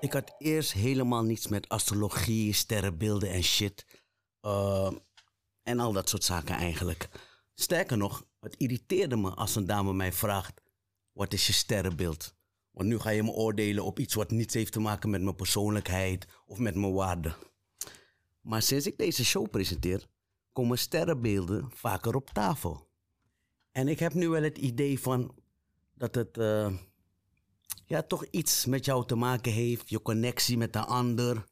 Ik had eerst helemaal niets met astrologie, sterrenbeelden en shit. eh, en al dat soort zaken eigenlijk. Sterker nog, het irriteerde me als een dame mij vraagt: wat is je sterrenbeeld? Want nu ga je me oordelen op iets wat niets heeft te maken met mijn persoonlijkheid of met mijn waarde. Maar sinds ik deze show presenteer, komen sterrenbeelden vaker op tafel. En ik heb nu wel het idee van dat het eh, ja, toch iets met jou te maken heeft, je connectie met de ander.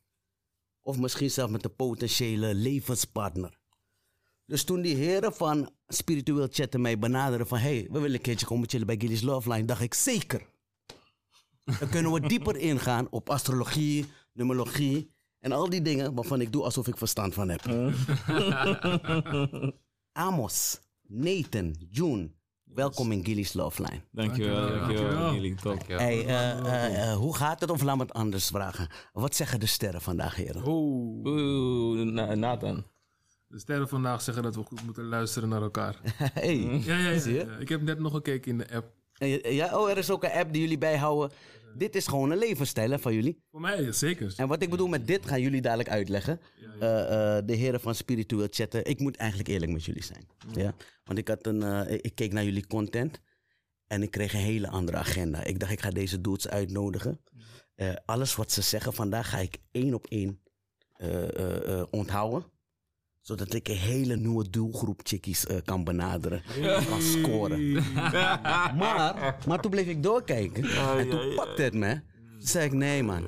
Of misschien zelfs met de potentiële levenspartner. Dus toen die heren van Spiritueel Chatten mij benaderen van... hey, we willen een keertje komen chillen bij Gilly's Love Line, dacht ik zeker. Dan kunnen we dieper ingaan op astrologie, numerologie... en al die dingen waarvan ik doe alsof ik verstand van heb. Amos, Nathan, June, welkom in Gilly's Love Line. Dankjewel, dankjewel, Gilly. Top. Hey, eh, eh, eh, hoe gaat het? Of laat me het anders vragen. Wat zeggen de sterren vandaag, heren? Oh. Oeh, Na- Nathan. De sterren vandaag zeggen dat we goed moeten luisteren naar elkaar. Hey. Ja, ja, ja, Zie je? ja. Ik heb net nog gekeken in de app. Eh, Ja, oh, er is ook een app die jullie bijhouden. Dit is gewoon een levensstijl hè, van jullie. Voor mij, ja, zeker. En wat ik bedoel met dit gaan jullie dadelijk uitleggen. Eh, eh, de heren van Spiritueel Chatten. Ik moet eigenlijk eerlijk met jullie zijn. Ja? Want ik, had een, eh, ik ik keek naar jullie content. En ik kreeg een hele andere agenda. Ik dacht, ik ga deze dudes uitnodigen. Eh, alles wat ze zeggen vandaag ga ik één op één eh, eh, eh, onthouden. Zodat ik een hele nieuwe doelgroep chickies eh, kan benaderen. En kan scoren. Maar, maar toen bleef ik doorkijken. en toen pakte het me. Toen zei ik, nee man,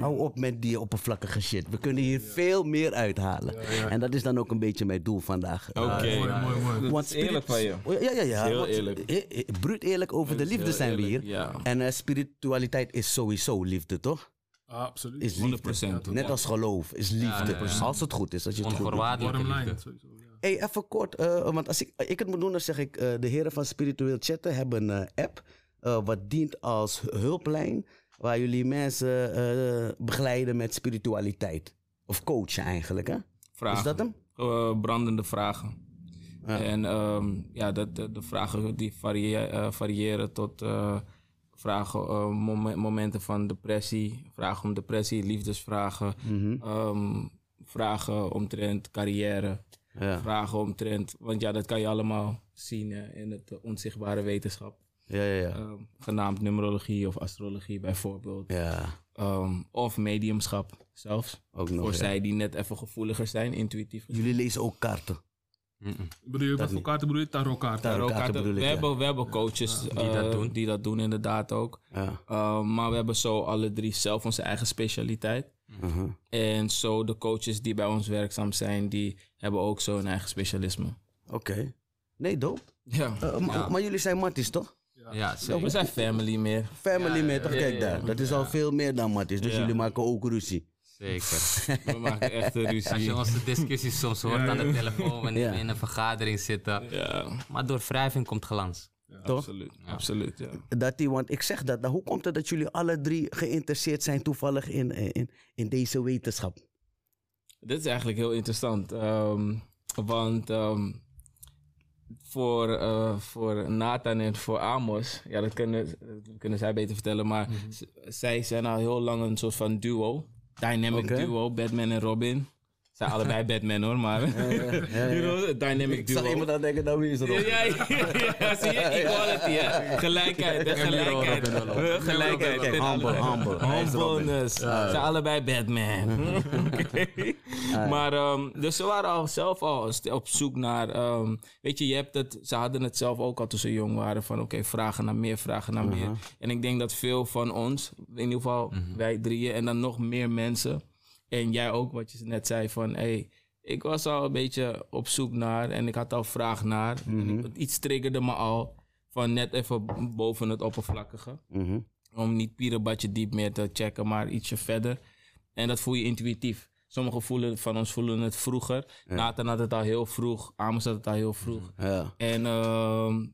hou op met die oppervlakkige shit. We kunnen hier veel meer uithalen. En dat is dan ook een beetje mijn doel vandaag. Oké. Eh, Mooi, mooi, mooi. want is eerlijk van je. Oh, Ja, ja, ja. Heel want eerlijk. e- e- bruut eerlijk over de is liefde heel zijn eerlijk, we hier. ja. En eh, spiritualiteit is sowieso liefde, toch? Ah, absoluut. Is liefde. 100%. Net als geloof is liefde. Als het goed is, als je het goed doet. Onvoorwaardelijke Bottom liefde. line, sowieso. Ja. Hey, even kort, eh, want als ik, ik het moet doen, dan zeg ik: eh, de heren van Spiritueel Chatten hebben een eh, app. eh, wat dient als hulplijn. Waar jullie mensen eh, begeleiden met spiritualiteit. Of coachen eigenlijk, hè? Vragen. Is dat hem? Eh, brandende vragen. En ehm, ja, dat, de, de vragen die varie- eh, variëren tot eh, vragen, eh, mom- momenten van depressie, vragen om depressie, liefdesvragen, Mhm. ehm, vragen omtrent carrière, Ja. vragen omtrent, want ja, dat kan je allemaal zien eh, in het eh, onzichtbare wetenschap, Ja, ja, ja. Ehm, genaamd numerologie of astrologie bijvoorbeeld. Ja, Ehm, of mediumschap zelfs. ook nog. voor ja. zij die net even gevoeliger zijn, intuïtief. Jullie lezen ook kaarten. Bedoel je, wat voor kaarten bedoel je? Tarotkaarten. Tarot. Tarotkaarten. bedoel ik, we, ja. hebben, we hebben coaches eh, die, dat doen. inderdaad ook. Ja. Eh, maar we hebben zo alle drie zelf onze eigen specialiteit. Mhm. En zo de coaches die bij ons werkzaam zijn, die hebben ook zo hun eigen specialisme. Oké. Nee, dope. Ja. Eh, maar- Maar jullie zijn matties, toch? Ja, zeker. we zijn family meer. Family mee, toch? Kijk daar. Dat is al veel meer dan matties. Dus jullie maken ook ruzie. zeker. We maken echt een Als ruzie. je onze discussies soms hoort aan de telefoon wanneer Ja. we in een vergadering zitten. Ja, Maar door wrijving komt glans. toch? absoluut. Absoluut, ja. Dat die, want ik zeg dat. nou, Hoe komt het dat jullie alle drie geïnteresseerd zijn toevallig in, eh, in, in deze wetenschap? Dit is eigenlijk heel interessant. ehm, want ehm, voor, eh, voor Nathan en voor Amos, ja, dat kunnen, dat kunnen zij beter vertellen, maar z- zij zijn al heel lang een soort van duo. Dynamic Oké. duo, Batman en Robin. Zijn allebei Batman hoor, maar. You know, dynamic duo. aan denken, nou wie is er Ja, ja, ja, ja, zie je? Equality, ja. Gelijkheid, hè, gelijkheid. Huh, Gelijkheid. Kijk, humble, humble. Hij is Robin. Humbleness. Ze zijn allebei Batman. Oké. Maar, ehm, dus ze waren al zelf al st- op zoek naar, ehm, weet je, je hebt het, ze hadden het zelf ook al toen ze jong waren van, oké, vragen naar meer, vragen naar meer. En ik denk dat veel van ons, in ieder geval wij drieën en dan nog meer mensen, en jij ook, wat je net zei van, hey, ik was al een beetje op zoek naar en ik had al vraag naar. En ik- iets triggerde me al van net even boven het oppervlakkige Mhm. om niet pierenbadje diep meer te checken, maar ietsje verder. En dat voel je intuïtief. Sommigen voelen, van ons voelen het vroeger. Nathan had het al heel vroeg. Amos had het al heel vroeg. Ja. En ehm,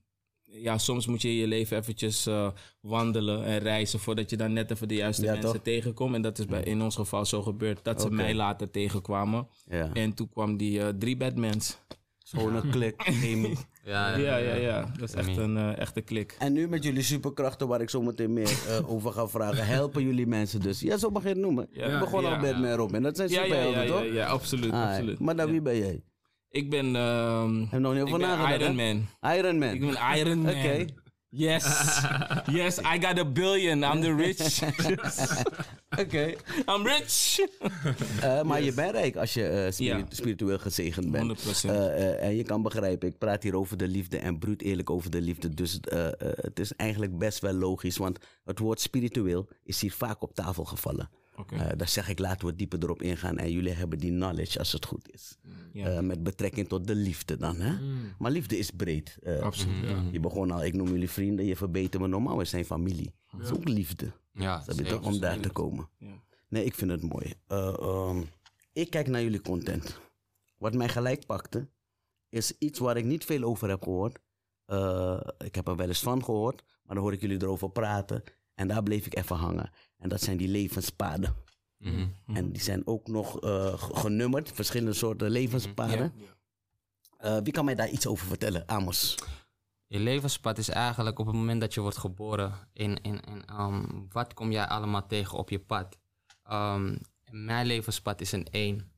ja, soms moet je in je leven eventjes eh, wandelen en reizen... voordat je dan net even de juiste Ja, mensen toch? tegenkomt. En dat is bij, in ons geval zo gebeurd dat ze mij later tegenkwamen. Ja. En toen kwam die eh, drie Batmans. Gewoon een klik. Amy. Ja, Ja, ja, ja. Dat is echt Amy. een eh, echte klik. En nu met jullie superkrachten, waar ik zo meteen meer eh, over ga vragen, helpen jullie mensen dus. Ja, zo mag je het noemen. Ja. we begonnen Ja. al met mij Robin. Dat zijn Ja, ja, ja, superhelden, ja, toch? ja, absoluut. Ah, absoluut. Maar dan Ja. wie ben jij? Ik Ik ben... ehm heb nog niet ik over ben nagedacht. Iron hè? Man. Iron Man. Ik ben Iron Man. Oké. Yes. Yes, I got a billion. I'm the rich. Oké. I'm rich. Eh, maar je bent rijk als je eh, spiri- Ja. spiritueel gezegend bent. 100%. Eh, eh, en je kan begrijpen, ik praat hier over de liefde en bruut eerlijk over de liefde. Dus eh, eh, het is eigenlijk best wel logisch, want het woord spiritueel is hier vaak op tafel gevallen. Oké. Eh, daar zeg ik, laten we dieper erop ingaan. En jullie hebben die knowledge als het goed is. ja. Hmm. Eh, met betrekking tot de liefde dan. Hè? Maar liefde is breed. Eh, Absoluut, Mm-hmm. ja. Mhm. Je begon al, ik noem jullie vrienden, je verbetert me normaal, we zijn familie. Dat is ook liefde. Ja, Dat je toch, om daar te komen. Ja. Nee, ik vind het mooi. Eh, ehm, ik kijk naar jullie content. Wat mij gelijk pakte, is iets waar ik niet veel over heb gehoord. Eh, ik heb er wel eens van gehoord, maar dan hoor ik jullie erover praten. En daar bleef ik even hangen. En dat zijn die levenspaden. Mhm. Mhm. En die zijn ook nog eh, g- genummerd, verschillende soorten levenspaden. Eh, wie kan mij daar iets over vertellen? Amos. Je levenspad is eigenlijk op het moment dat je wordt geboren. In, in, in, ehm, wat kom jij allemaal tegen op je pad? Ehm, mijn levenspad is een 1.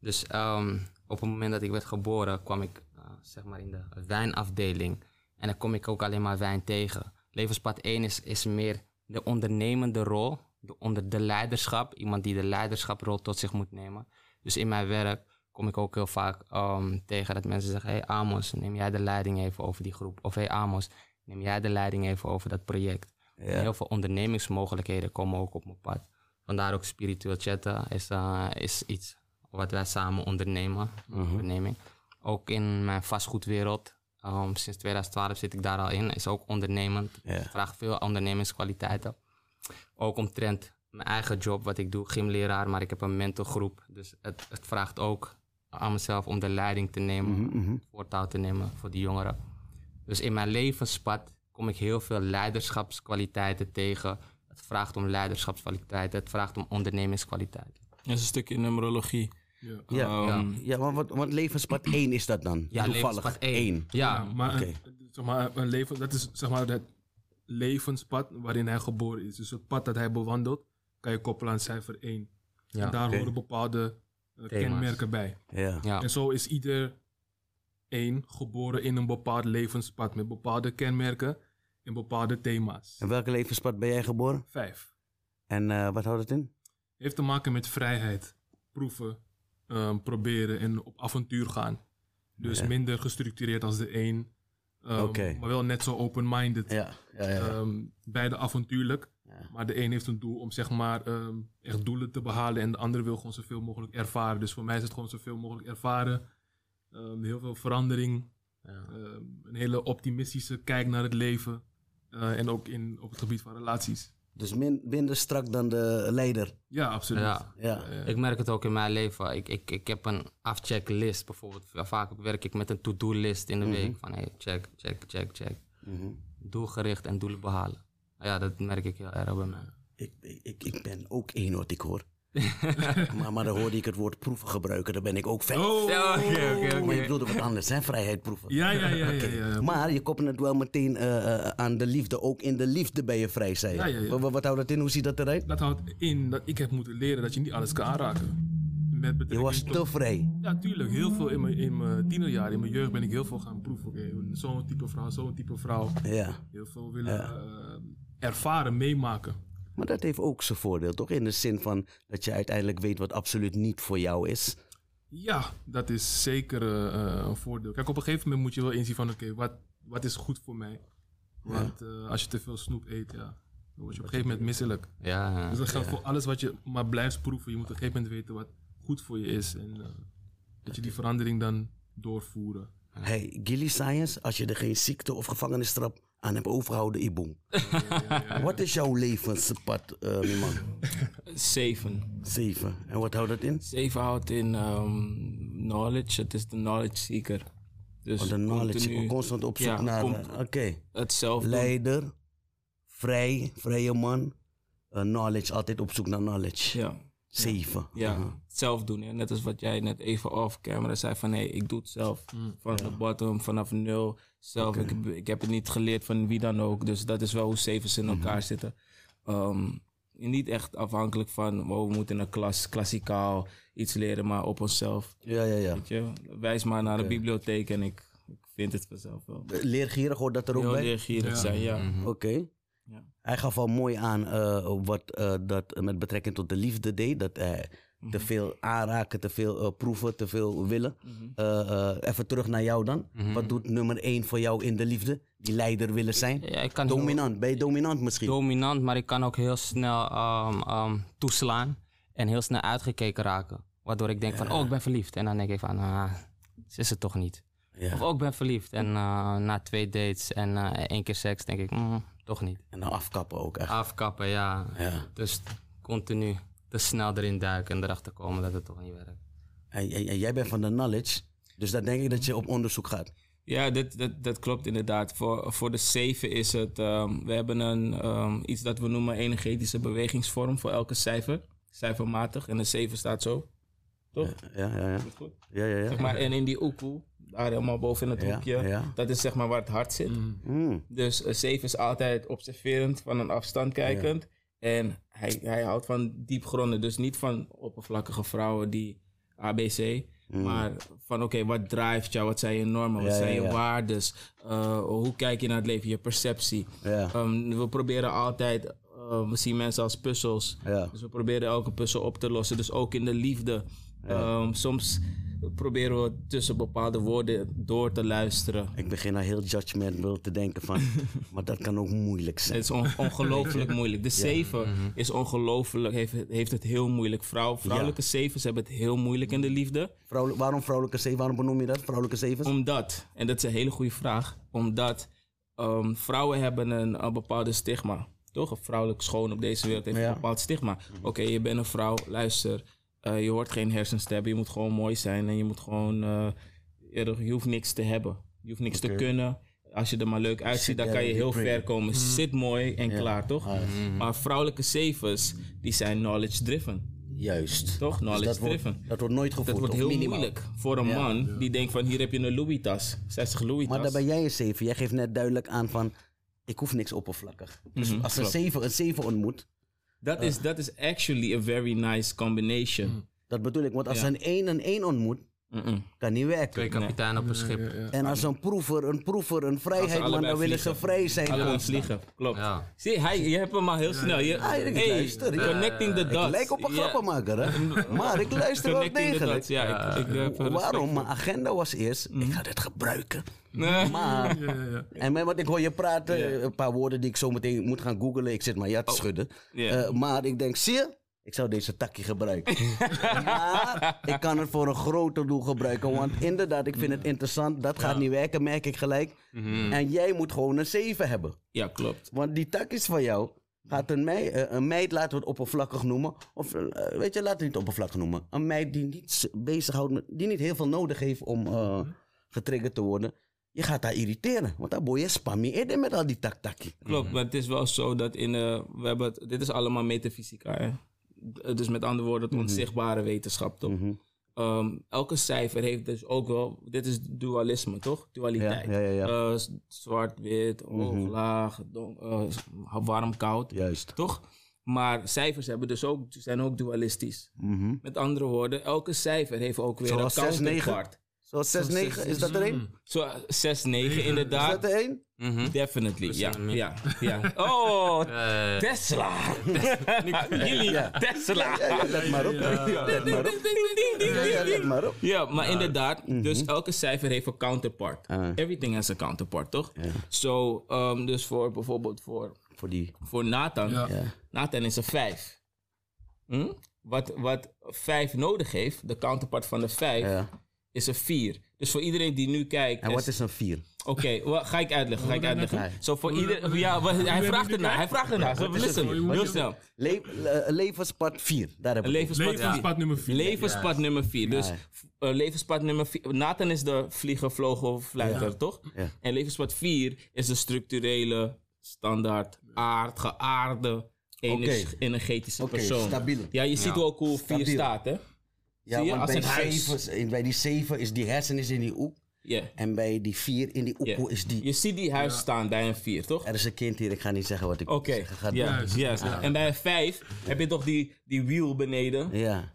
Dus ehm, op het moment dat ik werd geboren kwam ik eh, zeg maar in de wijnafdeling. En dan kom ik ook alleen maar wijn tegen. Levenspad 1 is, is meer de ondernemende rol. De, onder, de leiderschap. Iemand die de leiderschaprol tot zich moet nemen. Dus in mijn werk kom ik ook heel vaak ehm, tegen dat mensen zeggen... hey Amos, neem jij de leiding even over die groep. Of hey Amos, neem jij de leiding even over dat project. En heel veel ondernemingsmogelijkheden komen ook op mijn pad. Vandaar ook spiritueel chatten is, eh, is iets wat wij samen ondernemen. onderneming. Ook in mijn vastgoedwereld. ehm, sinds 2012 zit ik daar al in. Is ook ondernemend. Ja. Vraagt veel ondernemingskwaliteiten. Ook omtrent mijn eigen job, wat ik doe, gymleraar, maar ik heb een mentorgroep. Dus het, het vraagt ook aan mezelf om de leiding te nemen, Mhm. voortouw te nemen voor die jongeren. Dus in mijn levenspad kom ik heel veel leiderschapskwaliteiten tegen. Het vraagt om leiderschapskwaliteiten, het vraagt om ondernemingskwaliteiten. Dat is een stukje numerologie. Ja, Ehm, ja want, wat, want levenspad 1 is dat dan? levenspad één. Ja, Ja, maar, Oké. een, zeg maar een leven, dat is zeg maar het levenspad waarin hij geboren is. Dus het pad dat hij bewandelt, kan je koppelen aan cijfer 1. Ja. en daar Oké. horen bepaalde eh, Thema's. kenmerken bij. Ja. ja. En zo is ieder één geboren in een bepaald levenspad met bepaalde kenmerken en bepaalde thema's. En welke levenspad ben jij geboren? Vijf. En eh, wat houdt het in? heeft te maken met vrijheid, proeven, ehm, proberen en op avontuur gaan. Dus Ja. minder gestructureerd als de een, ehm, Oké. maar wel net zo open-minded. Ja, ja, ja. Ehm, beide avontuurlijk, Ja. maar de een heeft een doel om zeg maar ehm, echt doelen te behalen en de ander wil gewoon zoveel mogelijk ervaren. Dus voor mij is het gewoon zoveel mogelijk ervaren, Ehm, heel veel verandering, ehm, een hele optimistische kijk naar het leven eh, en ook in, op het gebied van relaties. Dus min, minder strak dan de leider. Ja, absoluut. Ja. Ja. Ik merk het ook in mijn leven. Ik, ik, ik heb een afchecklist bijvoorbeeld. Vaak werk ik met een to-do-list in de week. Van hey, check, check, check, check. Mhm. Doelgericht en doelen behalen. Ja, dat merk ik heel erg bij mij. Ik, ik, ik ben ook één wat ik hoor. maar, maar dan hoorde ik het woord proeven gebruiken, daar ben ik ook fan. Oh! oké, oké, Maar je bedoelde wat anders, hè? Vrijheid proeven. Ja, ja, ja, ja, ja, ja. Maar je koppelt het wel meteen eh, eh, aan de liefde. Ook in de liefde ben je vrij, zei je. Ja, ja, ja. Wat, wat- wat houdt dat in? Hoe ziet dat eruit? Dat houdt in dat ik heb moeten leren dat je niet alles kan aanraken. Met Je betrekking was tot- te vrij. Ja, tuurlijk. Heel veel in mijn, in mijn tienerjaren, in mijn jeugd ben ik heel veel gaan proeven. Oké, Zo'n type vrouw, zo'n type vrouw. Ja. Heel veel willen eh, ervaren, meemaken. Maar dat heeft ook zijn voordeel, toch? In de zin van dat je uiteindelijk weet wat absoluut niet voor jou is. Ja, dat is zeker eh, eh, een voordeel. Kijk, op een gegeven moment moet je wel inzien van oké, wat, wat is goed voor mij? Want eh, als je te veel snoep eet, ja, dan word je op een gegeven moment misselijk. Ja, ja. Dus dat geldt voor alles wat je maar blijft proeven. Je moet op een gegeven moment weten wat goed voor je is. En eh, dat je die verandering dan doorvoeren. Hey, Gilly Science, als je er geen ziekte of gevangenisstraf aan hebt overgehouden, Iboom. Wat is jouw levenspad, eh, mijn man? Zeven. Zeven. En wat houdt dat in? Zeven houdt in ehm, knowledge. Het is de knowledge seeker. Dus Want Oh, de knowledge, continu constant op zoek Ja, naar... com- eh, Oké. hetzelfde. Leider, vrij, vrije man. Eh, knowledge, altijd op zoek naar knowledge. Ja. Zeven. Ja, Mhm. het zelf doen. Hè? Net als wat jij net even off camera zei van hey, ik doe het zelf. Mm. Vanaf de bottom, vanaf nul. Zelf, ik, heb- ik heb het niet geleerd van wie dan ook. Dus dat is wel hoe zevens Mhm. in elkaar zitten. Ehm, niet echt afhankelijk van, wow, we moeten in een klas, klassikaal iets leren, maar op onszelf. Ja, ja, ja. Weet je? Wijs maar naar de Oké. bibliotheek en ik, ik vind het vanzelf wel. Leergierig hoort dat er ook Heel bij? leergierig Ja. zijn, ja. Mhm. Oké. Ja. Hij gaf al mooi aan eh, wat eh, dat met betrekking tot de liefde deed. Dat hij te veel aanraken, te veel eh, proeven, te veel willen. Mhm. Eh, eh, even terug naar jou dan. Mhm. Wat doet nummer één voor jou in de liefde? Die leider willen zijn? Ja, ik kan heel Dominant. Ben je dominant misschien? dominant, maar ik kan ook heel snel ehm, ehm, toeslaan en heel snel uitgekeken raken. Waardoor ik denk van, oh, ik ben verliefd. En dan denk ik van, ah, ze is het toch niet. ja. Of ook ik ben verliefd. En eh, na twee dates en eh, één keer seks denk ik, mm, toch niet. En dan afkappen ook Ah. echt. Afkappen, ja. Ja. Dus continu te snel erin duiken en erachter komen dat het toch niet werkt. En, en- en jij bent van de knowledge. Dus dan denk ik dat je op onderzoek gaat. Ja, dat, dat, dat klopt inderdaad. Voor, voor de zeven is het... ehm, we hebben een, ehm, iets dat we noemen energetische bewegingsvorm voor elke cijfer. Cijfermatig. En de zeven staat zo. Toch? Is Ja, ja, ja. dat goed? ja, ja, ja. Zeg maar, en in die oekoe, daar helemaal boven in het Ja, hoekje... ja. dat is zeg maar waar het hart zit. Mm. Mm. Dus eh, zeven is altijd observerend, van een afstand kijkend. En hij, hij houdt van diepgronden. Dus niet van oppervlakkige vrouwen die ABC... Maar van oké, wat drijft jou? Wat zijn je normen? Wat Mm. Ja, zijn ja, je ja. waardes? Eh, hoe kijk je naar het leven? Je perceptie. Ja, Ehm, we proberen altijd, eh, we zien mensen als puzzels. ja. Dus we proberen elke puzzel op te lossen. Dus ook in de liefde. Ehm, soms proberen we tussen bepaalde woorden door te luisteren. Ik begin al heel judgmental te denken van... maar dat kan ook moeilijk zijn. Het is on- ongelooflijk moeilijk. De zeven is ongelooflijk, heeft, heeft het heel moeilijk. Vrouw, vrouwelijke zevens hebben het heel moeilijk in de liefde. Vrouwelijk, waarom vrouwelijke zeven? Waarom benoem je dat? Vrouwelijke zevens? Omdat, en dat is een hele goede vraag, omdat ehm, vrouwen hebben een, een bepaalde stigma. Toch? Een vrouwelijk schoon op deze wereld heeft Ja. een bepaald stigma. Oké, je bent een vrouw, luister, eh, je hoort geen hersens te hebben, je moet gewoon mooi zijn en je moet gewoon, eh, eerder, je hoeft niks te hebben. Je hoeft niks te Oké. kunnen. Als je er maar leuk uitziet, dan there kan je and be heel pretty. ver komen. Zit mooi en klaar, toch? Ah, Maar vrouwelijke zevens, die zijn knowledge driven. Juist. Toch? Nou, Dus Knowledge dat, driven. wordt, dat wordt nooit gevoeld. Dat wordt of heel minimaal. moeilijk voor een man die denkt van hier heb je een Louis tas, 60 Louis tas. Maar daar ben jij een zeven. Jij geeft net duidelijk aan van... Ik hoef niks oppervlakkig. Dus Mhm, als een klopt. zeven een zeven ontmoet... Dat is, dat is actually a very nice combination. Dat bedoel ik. Want als Ja. een één een één ontmoet... Mm-mm. Kan niet werken. Twee kapiteinen op een schip. Ja, ja. En als een proever, een proever, een vrijheid, man, allebei dan willen ze vliegen. vrij zijn. Allemaal constant. vliegen, klopt. Ja. Zie, hij, je hebt hem al heel snel. Je, Ah, ik hey, luister, ik- connecting the dots. Ik lijk op een Ja, grappenmaker, hè? maar ik luister wel Connecting the dots, degelijk. ja. ik, eh, ik heb respect Mhm. Waarom? voor- Mijn agenda was eerst, ik ga dit gebruiken. Nee. Maar, Ja, ja, ja. en met wat ik hoor je praten, eh, een paar woorden die ik zo meteen moet gaan googlen. Ik zit maar ja te schudden. Ja. Eh, maar ik denk, zie je, ik zou deze takje gebruiken. maar ik kan het voor een groter doel gebruiken. Want inderdaad, ik vind het interessant. Dat gaat niet werken, merk ik gelijk. Mm. En jij moet gewoon een 7 hebben. Ja, klopt. Want die tak is van jou. Gaat een meid, eh, een meid laten we het oppervlakkig noemen. Of eh, weet je, laten we het niet oppervlakkig noemen. Een meid die niet s- bezighoudt met. die niet heel veel nodig heeft om eh, Mhm. getriggerd te worden. Je gaat haar irriteren. Want dan boy je spammy eerder met al die tak-takkie. Klopt, maar het is wel zo dat in... eh, we hebben het- dit is allemaal metafysica, hè. D- Dus met andere woorden, het onzichtbare wetenschap, toch? Mhm. Ehm, elke cijfer heeft dus ook wel... Dit is dualisme, toch? Dualiteit. Ja, ja, ja, ja. Mhm. Eh, z- Zwart-wit, hoog, laag, don- eh, s- warm, koud. Juist. Toch? Maar cijfers hebben dus ook, zijn ook dualistisch. Mhm. Met andere woorden, elke cijfer heeft ook weer Zoals een zes, negen? counterpart. Zoals 6-9, is dat er één? Zo, 6, 9 Is inderdaad. dat er één? Mhm. Definitely, ja, Precies. ja, ja. Oh, Eh, Tesla. Jullie, Ja. Tesla. Ja, ja, let maar op. Let maar op. Ja, ja, let maar op. Ja, maar inderdaad, dus elke cijfer heeft een counterpart. Ah. Everything has a counterpart, toch? Zo, ehm, dus voor bijvoorbeeld voor, Voor die. voor Nathan, Ja. Ja. Nathan is een 5. Hm? Wat, wat 5 nodig heeft, de counterpart van de 5, Ja. is een 4. Dus voor iedereen die nu kijkt. En is- wat is een 4? Oké, wa- ga ik uitleggen. Ga ik uitleggen. Nee. Zo voor ieder, ja, wa- hij nu vraagt ernaar. kijkt? Hij vraagt nou. ernaar. Zo, listen, voor? Wat heel is- snel. Le le- levenspad 4. Daar hebben we het. Levenspad, Levenspad nummer 4. Levenspad nummer 4. Dus Ja. f- eh, levenspad nummer 4. Nathan is de vlieger, vlogen of fluiter, toch? Ja. En levenspad 4 is de structurele, standaard, aard, geaarde energ- Oké. energetische Oké, persoon. stabiel. Ja, je ziet Ja. ook hoe vier Stabiel. staat, hè? Ja, Zie je, want als bij, een huis. zeven- in- bij die zeven is die hersen is in die oep. Ja. En bij die vier in die oepoe Ja. is die... Je ziet die huis staan bij een vier, toch? Er is een kind hier, ik ga niet zeggen wat ik Oké, zeggen ga. ja, Juist. juist. Ja. En bij een vijf heb je toch die, die wiel beneden. Ja.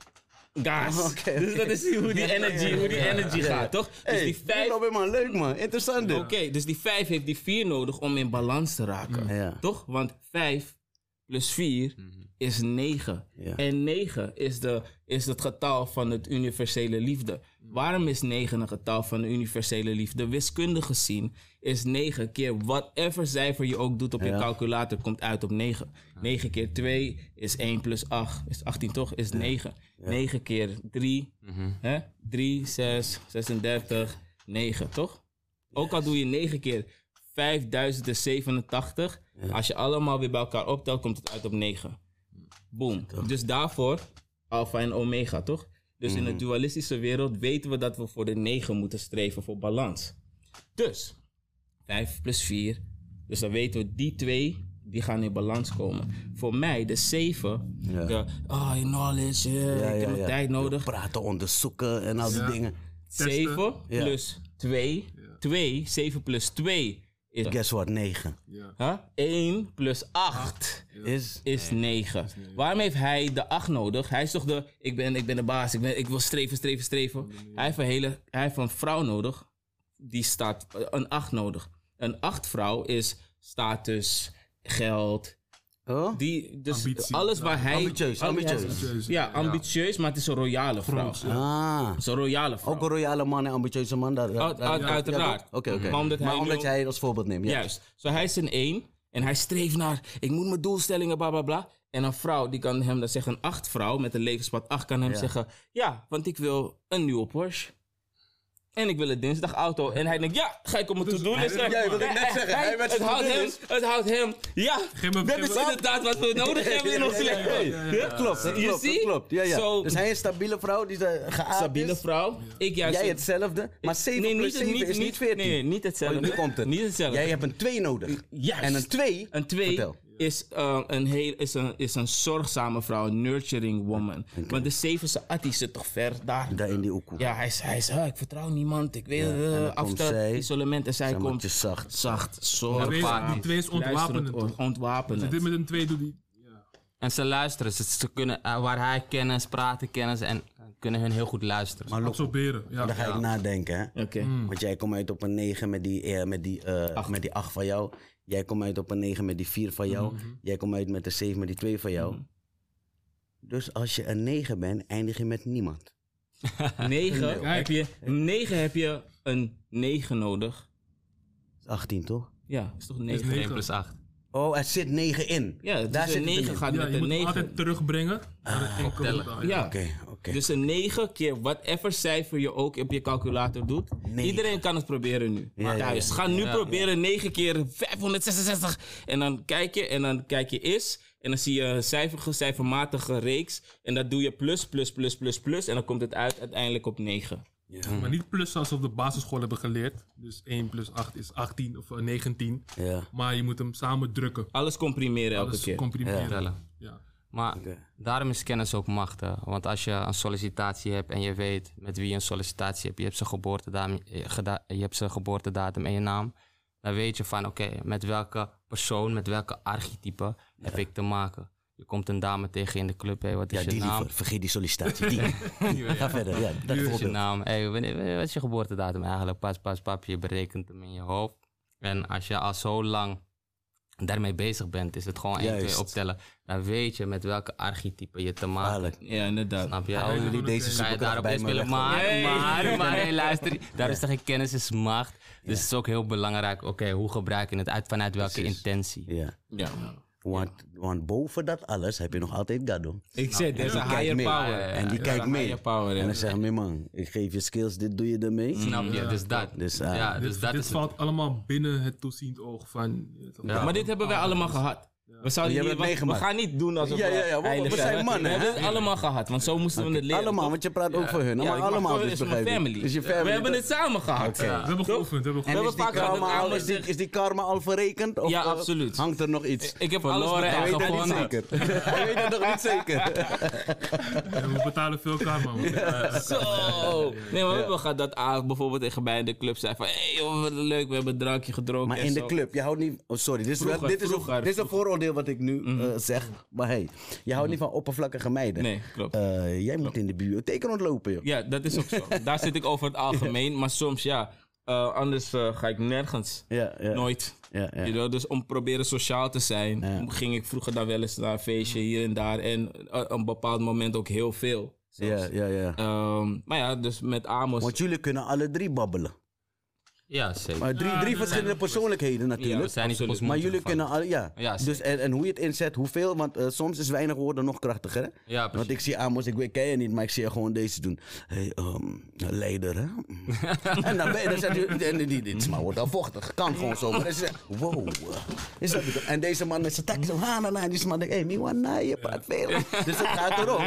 Gas. Oké. Dus dat is hoe die energy, hoe die energy gaat, toch? Dus Hey, die vijf... Robin, man, leuk man. Interessant dit. Oké, dus die 5 heeft die 4 nodig om in balans te raken. Ja. Toch? Want 5 plus 4 is 9. Ja. En 9 is, de, is het getal van het universele liefde. Waarom is 9 een getal van de universele liefde? Wiskundig gezien is 9 keer whatever cijfer je ook doet op je Ja. calculator komt uit op 9. 9 keer 2 is 1 plus 8 is 18 toch? Is 9. 9 keer 3 Hè? 3, 6, 36, 9, toch? Ook al doe je 9 keer 5087, als je allemaal weer bij elkaar optelt, komt het uit op 9. Boom. Dus daarvoor alfa en omega, toch? Dus in de Mhm. dualistische wereld weten we dat we voor de 9 moeten streven voor balans. Dus 5 plus 4. Dus dan weten we, die twee, die gaan in balans komen. Voor mij, de 7, Ja. de, oh, knowledge, eh, Ja, ik ja, heb ja. nog tijd nodig. Praten, onderzoeken en al die Ja. dingen. 7 Ja. plus 2. 2. 7 plus 2 is Guess what, negen. Ja. huh? 1 plus 8 Is... is 9. Waarom heeft hij de 8 nodig? Hij is toch de, ik ben, ik ben de baas, ik, ben, ik wil streven, streven, streven. Hij heeft, een hele, hij heeft een vrouw nodig, die staat, een 8 nodig. Een 8 vrouw is status, geld, Oh? die, dus Ambitie. alles waar hij... Ambitieus, ambitieus. Jezus. Ja, ambitieus, maar het is een royale vrouw. Het Ah. is een royale vrouw. Ook een royale man en ambitieuze man. Daar, daar- Uit- daar- uit- ja, uiteraard. toch? Oké, oké. Maar omdat hij Maar nu omdat ook- jij het als voorbeeld neemt. Ja. Juist. Zo hij is een één en hij streeft naar, ik moet mijn doelstellingen, bla bla bla. En een vrouw, die kan hem dan zeggen, een acht vrouw met een levenspad acht, kan hem Ja. zeggen, ja, want ik wil een nieuwe Porsche. En ik wil een dinsdag auto. En hij denkt, ja, ga ik op mijn to-do-list Ja, wilde ik net zeggen, hij met het zijn houdt hem, to-do-list. het houdt hem. Ja, Geef me- dat geef is me- inderdaad wat we Oh, nodig hebben in ons Ja, ja, ja, leven. ja, ja. Dat klopt, dat Je klopt, dat ziet? klopt. Ja, ja. Zo- dus hij is een stabiele vrouw die ze geaard Stabiele is. vrouw. Ik juist. Jij hetzelfde, maar 7 Nee, plus niet- 7 is niet 14. Nee, niet hetzelfde. Oh, nu komt het. Niet hetzelfde. Jij hebt een 2 nodig. Juist. En een 2... Een twee Vertel. is, eh, een heel, is, een, is een zorgzame vrouw, een nurturing woman. Want de zevense Atti zit toch ver daar? Daar in die oekoe. Ja, hij is, hij is ah, ik vertrouw niemand, ik weet en dan eh, komt afstand, zij, isolement. En zij zij maakt komt je zacht. zacht, Die zorg, twee- Ervaring. Die twee is ontwapenend. ontwapenen. toch? ontwapenen. Dit met een twee doet die. Ja. En ze luisteren. Ze, ze kunnen, eh, waar hij kennis, praten kennis en eh, kunnen hun heel goed luisteren. Maar look, Absorberen. Ja. dan ga ik nadenken, hè. Oké, Want jij komt uit op een 9 met die, eh, met, die, eh, met die 8 van jou. Jij komt uit op een 9 met die 4 van jou. Mhm. Jij komt uit met een 7 met die 2 van Mhm. jou. Dus als je een 9 bent, eindig je met niemand. negen, Kijk. heb je, negen heb je een negen nodig. Dat is 18, toch? Ja, is toch Dus negen? negen. 1 plus 8. Oh, er zit 9 in. Ja, Daar dus een zit het negen in. gaat Ja, met je een moet hem negen. altijd terugbrengen naar het enkele tellen. getal, Ja. Oké, oké. Dus een 9 keer whatever cijfer je ook op je calculator doet. Negen. Iedereen kan het proberen nu. Ja, ja, thuis. ja. Ga nu proberen 9 keer 566. En dan kijk je en dan kijk je is. En dan zie je een cijferige, cijfermatige reeks. En dat doe je plus, plus, plus, plus, plus. En dan komt het uit uiteindelijk op 9. Maar niet plus zoals we op de basisschool hebben geleerd. Dus 1 plus 8 is 18 of eh, 19. Ja. Maar je moet hem samen drukken. Alles comprimeren elke Dus keer. comprimeren. Ja. Tellen. Maar daarom is kennis ook macht. hè. Want als je een sollicitatie hebt en je weet met wie je een sollicitatie hebt, je hebt zijn geboortedatum, eh, geda- je hebt zijn geboortedatum en je naam, dan weet je van oké, met welke persoon, met welke archetype heb ik te maken. Je komt een dame tegen in de club, hé, wat is Ja, je die naam? liever. Vergeet die sollicitatie. Die. Ga verder. Ja, dat Wat is je voorbeeld. naam? Hé, wanneer- wanneer- wat is je geboortedatum eigenlijk? Pas, pas, pap, je berekent hem in je hoofd. En als je al zo lang daarmee bezig bent, is het gewoon 1, 2 Juist. Ah, optellen. Dan weet je met welke archetype je te maken hebt. Waarlijk. Ja, inderdaad. Snap je? Hou Ja. jullie deze Ga je superkracht daarop bij in me spelen? weg, Maar, Nee. maar, maar, hey, luister. Daarom zeg ik, kennis is macht. Dus het is ook heel belangrijk, oké, hoe gebruik je het uit, vanuit welke intentie? hoor. Ja. Ja. Want, want boven dat alles heb je nog altijd Gado. Ik zeg, er is Die een kijkt higher mee. power. En die Ja, kijkt een mee. higher power, ja. En dan zegt mijn man, ik geef je skills, dit doe je ermee. Snap je? Dus dat. Dus, ah, ja, dus dit dat dit is het. valt allemaal binnen het toeziend oog van. Maar dit hebben wij allemaal gehad. We, zouden Oh, Je hebt hier- het we- we meegemaakt. gaan niet doen alsof Ja, ja, ja, we we- eindig we zijn mannen, We hè? hebben het allemaal gehad, want zo moesten we het leren. Allemaal, toch? want je praat ook voor hun. Ja, Maar ik mag allemaal gewoon- dus, is mijn begrijp ik. family. Is je family. We hebben het samen gehad. We hebben geoefend, we hebben En- geoefend. En we is die, pakken karma het aan, al, maar is, die, zeg- is die karma al verrekend? Of, Ja, eh, absoluut. hangt er nog iets? Ik heb Verloren alles en Hij weet het niet gewonnen. zeker. Hij weet het nog niet zeker. En we betalen veel karma. man. Ja. Zo! Oh, Nee, maar we gaan dat aan. Bijvoorbeeld tegen bij de club zei van... Hé hey, joh, wat leuk, we hebben een drankje gedronken Maar en in de zo. club, je houdt niet... Oh, sorry, dit is, wel- Vroeger, dit, is vroeger, Mhm. een, dit is een vooroordeel wat ik nu eh, zeg. Maar hey, je houdt niet van oppervlakkige meiden. Nee, klopt. Eh, jij moet in de bibliotheek rondlopen, joh. Ja, dat is ook zo. Daar zit ik over het algemeen. Maar soms, ja. eh, anders eh, ga ik nergens. Ja, ja. Nooit. ja, ja. Je weet, dus om proberen sociaal te zijn, Ja. ging ik vroeger dan wel eens naar een feestje hier en daar. En eh, op een bepaald moment ook heel veel. zelfs. Ja, ja, ja. Ehm, maar ja, dus met Amos. Want jullie kunnen alle drie babbelen. Ja, zeker. Maar drie, drie verschillende persoonlijkheden Ja, natuurlijk. we zijn niet op absoluut. ons maar mond jullie gevallen. kunnen alle, ja. Ja, zeker. dus en, en hoe je het inzet, hoeveel, want eh, soms is weinig woorden nog krachtiger. Hè? Ja, precies. Want ik zie Amos, ik weet, ken je niet, maar ik zie je gewoon deze doen. Hey, ehm, leider, hè? en dan ben je, dan zegt hij, en die- die- dit is maar wordt al vochtig. Kan gewoon zo. Maar dan zeg je, wow. eh, Is dat het? En deze man met zijn tak zo, ha, na, na. En die man denkt, hé, hey, Miwana, je praat veel. Dus het gaat erom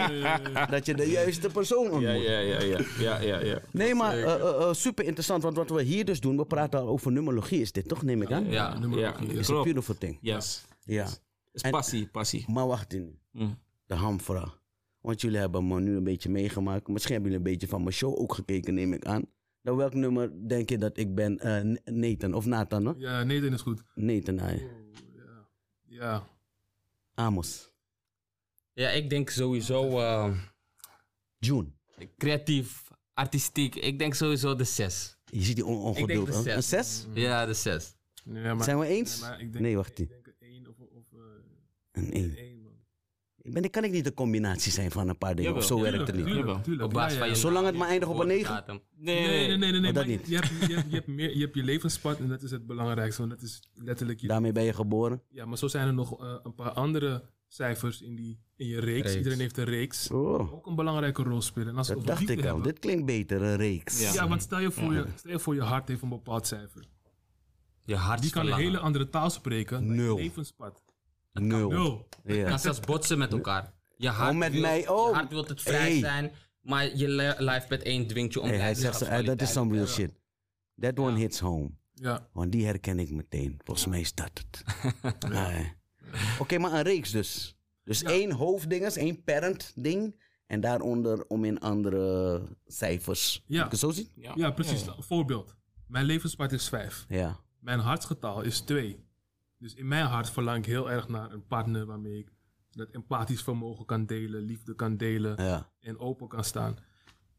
dat je de juiste persoon ontmoet. Ja, ja, ja, ja, ja, ja, ja. Nee, maar eh, eh, eh, super interessant, want wat we hier dus doen, we praten al over numerologie, is dit toch, neem ik aan? Ja, Nummer Ja, ook niet. It's a klopt. beautiful thing. Yes. Ja. Is En- passie, passie. Maar wacht in, Mm. de hamvraag. Want jullie hebben me nu een beetje meegemaakt. Misschien hebben jullie een beetje van mijn show ook gekeken, neem ik aan. Dan welk nummer denk je dat ik ben? Eh, N- Nathan of Nathan, hè? Ja, nee, dat is goed. Nathan, eh, hij. Ja. Amos. Ja, ik denk sowieso eh, June. creatief, artistiek. Ik denk sowieso de zes. Je ziet die on- Ik denk ongeduld. de hè? zes. Een zes? Ja, de zes. Nee, maar, Zijn we eens? nee, maar ik denk, Nee, wacht. Ik die. denk een één of, of eh, Een een één. één, man. Ik ben, kan ik niet een combinatie zijn van een paar dingen. Of Jawel. zo werkt Tuurlijk, het niet. tuurlijk, tuurlijk. Op basis Ja, van ja. je Zolang het maar eindigt op een negen. geboortedatum. Nee, Nee, nee, nee, nee. dat maar niet. Je, hebt, je, hebt, je, hebt meer, je hebt je levenspad en dat is het belangrijkste. Want dat is letterlijk je Daarmee ben je geboren. Ja, maar zo zijn er nog eh, een paar andere cijfers in, die, in je reeks. Reeks. Iedereen heeft een reeks. Oh, Ook een belangrijke rol spelen. En als we dat het over dacht ik liefde al. hebben- Dit klinkt beter, een reeks. Ja. Ja, want stel je, voor je, stel je voor je hart heeft een bepaald cijfer. Je hart Die kan een hele andere taal spreken. dan je Nul. Levenspad. Nul. Nul. Ja. kan zelfs botsen met elkaar. Je hart, Oh, met wil, mij. Oh. je hart wil het vrij Hey. zijn, maar je li- life met één dwingt je om Hey, hij zegt, zo, eh, dat is some real shit. That one hits home. Ja. Want die herken ik meteen. Volgens mij is dat het. Ja, hè. Oké, maar een reeks dus. Dus één hoofdding is, één parent ding. En daaronder om in andere cijfers. Ja. Moet ik het zo zien? Ja. ja, precies. Een voorbeeld. Mijn levenspad is 5. Ja. Mijn hartsgetal is 2. Dus in mijn hart verlang ik heel erg naar een partner waarmee ik dat empathisch vermogen kan delen, liefde kan delen Ja. en open kan staan.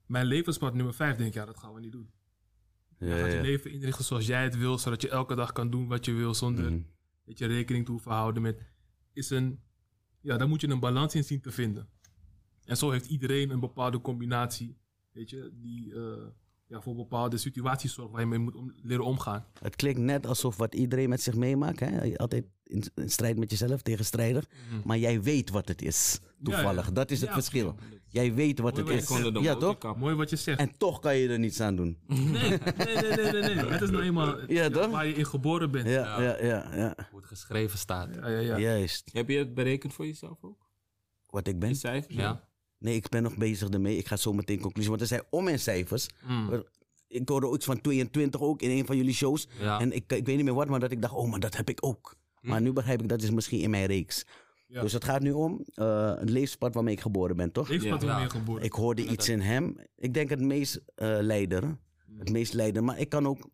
Mijn levenspad nummer 5 denk ik, ja, dat gaan we niet doen. Ja, Je gaat je ja. leven inrichten zoals jij het wil, zodat je elke dag kan doen wat je wil zonder Mhm. dat je rekening te hoeven houden met. Is een, ja, daar moet je een balans in zien te vinden. En zo heeft iedereen een bepaalde combinatie, weet je, die eh, ja, voor bepaalde situaties zorgt waar je mee moet om- leren omgaan. Het klinkt net alsof wat iedereen met zich meemaakt. Hè? Altijd in, in strijd met jezelf, tegenstrijdig. Maar jij weet wat het is, toevallig. Ja, ja. Dat is het Ja, verschil. Jij weet wat het Mooi wat je is. Seconden de Ja, toch? motorkap. Mooi wat je zegt. En toch kan je er niets aan doen. Nee, nee, nee, nee, nee, nee. Het is nou eenmaal Ja, toch? waar je in geboren bent. Ja, ja, ja, ja. Hoe het geschreven staat. Ja, ja, ja. Juist. Heb je het berekend voor jezelf ook? Wat ik De ben? cijfers? Ja. Nee, ik ben nog bezig ermee. Ik ga zo meteen conclusie. Want er zijn om en cijfers. Mm. Er- Ik hoorde ook iets van 22 ook in een van jullie shows. Ja. En ik, ik weet niet meer wat, maar dat ik dacht, oh, maar dat heb ik ook. Maar nu begrijp ik, dat is misschien in mijn reeks. Ja. Dus het gaat nu om eh het levenspad waarmee ik geboren ben, toch? Levenspad Ja. waarmee je geboren bent. Ik hoorde iets in hem. Ik denk het meest eh, leider. hè? Het meest leider. Maar ik kan ook...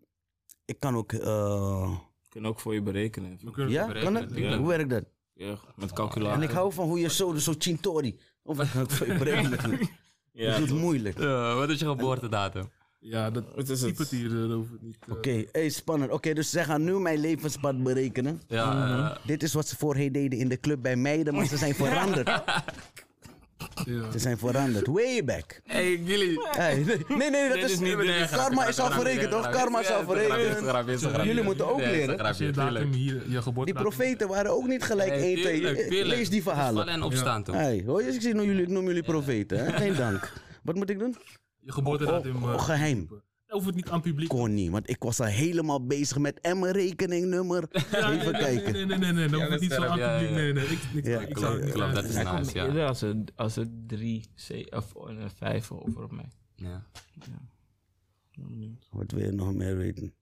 Ik kan ook... eh, Kunnen ook voor je berekenen. We even. kunnen ja, berekenen, kan het? ja. Hoe werkt dat? Ja, met En calculator. ik hou van hoe je zo, zo chintori... Of wat kan ik voor je berekenen? Dat doet moeilijk. wat is je geboortedatum? Ja, dat Wat is het? type het hier, eh, hoeft het niet. eh, Oké, hey, spannend. Oké, dus zij gaan nu mijn levenspad berekenen. Ja, eh, Dit is wat ze voorheen deden in de club bij meiden, maar ze zijn veranderd. ja. Ze zijn veranderd. Way back. hey, jullie. Hey, nee, nee, nee, dat Dit is, is niet- nee, Karma is al verrekend, toch? Karma is al verrekend. Jullie moeten ook leren. Als je datum hier, je geboorte. Die profeten waren ook niet gelijk één, twee. Lees die Vallen verhalen. en opstaan toch? Hey, hoor je, ik, zie, nou, jullie, ik noem jullie profeten. Hè? Geen dank. Wat moet ik doen? Je geboortedatum. Oh, eh, geheim. hoeft het niet aan publiek. kon niet, want ik was al helemaal bezig met Emmen rekeningnummer. Ja, Even nee, nee, kijken. Nee, nee, nee, nee, dan Ja, hoeft het dat niet zo snap aan ik, het ja, publiek. ja. Nee, nee, nee, ik, ik, Ja, ik klopt, zou het niet klopt, dat aan- is Hij nice, komt ja. eerder als een, als een 3, of oh, een 5 over op mij. Ja. Wat wil je nog meer weten?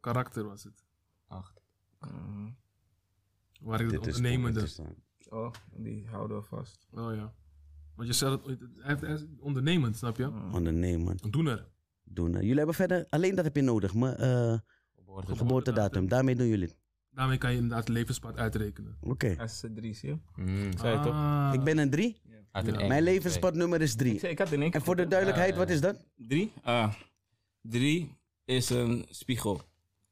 Karakter was het. Acht. Eh, Waar ik het is- ondernemende. dit is dan- oh, die houden we vast. Oh ja. Want je zei dat, hij hij is ondernemend, snap je? Ondernemen. Een doener. Doen. eh, Jullie hebben verder, alleen dat heb je nodig, maar eh Geboorte. geboortedatum, daarmee doen jullie het. Daarmee kan je inderdaad levenspad uitrekenen. Oké. S3, zie je? Mm. Zei je toch? Ah, Ik ben een 3. Uit een Ja. één. Mijn levenspadnummer is Ik, 3. zei, ik had in één En voor de duidelijkheid, wat is dat? 3? Ah, 3 is een spiegel.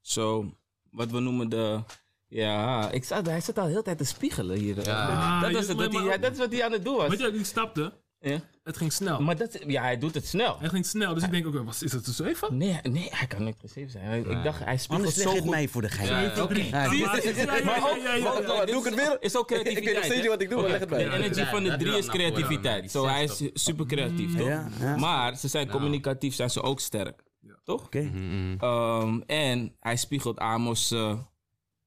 Zo, wat we noemen de... Ja, ik zat, hij zat al de hele tijd te spiegelen hier. Ja. dat, was Ah, het, dat, maar- hij, ja, dat is wat hij aan het doen was. Weet je, wat ik stapte. Ja. Het ging snel. Maar dat, ja, hij doet het snel. Het ging snel, dus ik denk ook, wat is het dus even? Nee, nee, hij kan niet precies zijn. Hij- Ik dacht, hij spiegelt Anders zo leg je het goed. mij voor de geit. Ja, ja. Oké. Ja, Zie je? maar- ja, ja, ja, Maar ook- ja, ja, ja, maar- ja. doe ik het weer? Is ook creativiteit. Ik weet nog steeds niet wat ik doe, maar leg het bij. De energy van de Ja, drie ja, is nou, creativiteit. ja, Zo, hij ja. is super creatief, toch? Ja, ja. Maar ze zijn communicatief, zijn ze ook sterk. Toch? Oké. Mm. Ehm, en hij spiegelt Amos. eh,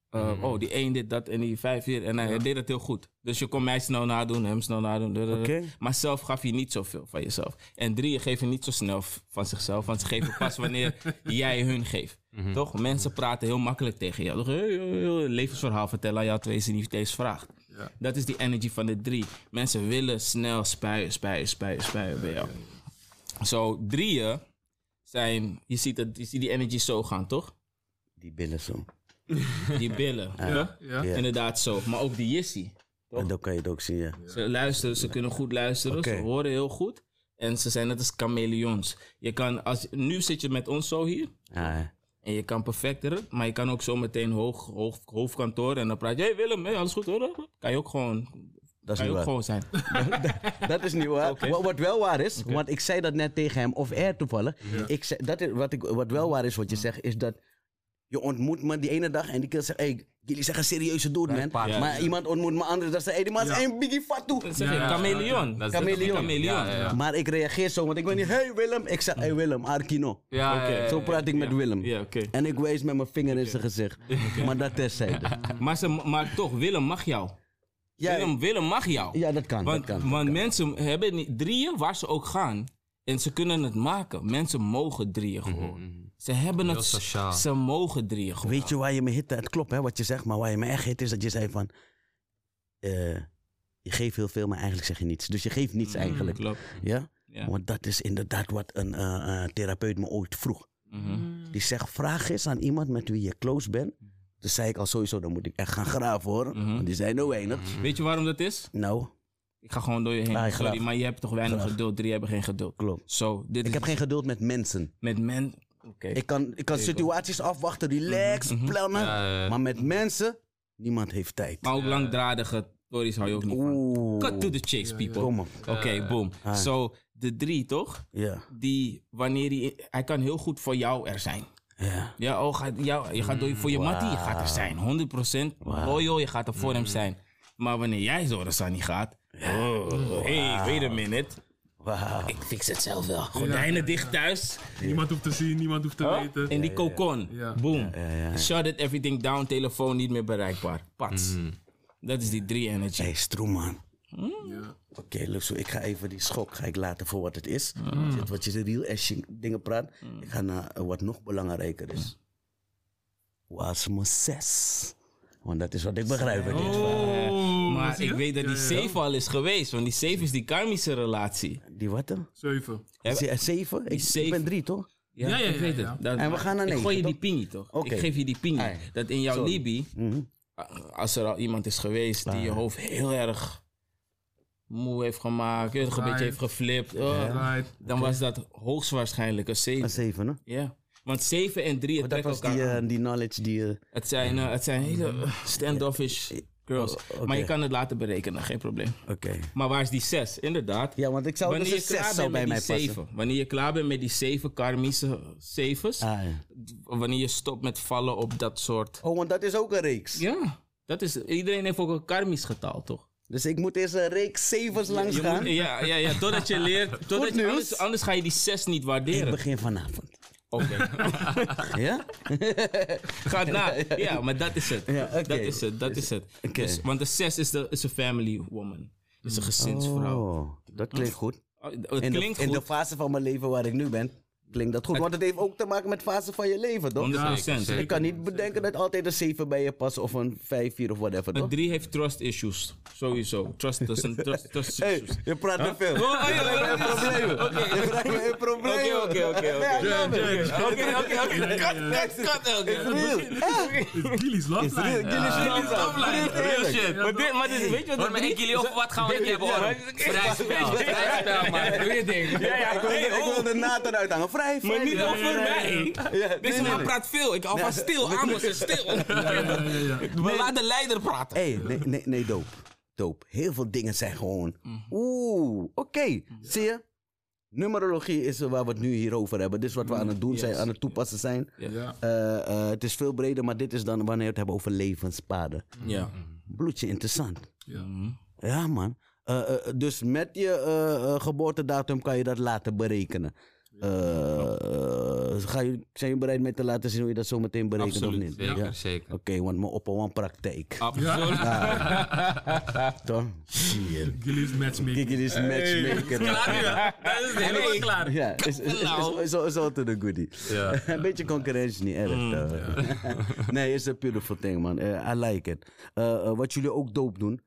eh, Oh, die één dit, dat en die vijf hier. En hij deed dat heel goed. Dus je kon mij snel nadoen, hem snel nadoen. duh, duh, duh. Oké. Maar zelf gaf je niet zoveel van jezelf. En drie, geven niet zo snel v- van zichzelf. Want ze geven pas wanneer jij hun geeft. Mm. Toch? Mensen praten heel makkelijk tegen jou. Toch, hey, hey, hey, levensverhaal vertellen aan jou terwijl je ze niet eens vraagt. Ja. Dat is die energy van de drie. Mensen willen snel spuien, spuien, spuien, spuien bij jou. Zo, drieën zijn... Je ziet, het, je ziet die energy zo gaan, toch? Die billen zo. Die billen. Ja, Ja. ja. Inderdaad zo. Maar ook die jissie. En dan kan je het ook zien, ja. Ze luisteren, ze kunnen goed luisteren, Oké. ze horen heel goed. En ze zijn net als chameleons. Je kan, als, nu zit je met ons zo hier. Ja, hè. En je kan perfecteren, maar je kan ook zo meteen hoog, hoog, hoofdkantoor. En dan praat je, hey Willem, hey, alles goed hoor? Kan je ook gewoon, Dat is kan je niet ook waar. gewoon zijn. Dat is niet waar. Wat, wat wel waar is, want ik zei dat net tegen hem, of er toevallig. Ik zei, dat is, wat, ik, wat wel waar is, wat je zegt, is dat je ontmoet me die ene dag en die keer zegt, hey, jullie zeggen serieuze dude, man. paard. Maar iemand ontmoet me andere dag, zegt, hey, die man is Ja. één biggie fatu. Dat zeg je, Ja, chameleon. Dat is Chameleon. Chameleon. Ja, ja, ja. Maar ik reageer zo, want ik ben niet, hey Willem. Ik zeg, hey Willem, Arkino. Ja, Oké. ja, ja. Zo praat ik met Willem. Ja, oké. En ik wijs met mijn vinger in zijn gezicht. Maar dat terzijde. Maar, ze, maar toch, Willem mag jou. Ja, Willem, Willem mag jou. ja dat kan. dat Want, kan. want mensen hebben niet, drieën waar ze ook gaan. En ze kunnen het maken. Mensen mogen drieën Mhm. gewoon. Ze hebben Heel het. sociaal. Ze mogen drieën gewoon. Weet je waar je me hitte? Het klopt hè, wat je zegt, maar waar je me echt hit is dat je zei van... eh, je geeft heel veel, maar eigenlijk zeg je niets. Dus je geeft niets eigenlijk. Klopt. Ja? Mm. Ja. Want dat is inderdaad wat een eh, eh, therapeut me ooit vroeg. Mhm. Die zegt, vraag eens aan iemand met wie je close bent. Toen zei ik al sowieso, dan moet ik echt gaan graven hoor. Mhm. Want die zijn er weinig. Weet je waarom dat is? Nou, Ik ga gewoon door je heen. Ja, ik Sorry, graag. maar je hebt toch weinig Graag. geduld. Drie hebben geen geduld. klopt. Zo, dit Ik is heb geen geduld met mensen. met men. Oké. Ik kan, ik kan situaties afwachten, Mhm, relax, plannen. Ja, ja. Maar met mensen, niemand heeft tijd. Maar ook langdradige stories hou je ook niet van. Oeh. Cut to the chase, people. Kom op. Oké, boom. Zo, Ah. de drie toch? Ja. Die, wanneer die, hij kan heel goed voor jou er zijn. ja. Ja, oh, gaat, ja, je gaat door, voor je mattie, je gaat er zijn. 100% loyal, je gaat er voor hem zijn. Maar wanneer jij zo de niet gaat, oh, hey, wait a minute. Wauw. Ik fix het zelf wel. Gordijnen dicht thuis. Niemand hoeft te zien, niemand hoeft te weten. In die cocon. Ja. Boom. Shut it, everything down. Telefoon niet meer bereikbaar. Pats. Mm. Dat is die drie energy. Hey, Stroeman. Ja. Oké, Luxo, ik ga even die schok ga ik laten voor wat het is. Mm. Zit wat je de real action dingen praat. Ik ga naar eh, wat nog belangrijker is. Mm. Was mijn zes. Want dat is wat ik begrijp uit dit verhaal. Oh, Maar ik weet dat die safe al is geweest. Want die safe is die karmische relatie. Die wat dan? Zeven. Ja, Ze- eh, Zeven? Ik, ik zeven. ben drie, toch? Ja, ja, ik ja, weet ja. het. Dat- En we gaan naar ik negen, gooi je die toch? pingie toch? Oké. Ik geef je die pingie. Ah, Dat in jouw Libi, Mhm. a- als er al iemand is geweest die je hoofd heel erg moe heeft gemaakt, heel erg een beetje heeft geflipt, oh, Right. dan was dat hoogstwaarschijnlijk een Een 7. Ah, zeven, hè? Ja. Want 7 en 3 Dat trekken was die, elkaar aan. eh, die knowledge die... eh, Het zijn, eh, het zijn hele eh, standoffish girls. Oh, oké. Maar je kan het laten berekenen, geen probleem. Oké. Maar waar is die 6? Inderdaad. Ja, want ik zou Wanneer je dus een klaar zes zou bent bij met mij die passen. 7. Wanneer je klaar bent met die 7 karmische 7's. Ah, ja. Wanneer je stopt met vallen op dat soort. Oh, want dat is ook een reeks. Ja, dat is. Iedereen heeft ook een karmisch getal, toch? Dus ik moet eerst een reeks zevens langs Je gaan. moet- ja, ja, ja, totdat je leert. Totdat je, nieuws. anders, anders ga je die zes niet Ik waarderen. begin vanavond. Oké. Ja? Gaat na. Ja, maar dat is het. Ja, oké. Dat is het, dat is het. Oké. Mm. Dus, want de zes is, de, is een family woman. Is een gezinsvrouw. Oh, dat klinkt goed. Oh, het In, klinkt de, in de goed, fase van mijn leven waar ik nu ben, klinkt dat goed. Want het heeft ook te maken met fase van je leven, toch? 100%. Ik kan niet bedenken dat altijd een 7 bij je past of een 5, 4 of whatever, De toch? drie heeft trust issues. Sowieso. Trust, is een trust, trust Hey, issues. je praat te veel. Oh, oh, ja, ja, ja. Oké. Je vraagt me een probleem. Oké, oké, oké, oké. Ja, ja, ja. Oké, oké, oké. Cut, cut, cut, oké. It's real. Ah. Gilly's It's real. laflijn. Jullie zien het al. Afleiding, Jullie Real eerlijk. shit. Maar dit- maar dit- weet je wat Hoor dat maar, ik drie- jullie over wat gaan we niet hebben, Ja, hoor. maar- Vrijspel, vrijspel, man. Doe je ding. Ja, ja, Ik wil- hey, Ik oh, wil de naad eruit hangen. Vrij, vrij. Maar niet Ja, over ja, mij. ja. Ja, nee, Deze nee, man nee. praat veel. Ik hou van stil. Amos is stil. We laten de leider praten. Hé, nee, nee, nee, doop. Doop. Heel veel dingen zijn gewoon. Oeh, oké. Zie je? Numerologie is waar we het nu hier over hebben. Dit is wat we aan het doen zijn, aan het toepassen zijn. Ja. Eh, eh, het is veel breder, maar dit is dan wanneer we het hebben over levenspaden. Ja. Bloedje interessant. Ja. Ja, man. Eh, eh, dus met je eh, eh, geboortedatum kan je dat laten berekenen. Eh, eh, ga je, zijn jullie bereid mij te laten zien hoe je dat zo meteen berekent Absoluut, of niet? Zeker, Ja. zeker. Oké, want mijn oppa wan praktijk. Absoluut. Toch? Zie je. Gilly's matchmaking. Kijk, dit is matchmaker. Dat is helemaal klaar. Ja, is, is, is, Nou. is, is, is altijd een goodie. een beetje concurrentie, niet erg. toch? nee, is een beautiful thing, man. Eh, I like it. Eh, eh, wat jullie ook doop doen,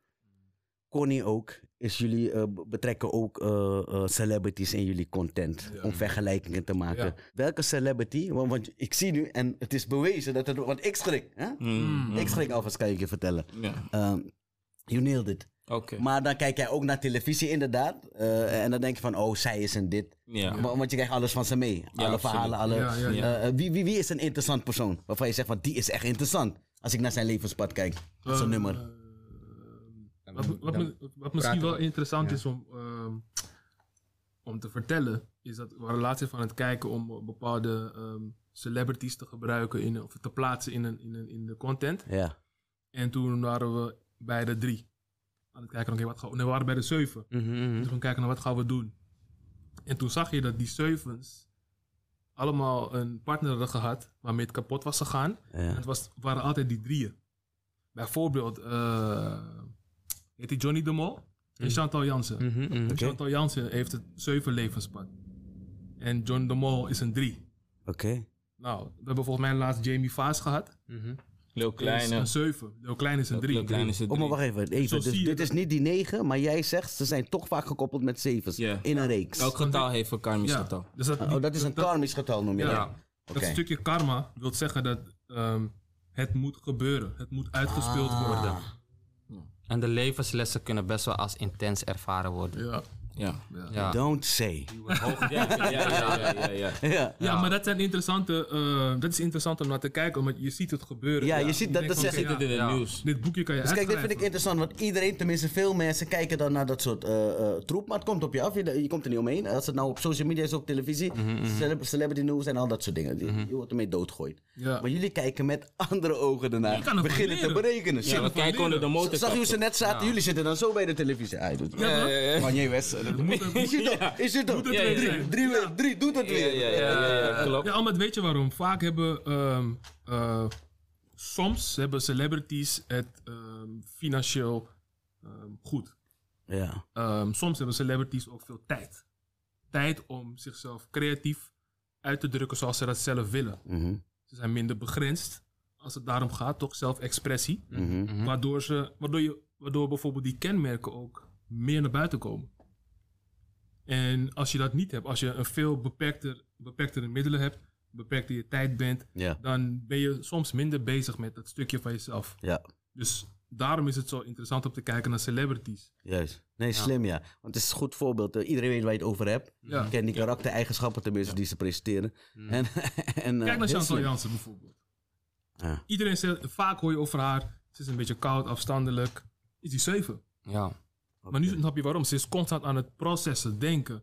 Connie ook, is jullie eh, b- betrekken ook eh, eh, celebrities in jullie content. Om vergelijkingen te maken. Ja. Welke celebrity, want, want ik zie nu, en het is bewezen dat het, want ik schrik. Hè? Ik schrik alvast, kan ik je vertellen. Ja. Ehm, you nailed it. Oké. Maar dan kijk jij ook naar televisie inderdaad. eh, en dan denk je van, oh, zij is een dit. Ja. Wa- Want je krijgt alles van ze mee. alle absoluut. verhalen, alle... Ja, ja, ja. eh, eh, wie, wie, wie is een interessant persoon? Waarvan je zegt van, die is echt interessant. Als ik naar zijn levenspad kijk. Dat is een Eh, nummer. eh, wat, wat, me- wat misschien wel interessant is om, ehm, om te vertellen, is dat we waren laatst even aan het kijken om bepaalde ehm, celebrities te gebruiken in, of te plaatsen in, een, in, een, in de content. ja. En toen waren we bij de drie. Aan het kijken, oké, wat gaan we. Nee, we waren bij de zeven. Mhm, Hm? Toen gaan we kijken naar wat gaan we doen. En toen zag je dat die zevens allemaal een partner hadden gehad waarmee het kapot was gegaan. En ja. Het was, waren altijd die drieën. Bijvoorbeeld, eh, heet die Johnny de Mol en Chantal Jansen. Hm. mhm. Chantal Jansen heeft het zeven levenspad. En John de Mol is een drie. Oké. Nou, we hebben volgens mij laatst Jamie Vaas gehad. Mhm. Leo Die is Kleine. een zeven. Leo Klein is een drie. Leo Kleine is het Oh, maar drie. wacht even. even. Zo Dus zie je dit dat- is niet die negen, maar jij zegt ze zijn toch vaak gekoppeld met zevens. Ja. In een reeks. Elk getal heeft een karmisch Ja, getal. dus dat, Oh, dat is een karmisch getal, noem je Ja. dat? Ja. Oké. Dat stukje karma wil zeggen dat ehm, het moet gebeuren. Het moet uitgespeeld Ah. worden. En de levenslessen kunnen best wel als intens ervaren worden. Ja. Ja. Ja. Don't say. Ja, ja, ja, ja, ja. Ja. Ja, maar dat, zijn interessante, eh, dat is interessant om naar te kijken, omdat je ziet het gebeuren. Ja, je ziet dat- denkt dat van, zeg oké, Dit in ja, het nieuws. Dit boekje kan je Dus kijk, dit vind ik uitschrijven. interessant, want iedereen, tenminste veel mensen, kijken dan naar dat soort eh, eh, troep, maar het komt op je af, je, je komt er niet omheen. Als het nou op social media is, op televisie, celeb- celebrity news en al dat soort dingen, je, je wordt ermee doodgooid. Ja. Maar jullie kijken met andere ogen Je ernaar, kan ervan beginnen te leren. berekenen. Shit, Ja, we kijken onder de motor. Zag je hoe ze net zaten? Jullie zitten dan zo bij de televisie. Ah, je doet- Ja, toch? Kanye West. eh, dat moet- Is het toch? Is het toch? Doet het weer. Drie, drie, weer- drie, doet het Ja, weer. ja, ja, ja, klopt. Ja, Ahmed, weet je waarom? Vaak hebben... ehm, eh, soms hebben celebrities het ehm, financieel ehm, goed. Ja. Ehm, soms hebben celebrities ook veel tijd. Tijd om zichzelf creatief uit te drukken zoals ze dat zelf willen. Mhm, Ze zijn minder begrensd als het daarom gaat, toch? Zelfexpressie. mhm. Waardoor, ze, waardoor, je, waardoor bijvoorbeeld die kenmerken ook meer naar buiten komen. En als je dat niet hebt, als je een veel beperkter, beperktere middelen hebt, beperkter je tijd bent, Ja. dan ben je soms minder bezig met dat stukje van jezelf. Ja. Dus daarom is het zo interessant om te kijken naar celebrities. Juist. Nee, slim ja. Want het is een goed voorbeeld. Eh, Iedereen weet waar je het over hebt. Ja. Je kent die karaktereigenschappen tenminste die ze presenteren. Mm. En, en, eh, Kijk naar heel Chantal slim. Jansen bijvoorbeeld. Ja. Iedereen zegt, vaak hoor je over haar, ze is een beetje koud, afstandelijk. Is die zeven? Ja. Maar nu snap je waarom. Ze is constant aan het processen, denken,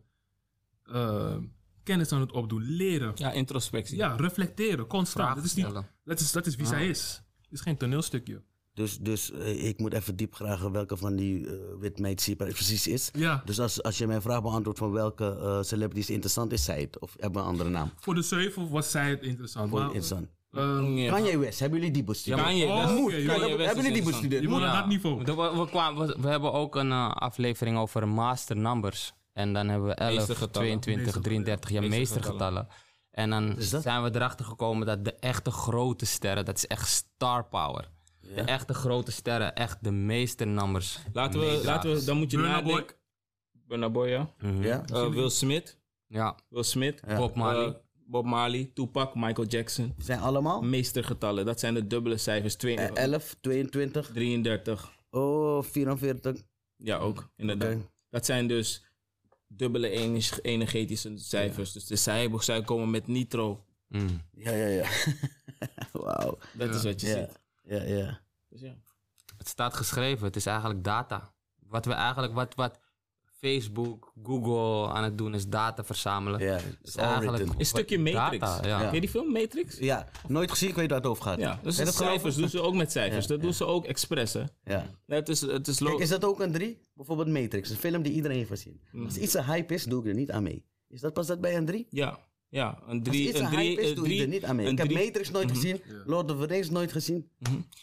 eh, kennis aan het opdoen, leren. Ja, introspectie. Ja, reflecteren, constant. Vragen Dat is, niet, stellen. dat is, dat is wie zij is. Het is geen toneelstukje. Dus, dus eh, ik moet even diep vragen welke van die eh witmates hier precies is. Ja, Dus als, als je mijn vraag beantwoordt van welke eh celebrities interessant is, zij het. Of hebben we een andere naam? voor de 7 was zij het interessant. Voor maar, interessant. ehm, Ja. Kanye West, hebben jullie die bestudeerd? Kanye Oh, West. moet. Kanye Ja, West is hebben jullie die interessant. bestudeerd? je moet naar dat niveau. We, we, kwamen- we- we hebben ook een eh, aflevering over master numbers. En dan hebben we 11, Meestergetallen. 22, Meestergetallen. 33 ja, Meestergetallen. meestergetallen. En dan Dus dat- zijn we erachter gekomen dat de echte grote sterren, dat is echt star power. De echte grote sterren, echt de meesternummers. Laten we, meedragers. laten we, dan moet je Burna Boy. nadenken. Burna Boy, ja. Mhm. Ja? Eh, Will Smith. Ja, Will Smith. Ja. Bob Marley. Eh, Bob Marley, Tupac, Michael Jackson. Zijn allemaal? Meestergetallen, dat zijn de dubbele cijfers. Twee- Eh, 11, 22, 33. oh, 44. Ja, ook, inderdaad. Oké. Dat zijn dus dubbele enig- energetische cijfers. Dus, de zij, zij komen met nitro. Mm. Ja, ja, ja. Wauw. Dat Ja. is wat je Ja, ziet. ja, ja. Dus ja. Het staat geschreven, het is eigenlijk data. Wat we eigenlijk, wat, wat Facebook, Google aan het doen is data verzamelen. Ja, Het is eigenlijk Een stukje wat- Matrix. Data, ja. Ken je die film Matrix? Ja, Ja, nooit gezien, ik weet waar het over gaat. dus Ben de het geloof- cijfers doen ze ook met cijfers. Ja, dat ja. doen ze ook expres, hè. Ja. Nee, het is, het is lo- Kijk, is dat ook een 3? Bijvoorbeeld Matrix, een film die iedereen heeft gezien. Mm. Als iets een hype is, doe ik er niet aan mee. Is dat pas dat bij een 3? Ja, ja, een Als drie, iets een, een drie, hype is, een doe ik er drie, niet aan mee. een Ik heb drie- Mhm. Matrix nooit gezien, Ja. Lord of the Rings nooit gezien.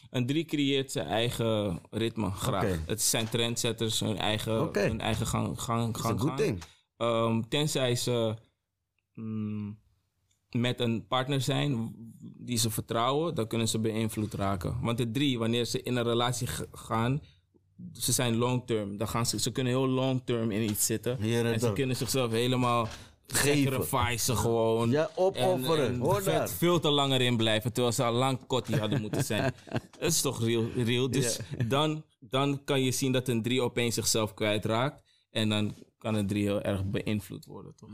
een drie creëert zijn eigen ritme graag. Oké. Het zijn trendsetters, hun eigen, Oké. hun eigen gang, gang, Dat is een gang. goed gang. ding. Ehm, tenzij ze mm, met een partner zijn die ze vertrouwen, dan kunnen ze beïnvloed raken. Want de drie, wanneer ze in een relatie g- gaan, ze zijn long term. Dan gaan ze, ze kunnen heel long term in iets zitten. Hier en en ze daar. kunnen zichzelf helemaal Geven. sacrificen gewoon. Ja, opofferen. En, en Hoor vet- daar. veel te langer in blijven, terwijl ze al lang kotti hadden moeten zijn. Dat is toch real? real? Dus dan, dan kan je zien dat een drie opeens zichzelf kwijtraakt. En dan kan een drie heel erg beïnvloed worden, toch?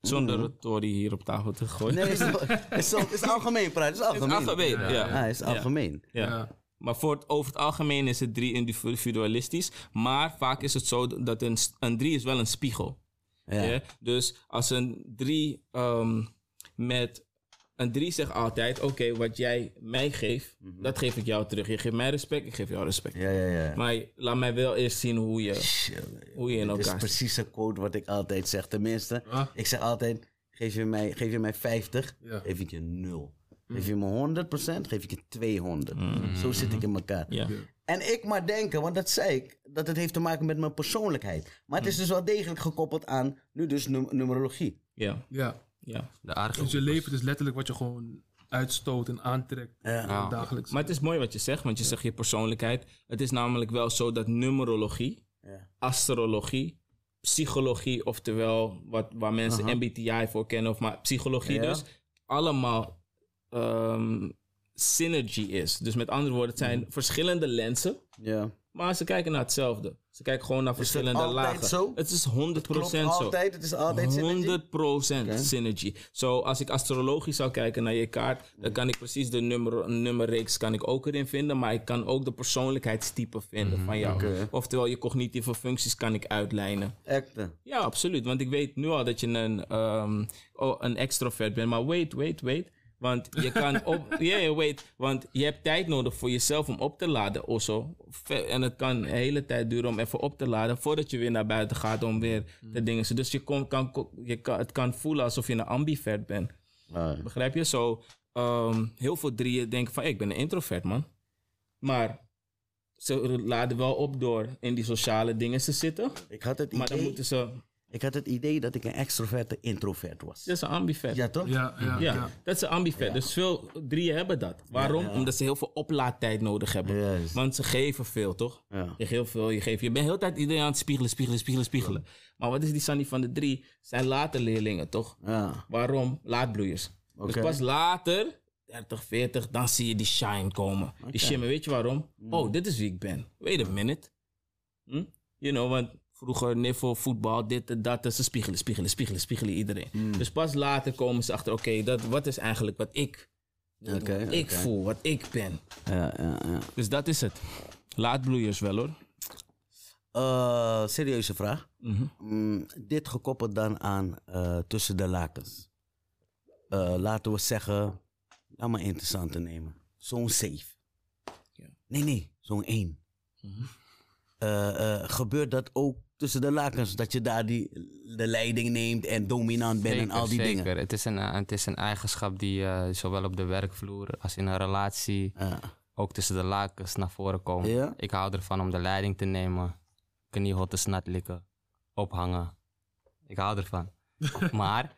Zonder het Tory hier op tafel te gooien. Mhm. Nee, het is, het is, het is algemeen praat. Het is het is algemeen. algemeen, ja. Ah, het is algemeen. Ja. Ja. Maar voor het, over het algemeen is het drie individualistisch. Maar vaak is het zo dat een, s- een drie is wel een spiegel. Ja. Ja, Dus als een drie ehm, met een drie zegt altijd: Oké, wat jij mij geeft, dat geef ik jou terug. Je geeft mij respect, ik geef jou respect. Mhm. Ja, ja, ja. Maar je- laat mij wel eerst zien hoe je, Shit. hoe je in Dit is elkaar zit. precies een quote wat ik altijd zeg. Tenminste, Ah. ik zeg altijd: geef je mij, geef je mij 50, Ja. geef ik je 0. Mm. Geef je me 100%, geef ik je 200. Zo zit ik in elkaar. Ja. En ik maar denken, want dat zei ik, dat het heeft te maken met mijn persoonlijkheid. Maar Mm. het is dus wel degelijk gekoppeld aan, nu dus num- numerologie. Ja. ja. Ja. De Dus archetypes. je leven is letterlijk wat je gewoon uitstoot en aantrekt Ja. Ja. dagelijks. Maar het is mooi wat je zegt, want je zegt je persoonlijkheid. Het is namelijk wel zo dat numerologie, Ja. astrologie, psychologie, oftewel wat, waar mensen MBTI voor kennen, of maar psychologie Ja. dus, allemaal ehm, synergy is. Dus met andere woorden, het Mhm. zijn verschillende lenzen, ja. maar ze kijken naar hetzelfde. Ze kijken gewoon naar verschillende altijd lagen. zo? Het is 100% Klopt zo. altijd, het is altijd synergy. 100% synergy. Zo, als ik astrologisch zou kijken naar je kaart, dan kan ik precies de nummer, nummerreeks kan ik ook erin vinden, maar ik kan ook de persoonlijkheidstype vinden van jou. oké. Oftewel, je cognitieve functies kan ik uitlijnen. Acte. Ja, absoluut. Want ik weet nu al dat je een, ehm, oh, een extrovert bent. Maar wait, wait, wait. Want je kan op. Ja, ja, wait. Want je hebt tijd nodig voor jezelf om op te laden. Also. Ve- En het kan een hele tijd duren om even op te laden. voordat je weer naar buiten gaat om weer de dingen. te- Dus je kon, kan, ko- je kan, het kan voelen alsof je een ambivert bent. Ah, Begrijp je? Zo, ehm, heel veel drieën denken van, "Hey, ik ben een introvert, man. Maar ze laden wel op door in die sociale dingen te zitten. ik, had het Maar dan idee, moeten ze ik had het idee dat ik een extroverte introvert was. Dat is een ambivert. Ja, Ja, toch? ja, ja, ja. dat is een ambivert. Dus veel drieën hebben dat. Waarom? Omdat ze heel veel oplaadtijd nodig hebben. Juist. Want ze geven veel, toch? Ja. Je geeft heel veel, je geeft. Je bent heel de tijd iedereen aan het spiegelen, spiegelen, spiegelen, spiegelen. Maar wat is die Sandy van de drie? Zijn later leerlingen, toch? Ja. Waarom? Laatbloeiers. Oké. Dus pas later, 30, 40, dan zie je die shine komen. Die shimmer, weet je waarom? Hmm. Oh, dit is wie ik ben. Wait a minute. Hm? You know, want vroeger niffel, voetbal, dit en dat. Ze spiegelen, spiegelen, spiegelen, spiegelen iedereen. Hmm. Dus pas later komen ze achter, oké, dat wat is eigenlijk wat ik, Oké. wat ik voel, wat ik ben. Ja, ja, ja. Dus dat is het. Laatbloeiers wel hoor. Eh, serieuze vraag. Mhm. Mm, dit gekoppeld dan aan eh, tussen de lakens. Eh, laten we zeggen, laat maar interessante nemen. Zo'n safe. Ja. Nee, nee, zo'n één. Mhm. Eh, eh, gebeurt dat ook tussen de lakens? Dat je daar die, de leiding neemt en dominant bent en Zeker, al die zeker. dingen. Het is een, eh, het is een eigenschap die eh, zowel op de werkvloer als in een relatie Ja. ook tussen de lakens naar voren komt. ja? Ik hou ervan om de leiding te nemen, kniehotten snat likken, ophangen. Ik hou ervan. maar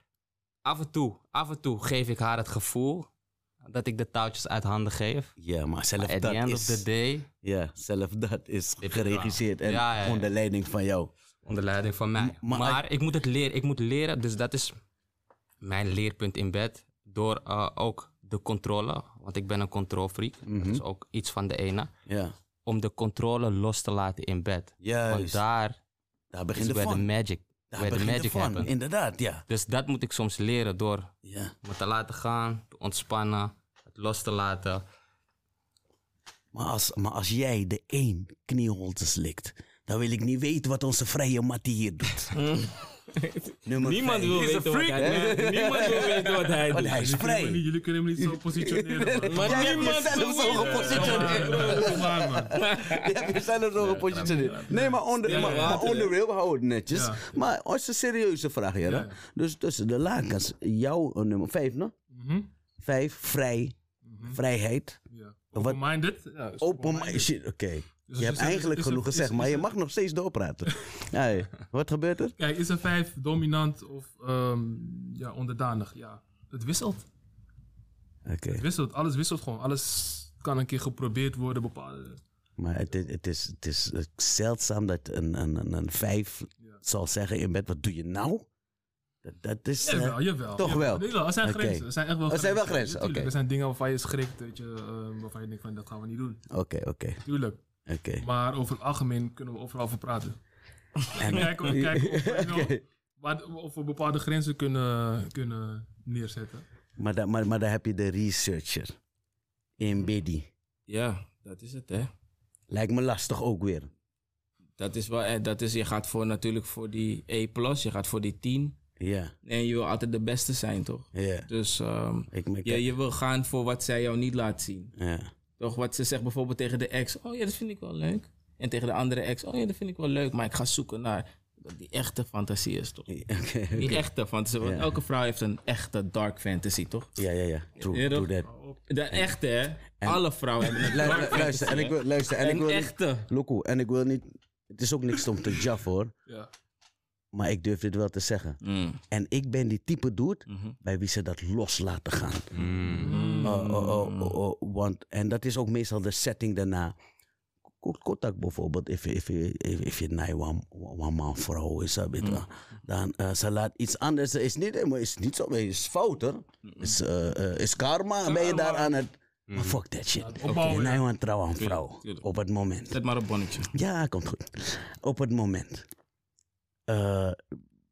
af en toe, af en toe geef ik haar het gevoel dat ik de touwtjes uit handen geef. Ja, maar zelf Maar at dat the end is... of the day, Ja, zelf dat is Dit- geregisseerd en Ja, ja, ja. onder leiding van jou. onder leiding van mij. M- maar- Maar, ik moet het leren, ik moet leren. Dus dat is mijn leerpunt in bed. Door eh, ook de controle, want ik ben een controlfreak. Mhm. Dat is ook iets van de ene. Ja, Om de controle los te laten in bed. Want juist. Daar, daar begint is de waar de fun. magic Daar where the begint de magic fun, happens. inderdaad, ja. Dus dat moet ik soms leren door ja. me te laten gaan, te ontspannen, het los te laten. Maar, als, maar als jij de één knieholte slikt, dan wil ik niet weten wat onze vrije Mattie hier doet. Nummer Hm. Niemand vijf. wil Is een weten wat freak, hij hè? doet. Niemand wil weten wat hij Want doet. hij is vrij. Jullie kunnen hem niet- Jullie kunnen hem niet zo positioneren. man. Maar Jij hebt niemand jezelf wil zo weten. gepositioneerd. Kom maar, man. Je hebt jezelf zo gepositioneerd. Nee, maar onder, Ja, maar, ja. maar onder wil houden het netjes. Ja. Maar als een serieuze vraag, Jera. Ja. Dus tussen de lakens, jouw eh, nummer vijf, no? Mhm. Vijf, vrij, Mhm. vrijheid. Ja. Wat- Open-minded. Ja, is Open open-minded. shit, oké. Dus je is hebt een- eigenlijk is een- genoeg is- gezegd, is maar je een- mag nog steeds doorpraten. Ja, ja. Wat gebeurt er? Kijk, is een vijf dominant of ehm, ja, onderdanig? Ja, het wisselt. Oké, Het wisselt. Alles wisselt gewoon. Alles kan een keer geprobeerd worden. Bepaalde. maar het, is- het, is, het is eh, zeldzaam dat een, een, een, een vijf Ja. zal zeggen in bed, wat doe je nou? Dat, dat is... eh, Jawel, jawel. toch wel. jawel. Nee, wel. Er zijn Oké. grenzen. Er zijn echt wel Er zijn wel grenzen, Natuurlijk, oké. Er zijn dingen waarvan je schrikt, weet je, ehm, waarvan je denkt van dat gaan we niet doen. eh, Oké, oké, Tuurlijk. oké. Maar over het algemeen kunnen we overal over praten. En- Kijk, of- kijk of, weet je wel, Oké. wat- of we bepaalde grenzen kunnen, kunnen neerzetten. Maar, da, maar, maar daar heb je de researcher Hmm. in Biddy. Ja, dat is het hè. Lijkt me lastig ook weer. Dat is wel, eh, dat is, je gaat voor, natuurlijk voor die E+, je gaat voor die 10. Ja, En je wil altijd de beste zijn, toch? ja. Dus ehm, Ik merk je, je wil gaan voor wat zij jou niet laat zien. Ja. Toch wat ze zegt bijvoorbeeld tegen de ex, oh ja, dat vind ik wel leuk. En tegen de andere ex, oh ja, dat vind ik wel leuk. Maar ik ga zoeken naar wat die echte fantasie is, toch? Oké. oké. Die echte fantasie, want Ja. elke vrouw heeft een echte dark fantasy, toch? Ja, ja, ja. True, Ja, toch? true that. De echte, hè? Alle vrouwen hebben een dark Luister, fantasy. luister, en ik wil, luister, en ik wil een niet, echte. Loco, en ik wil niet, het is ook niks om te jaf hoor, Ja. maar ik durf dit wel te zeggen. Mm. En ik ben die type dude Mhm. bij wie ze dat los laten gaan. Mm. Oh, oh, oh, oh, oh, want, en dat is ook meestal de setting daarna. Ko- Kotak bijvoorbeeld, if, if, if, if je naai one, one man vrouw is, eh, weet je, dan eh, ze laat iets anders. Is niet, maar is niet zo, is fout hoor. Is, eh, eh, is Mm. karma, Mm. ben je daar aan het. Maar fuck that shit. opbouwen, Je ja. naai one trouw aan vrouw. tuurlijk. Op het moment. Zet maar op bonnetje. Ja, komt goed. Op het moment. eh,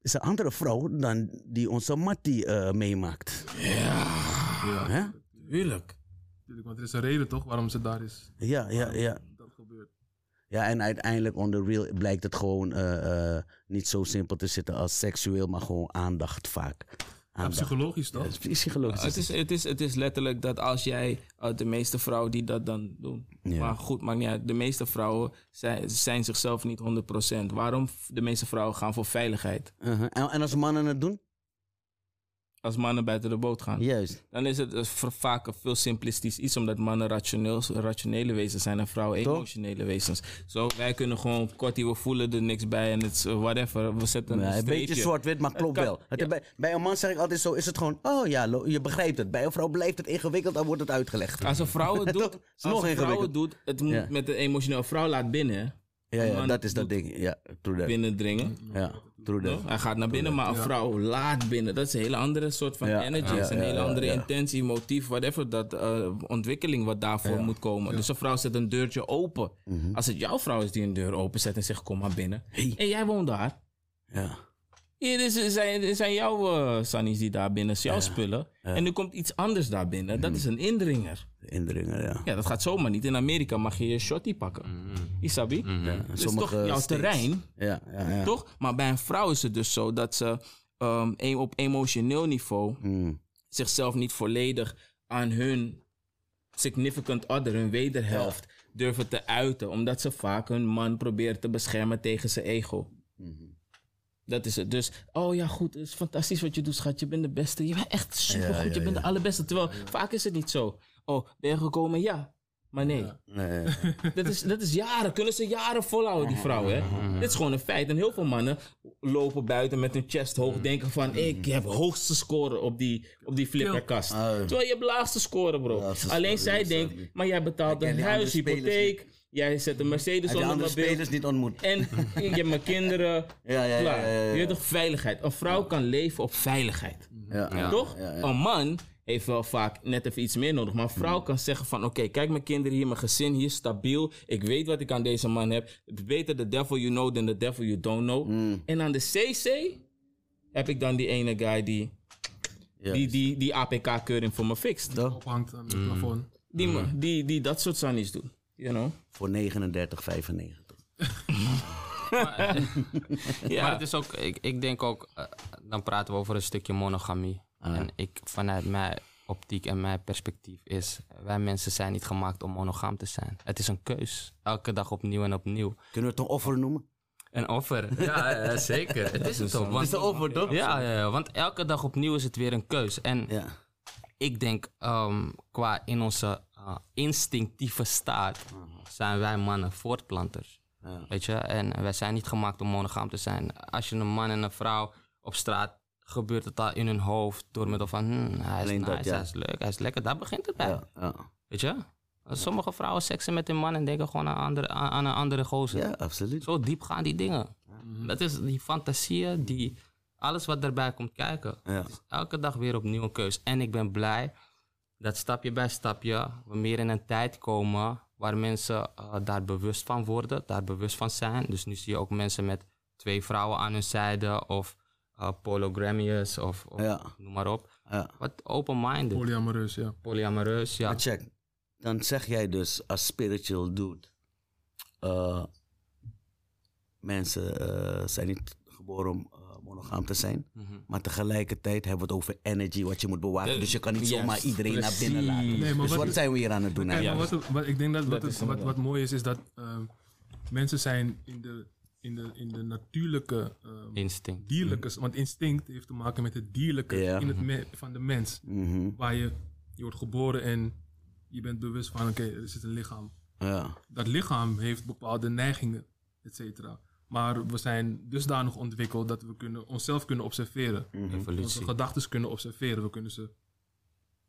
is een andere vrouw dan die onze Mattie eh, meemaakt. Ja, Hè? Tuurlijk. natuurlijk, want er is een reden toch waarom ze daar is. Ja, ja, ja. Dat gebeurt. Ja, en uiteindelijk on the real blijkt het gewoon eh, eh, niet zo simpel te zitten als seksueel, maar gewoon aandacht vaak. Ja, Aandacht. psychologisch Ja, toch? het is psychologisch. Het is, het, is, het is letterlijk dat als jij, eh, de meeste vrouwen die dat dan doen. Ja. Maar goed, maakt niet uit. De meeste vrouwen zijn, zijn zichzelf niet 100%. Waarom f- de meeste vrouwen gaan voor veiligheid? Uh-huh. en, en als mannen het doen? Als mannen buiten de boot gaan. Juist. Dan is het eh, voor- vaak een veel simplistisch iets. Omdat mannen rationeel, rationele wezens zijn en vrouwen Toch? emotionele wezens. Zo, wij kunnen gewoon kortie, we voelen er niks bij en het is eh, whatever. We zetten Ja, een een beetje streepje. zwart-wit, maar klopt kan- wel. Het, ja. bij, bij een man zeg ik altijd zo, is het gewoon, oh ja, lo- je begrijpt het. Bij een vrouw blijft het ingewikkeld, dan wordt het uitgelegd. Als een vrouw het Toch? doet, Is nog als een vrouw ingewikkeld. het doet, het moet Ja. met een emotioneel vrouw laat binnen, Ja, ja, man dat is dat doet- ding. Ja, true that. binnendringen. Ja, true that. Toch? Hij gaat naar binnen, maar een vrouw laat binnen. Dat is een hele andere soort van Ja, energy. ja, is een ja, hele ja, andere ja. intentie, motief, whatever. Dat eh, ontwikkeling wat daarvoor moet komen. Dus een vrouw zet een deurtje open. Mhm. Als het jouw vrouw is die een deur openzet en zegt: Kom maar binnen. Hey. En jij woont daar. Ja. Hier dit is- zijn, dit zijn jouw eh sannies die daar binnen, is jouw spullen. En nu komt iets anders daar binnen. Mm. Dat is een indringer. De indringer, ja. Ja, dat gaat zomaar niet. In Amerika mag je je shotty pakken. Mhm. Isabi? Dat is toch Mm. Sommige jouw states. terrein. Ja, ja, ja. Toch? Maar bij een vrouw is het dus zo dat ze ehm, e- op emotioneel niveau Mm. zichzelf niet volledig aan hun significant other, hun wederhelft, durven te uiten. Omdat ze vaak hun man proberen te beschermen tegen zijn ego. Mhm. Dat is het. Dus, oh ja, goed, het is fantastisch wat je doet, schat. Je bent de beste. Je bent echt supergoed. Ja, ja, je bent ja. de allerbeste. Terwijl, vaak is het niet zo. Oh, ben je gekomen? Ja. Maar nee. Nee, Dat, is, dat is jaren. Kunnen ze jaren volhouden, die vrouwen, hè? Dit is gewoon een feit. En heel veel mannen lopen buiten met hun chest hoog. Denken van, ik heb hoogste score op die, op die flipperkast. Ah, ja. Terwijl je hebt laagste score, bro. Laagste Alleen score, zij ja, denkt, sorry. maar jij betaalt ken een die huis, andere spelers hypotheek. Jij zet een Mercedes heb je onder andere mijn beeld. spelers niet ontmoet? En ik heb mijn kinderen. Ja, ja, ja, Klaar. ja, Mhm. ja, ja. Je hebt toch veiligheid. Een vrouw kan leven op veiligheid. Ja. Ja. toch? ja, ja. Een man heeft wel vaak net even iets meer nodig. Maar een vrouw kan zeggen van... Oké, kijk mijn kinderen hier, mijn gezin hier, stabiel. Ik weet wat ik aan deze man heb. Beter the devil you know than the devil you don't know. Mm. En aan de CC heb ik dan die ene guy die... Ja. Die, die, die APK-keuring voor me fixt. Toch? Ophangt aan het Mm. plafond. Die, me- die, die dat soort zannies doet. You know? Voor 39,95. Ja. Maar het is ook, ik, ik denk ook, eh, dan praten we over een stukje monogamie. En ik, vanuit mijn optiek en mijn perspectief is, wij mensen zijn niet gemaakt om monogaam te zijn. Het is een keus. Elke dag opnieuw en opnieuw. Kunnen we het een offer noemen? Een offer. Ja, eh, zeker. Het is het ook. want- Het is een offer, toch? Ja, ja, ja, want elke dag opnieuw is het weer een keus. En Ja. ik denk, ehm, qua in onze eh, instinctieve staat zijn wij mannen voortplanters. Ja. Weet je, en wij zijn niet gemaakt om monogaam te zijn. Als je een man en een vrouw op straat gebeurt het al in hun hoofd door middel van, hmm, hij is Alleen dat, nice, ja. hij is leuk, hij is lekker. Daar begint het bij, Ja, ja. weet je. Sommige vrouwen seksen met hun man en denken gewoon aan, andere, aan, aan een andere gozer. ja Mhm. absoluut. Zo diep gaan die dingen. Dat is die fantasieën, die, alles wat daarbij komt kijken. Ja. Het is elke dag weer opnieuw een keus. En ik ben blij dat stapje bij stapje we meer in een tijd komen waar mensen eh, daar bewust van worden, daar bewust van zijn. Dus nu zie je ook mensen met twee vrouwen aan hun zijde of eh polygamiërs of, of Ja. noem maar op. Ja. Wat open-minded, Polyamoreus, ja. polyamoreus, ja. Maar check, dan zeg jij dus als spiritual dude... eh, mensen eh, zijn niet geboren om eh, monogaam te zijn. Maar tegelijkertijd hebben we het over energy, wat je moet bewaken. Eh, dus je kan niet juist, zomaar iedereen naar binnen laten. precies. Nee, maar dus wat- wat zijn we hier aan het doen Kijk, maar eigenlijk? juist. wat, wat ik denk dat, wat, Dat het- is wat, inderdaad. wat mooi is, is dat eh, mensen zijn in de, in de, in de natuurlijke, eh, Instinct. dierlijke... Want instinct heeft te maken met het dierlijke Ja. in het me- van de mens. Mhm, Waar je, je wordt geboren en je bent bewust van, oké, er zit een lichaam. ja. Dat lichaam heeft bepaalde neigingen, et cetera. Maar we zijn dusdanig ontwikkeld dat we kunnen, onszelf kunnen observeren. mhm. Onze Evolutie. gedachten kunnen observeren. We kunnen ze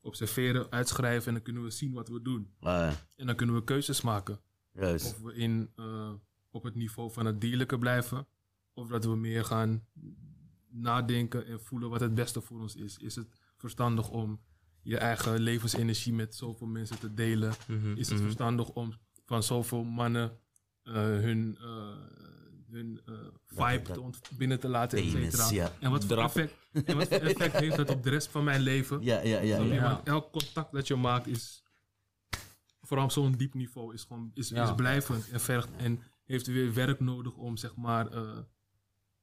observeren, uitschrijven en dan kunnen we zien wat we doen. Ah, En dan kunnen we keuzes maken. juist. Of we in, eh, op het niveau van het dierlijke blijven. Of dat we meer gaan nadenken en voelen wat het beste voor ons is. Is het verstandig om je eigen levensenergie met zoveel mensen te delen? Mhm, Is het mhm. verstandig om van zoveel mannen eh, hun, eh, hun eh, vibe dat- te ont- binnen te laten, et Penis, cetera? ja. En wat voor Drap. effect, en wat voor effect heeft dat op de rest van mijn leven? Ja, ja, ja. Snap je? ja. Want elk contact dat je maakt is, vooral op zo'n diep niveau, is, gewoon, is, Ja. is blijvend en vergt en heeft weer werk nodig om zeg maar eh,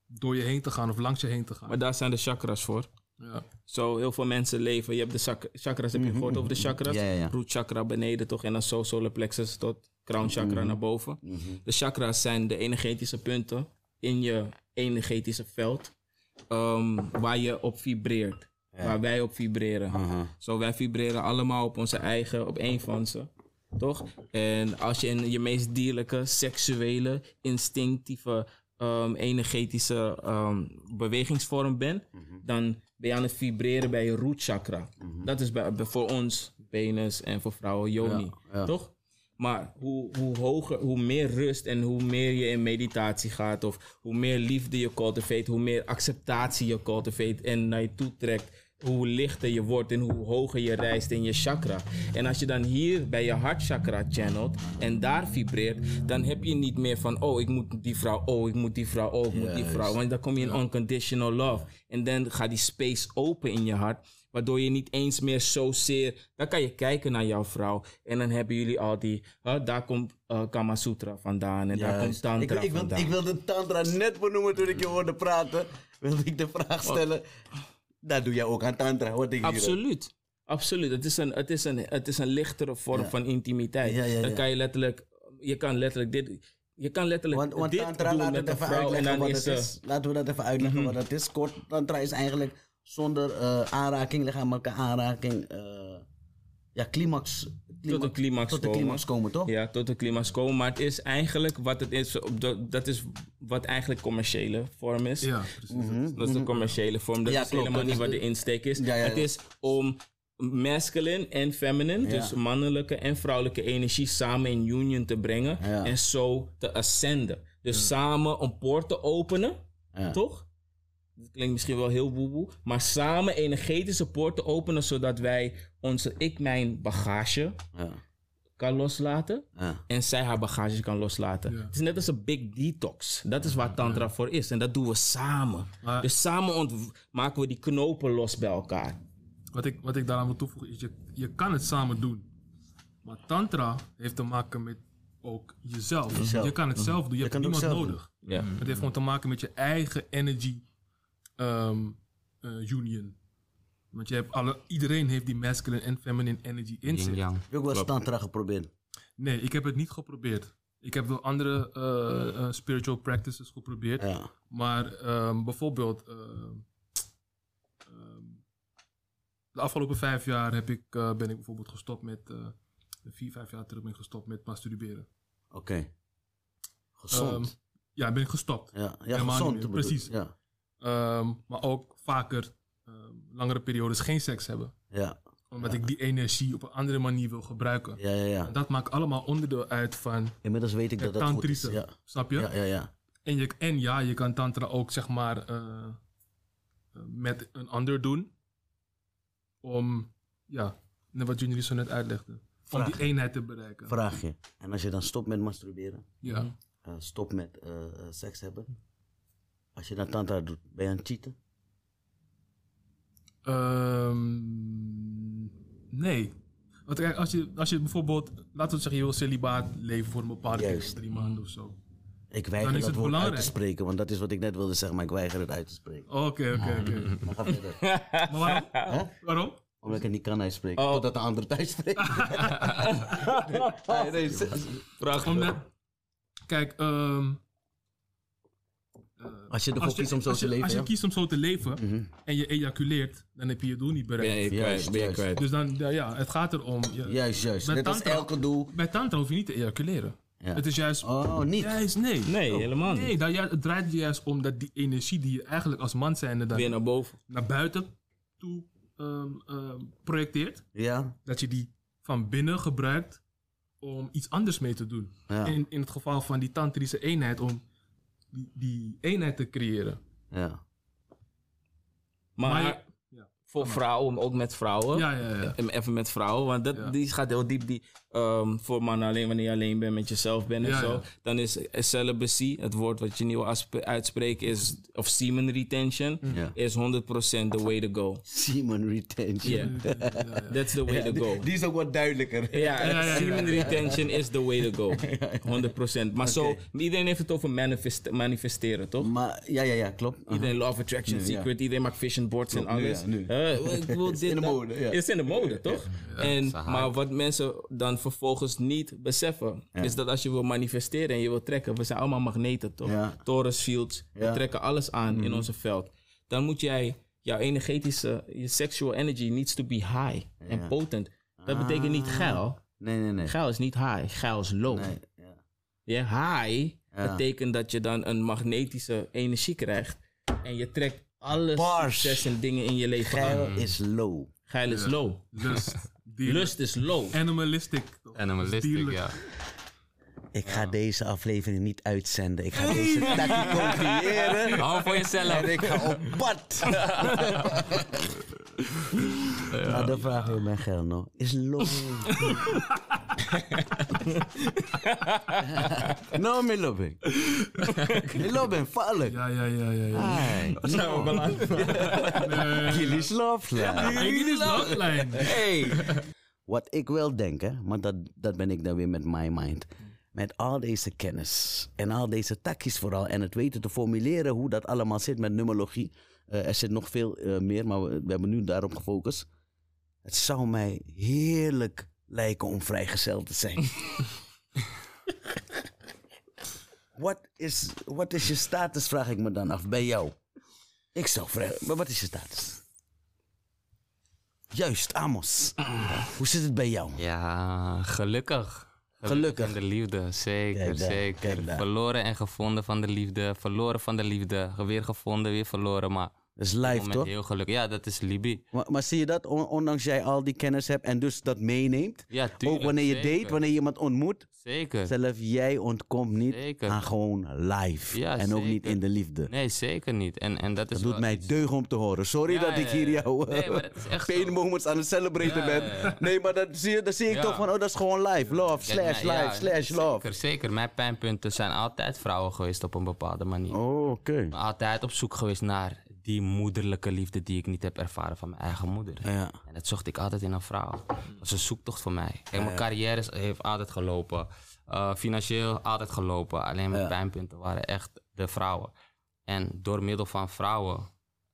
door je heen te gaan of langs je heen te gaan. Maar daar zijn de chakras voor. ja. Zo, heel veel mensen leven. Je hebt de chak- chakras, heb je gehoord over de chakras? Mm-hmm, Ja, ja, ja. Rootchakra beneden toch en dan zo solar plexus tot crown chakra Mm-hmm. naar boven. Mhm. De chakras zijn de energetische punten in je energetische veld ehm, waar je op vibreert. Waar wij op vibreren. Zo, wij vibreren allemaal op onze eigen, op één van ze. Toch? En als je in je meest dierlijke, seksuele, instinctieve, ehm, energetische ehm, bewegingsvorm bent, dan ben je aan het vibreren bij je rootchakra. Dat is bij, bij- voor ons penis en voor vrouwen yoni. Toch? Maar hoe, hoe hoger, hoe meer rust en hoe meer je in meditatie gaat, of hoe meer liefde je cultiveert, hoe meer acceptatie je cultiveert en naar je toe trekt, hoe lichter je wordt en hoe hoger je reist in je chakra. En als je dan hier bij je hartchakra channelt en daar vibreert, dan heb je niet meer van, oh ik moet die vrouw, oh ik moet die vrouw, oh ik moet die vrouw. Want dan kom je in unconditional love. En dan gaat die space open in je hart, waardoor je niet eens meer zozeer, dan kan je kijken naar jouw vrouw. En dan hebben jullie al die, hè, daar komt eh, Kama Sutra vandaan en daar komt Juist. Tantra dus ik, ik, wil, vandaan. ik wilde Tantra net benoemen toen ik je hoorde praten. Wilde ik de vraag stellen. Daar doe jij ook aan Tantra, hoor ik hier. Oh. Absoluut. Absoluut. Het is een, het is een, het is een lichtere vorm Ja. van intimiteit. Ja, ja, Dan ja. kan je letterlijk, je kan letterlijk dit, je kan letterlijk Want, want dit tantra, doen laten we met het een even vrouw en uitleggen dan wat is eh, Mhm. het ze- is. Laten we dat even uitleggen wat het is. Kort, tantra is eigenlijk zonder eh, aanraking, lichamelijke aanraking, eh, ja, climax, tot een climax tot de climax komen, toch? Ja, tot de climax komen. Maar het is eigenlijk wat het is. op de- Dat is wat eigenlijk commerciële vorm is. Ja, precies. Mhm. Dat is de commerciële vorm. Dat Ja, is klopt. helemaal Dat niet is wat de- de insteek is. Ja, ja, Het ja. is om masculine en feminine, Ja. dus mannelijke en vrouwelijke energie samen in union te brengen Ja. en zo te ascenden. Dus samen een poort te openen, Ja. toch? Dat klinkt misschien wel heel woewoe, maar samen energetische poort te openen zodat wij onze ik mijn bagage Ja. kan loslaten Ja. en zij haar bagage kan loslaten. Ja. Het is net als een big detox. Dat is waar tantra voor is. En dat doen we samen. Maar- dus samen ont- maken we die knopen los bij elkaar. Wat ik, wat ik daaraan wil toevoegen is, je, je kan het samen doen. Maar tantra heeft te maken met ook jezelf. Jezelf. Mhm. Je kan het zelf doen, je, hebt kan het ook zelf niemand doen. nodig. Ja. Het heeft gewoon te maken met je eigen energy ehm, eh, union. Want je hebt alle, iedereen heeft die masculine en feminine energy in Yin zich. Yang. Heb je ook wel eens tantra geprobeerd? Nee, ik heb het niet geprobeerd. Ik heb wel andere eh, eh, spiritual practices geprobeerd. Ja. Maar ehm, bijvoorbeeld, ehm, ehm, de afgelopen vijf jaar heb ik, eh, ben ik bijvoorbeeld gestopt met, eh, vier, vijf jaar terug ben ik gestopt met masturberen. Oké. Ehm, Gezond. Ja, ben ik gestopt. ja, ja helemaal gezond. niet meer. bedoel ik. Precies. Ja. Ehm, maar ook vaker, ehm, langere periodes geen seks hebben. Ja. Omdat ik die energie op een andere manier wil gebruiken. Ja, ja, ja. En dat maakt allemaal onderdeel uit van Inmiddels weet ik dat het dat goed is. tantrische. Ja. Snap je? Ja, ja, ja. En, je? en ja, je kan tantra ook zeg maar eh, eh, met een ander doen. Om, ja, net wat jullie zo net uitlegden. Om Vraag. die eenheid te bereiken. Vraag je. En als je dan stopt met masturberen, Ja. eh, stopt met eh, eh, seks hebben. Als je dan tantra doet, ben je aan het cheaten? Ehm, nee. Want kijk, als je, als je bijvoorbeeld, laten we zeggen, je wil celibaat leven voor een bepaalde Juist. tijd, drie maanden of zo. Ik Dan weiger is dat het woord uit belangrijk. te spreken, want dat is wat ik net wilde zeggen, maar ik weiger het uit te spreken. Oké, oké, oké. Maar ga verder. Maar waarom? Mm. Hè? Waarom? Omdat ik het niet kan uitspreken, Oh. totdat de ander thuis spreekt. Vraag Omdat, kijk, ehm, Als je ervoor als, je, kiest om zo als, te je, leven, als je ja. kiest om zo te leven Mhm. en je ejaculeert, dan heb je je doel niet bereikt. Ben je Juist, kwijt, ben je juist. kwijt. Dus dan, ja, ja, het gaat erom. je- Juist, juist. Met Net als tantra- elke doel. Bij tantra hoef je niet te ejaculeren. Ja. Het is juist, Oh, niet. juist nee. Nee, helemaal niet. Oh. Nee, dan, ju- het draait juist om dat die energie die je eigenlijk als man zijnde dan Weer naar boven. naar buiten toe ehm, ehm, projecteert. Ja, dat je die van binnen gebruikt om iets anders mee te doen. Ja. In, in het geval van die tantrische eenheid, om die, die eenheid te creëren. ja. Maar, Maar Oh. voor vrouwen, ook met vrouwen. Ja, ja, ja. Em- Even met vrouwen, want dat, Ja. die gaat heel diep. Die, ehm, voor mannen alleen wanneer je alleen bent met jezelf bent en Ja, zo. ja. Dan is eh, celibacy, het woord wat je nieuw aspe- uitspreekt, is, of semen retention, Ja. is 100% the way to go. Semen retention. Yeah, that's the way to go. Die is ook wat duidelijker. Ja, ja, ja, semen retention is the way to go. 100%. Maar zo, Oké. iedereen heeft het over manifest- manifesteren, toch? Maar, ja, ja, ja, klopt. Aha. Iedereen love attraction Nu, ja. secret, iedereen maakt vision boards en nu, alles. ja, nu. Eh, ik wil Is dit, in de dat- mode, ja. Is in de mode, toch? en, hype. maar wat mensen dan vervolgens niet beseffen, is dat als je wil manifesteren en je wil trekken, we zijn allemaal magneten, toch? Ja. Torens, fields, Ja. Mm. we trekken alles aan in onze veld. Dan moet jij jouw energetische, je sexual energy needs to be high en Ja. Ah. potent. Dat betekent niet geil. Nee, nee, nee. Geil is niet high, geil is low. Nee, ja. Ja, high Ja. betekent dat je dan een magnetische energie krijgt. En je trekt alle Bars. succes en dingen in je leven Geil aan. is low. Geil is low. Lust, dierlijk, Lust is low. Animalistic. toch? Animalistic, Dierlijk. ja. Ik ga deze aflevering niet uitzenden. Ik ga deze tactiek kopiëren. Hou voor jezelf. En ik ga op pad. Nou, dan vragen we mijn geld nog. Is low. no, mi lobby. Mi lobby, vallen. Ja, ja, ja, ja. ja. Nou, jullie slaapslaan. Hey, dit is landlijn. Wat ik wel denk, hè, maar dat, dat ben ik dan weer met my mind. Met al deze kennis en al deze takjes vooral en het weten te formuleren hoe dat allemaal zit met numerologie. Eh, er zit nog veel eh, meer, maar we, we hebben nu daarop gefocust. Het zou mij heerlijk lijken om vrijgezel te zijn. Wat is, wat is je status, vraag ik me dan af, bij jou? Ik zou vragen, maar wat is je status? Juist, Amos. Hoe zit het bij jou? Ja, gelukkig. Gelukkig. Van de liefde, zeker, Kijk daar, zeker. kijk daar. Verloren en gevonden van de liefde. Verloren van de liefde. Weer gevonden, weer verloren. Maar op Dat is het live, moment toch? heel gelukkig. Ja, dat is Libi. Maar, maar zie je dat, on- ondanks jij al die kennis hebt en dus dat meeneemt? Ja, tuurlijk. ook wanneer je zeker, date, wanneer je iemand ontmoet. Zeker. Zelf jij ontkomt niet Zeker. aan gewoon live. Ja, en ook niet zeker. in de liefde. Nee, zeker niet. En, en dat is dat doet wel mij iets- deugd om te horen. Sorry Ja, dat ik ja, hier eh, ja. jouw Nee, maar dat is echt pain zo. moments aan het celebraten Ja, ben. ja, ja. Nee, maar dat zie, dat zie ik Ja. toch van, oh, dat is gewoon live. Love, Kijk, slash, nou, live, ja, slash, love. Zeker, zeker. Mijn pijnpunten zijn altijd vrouwen geweest op een bepaalde manier. Oh, oké. Altijd op zoek geweest naar die moederlijke liefde die ik niet heb ervaren van mijn eigen moeder. Ja. En dat zocht ik altijd in een vrouw. Dat was een zoektocht voor mij. Kijk, mijn carrière is- heeft altijd gelopen. Eh, financieel altijd gelopen. Alleen mijn Ja. pijnpunten waren echt de vrouwen. En door middel van vrouwen,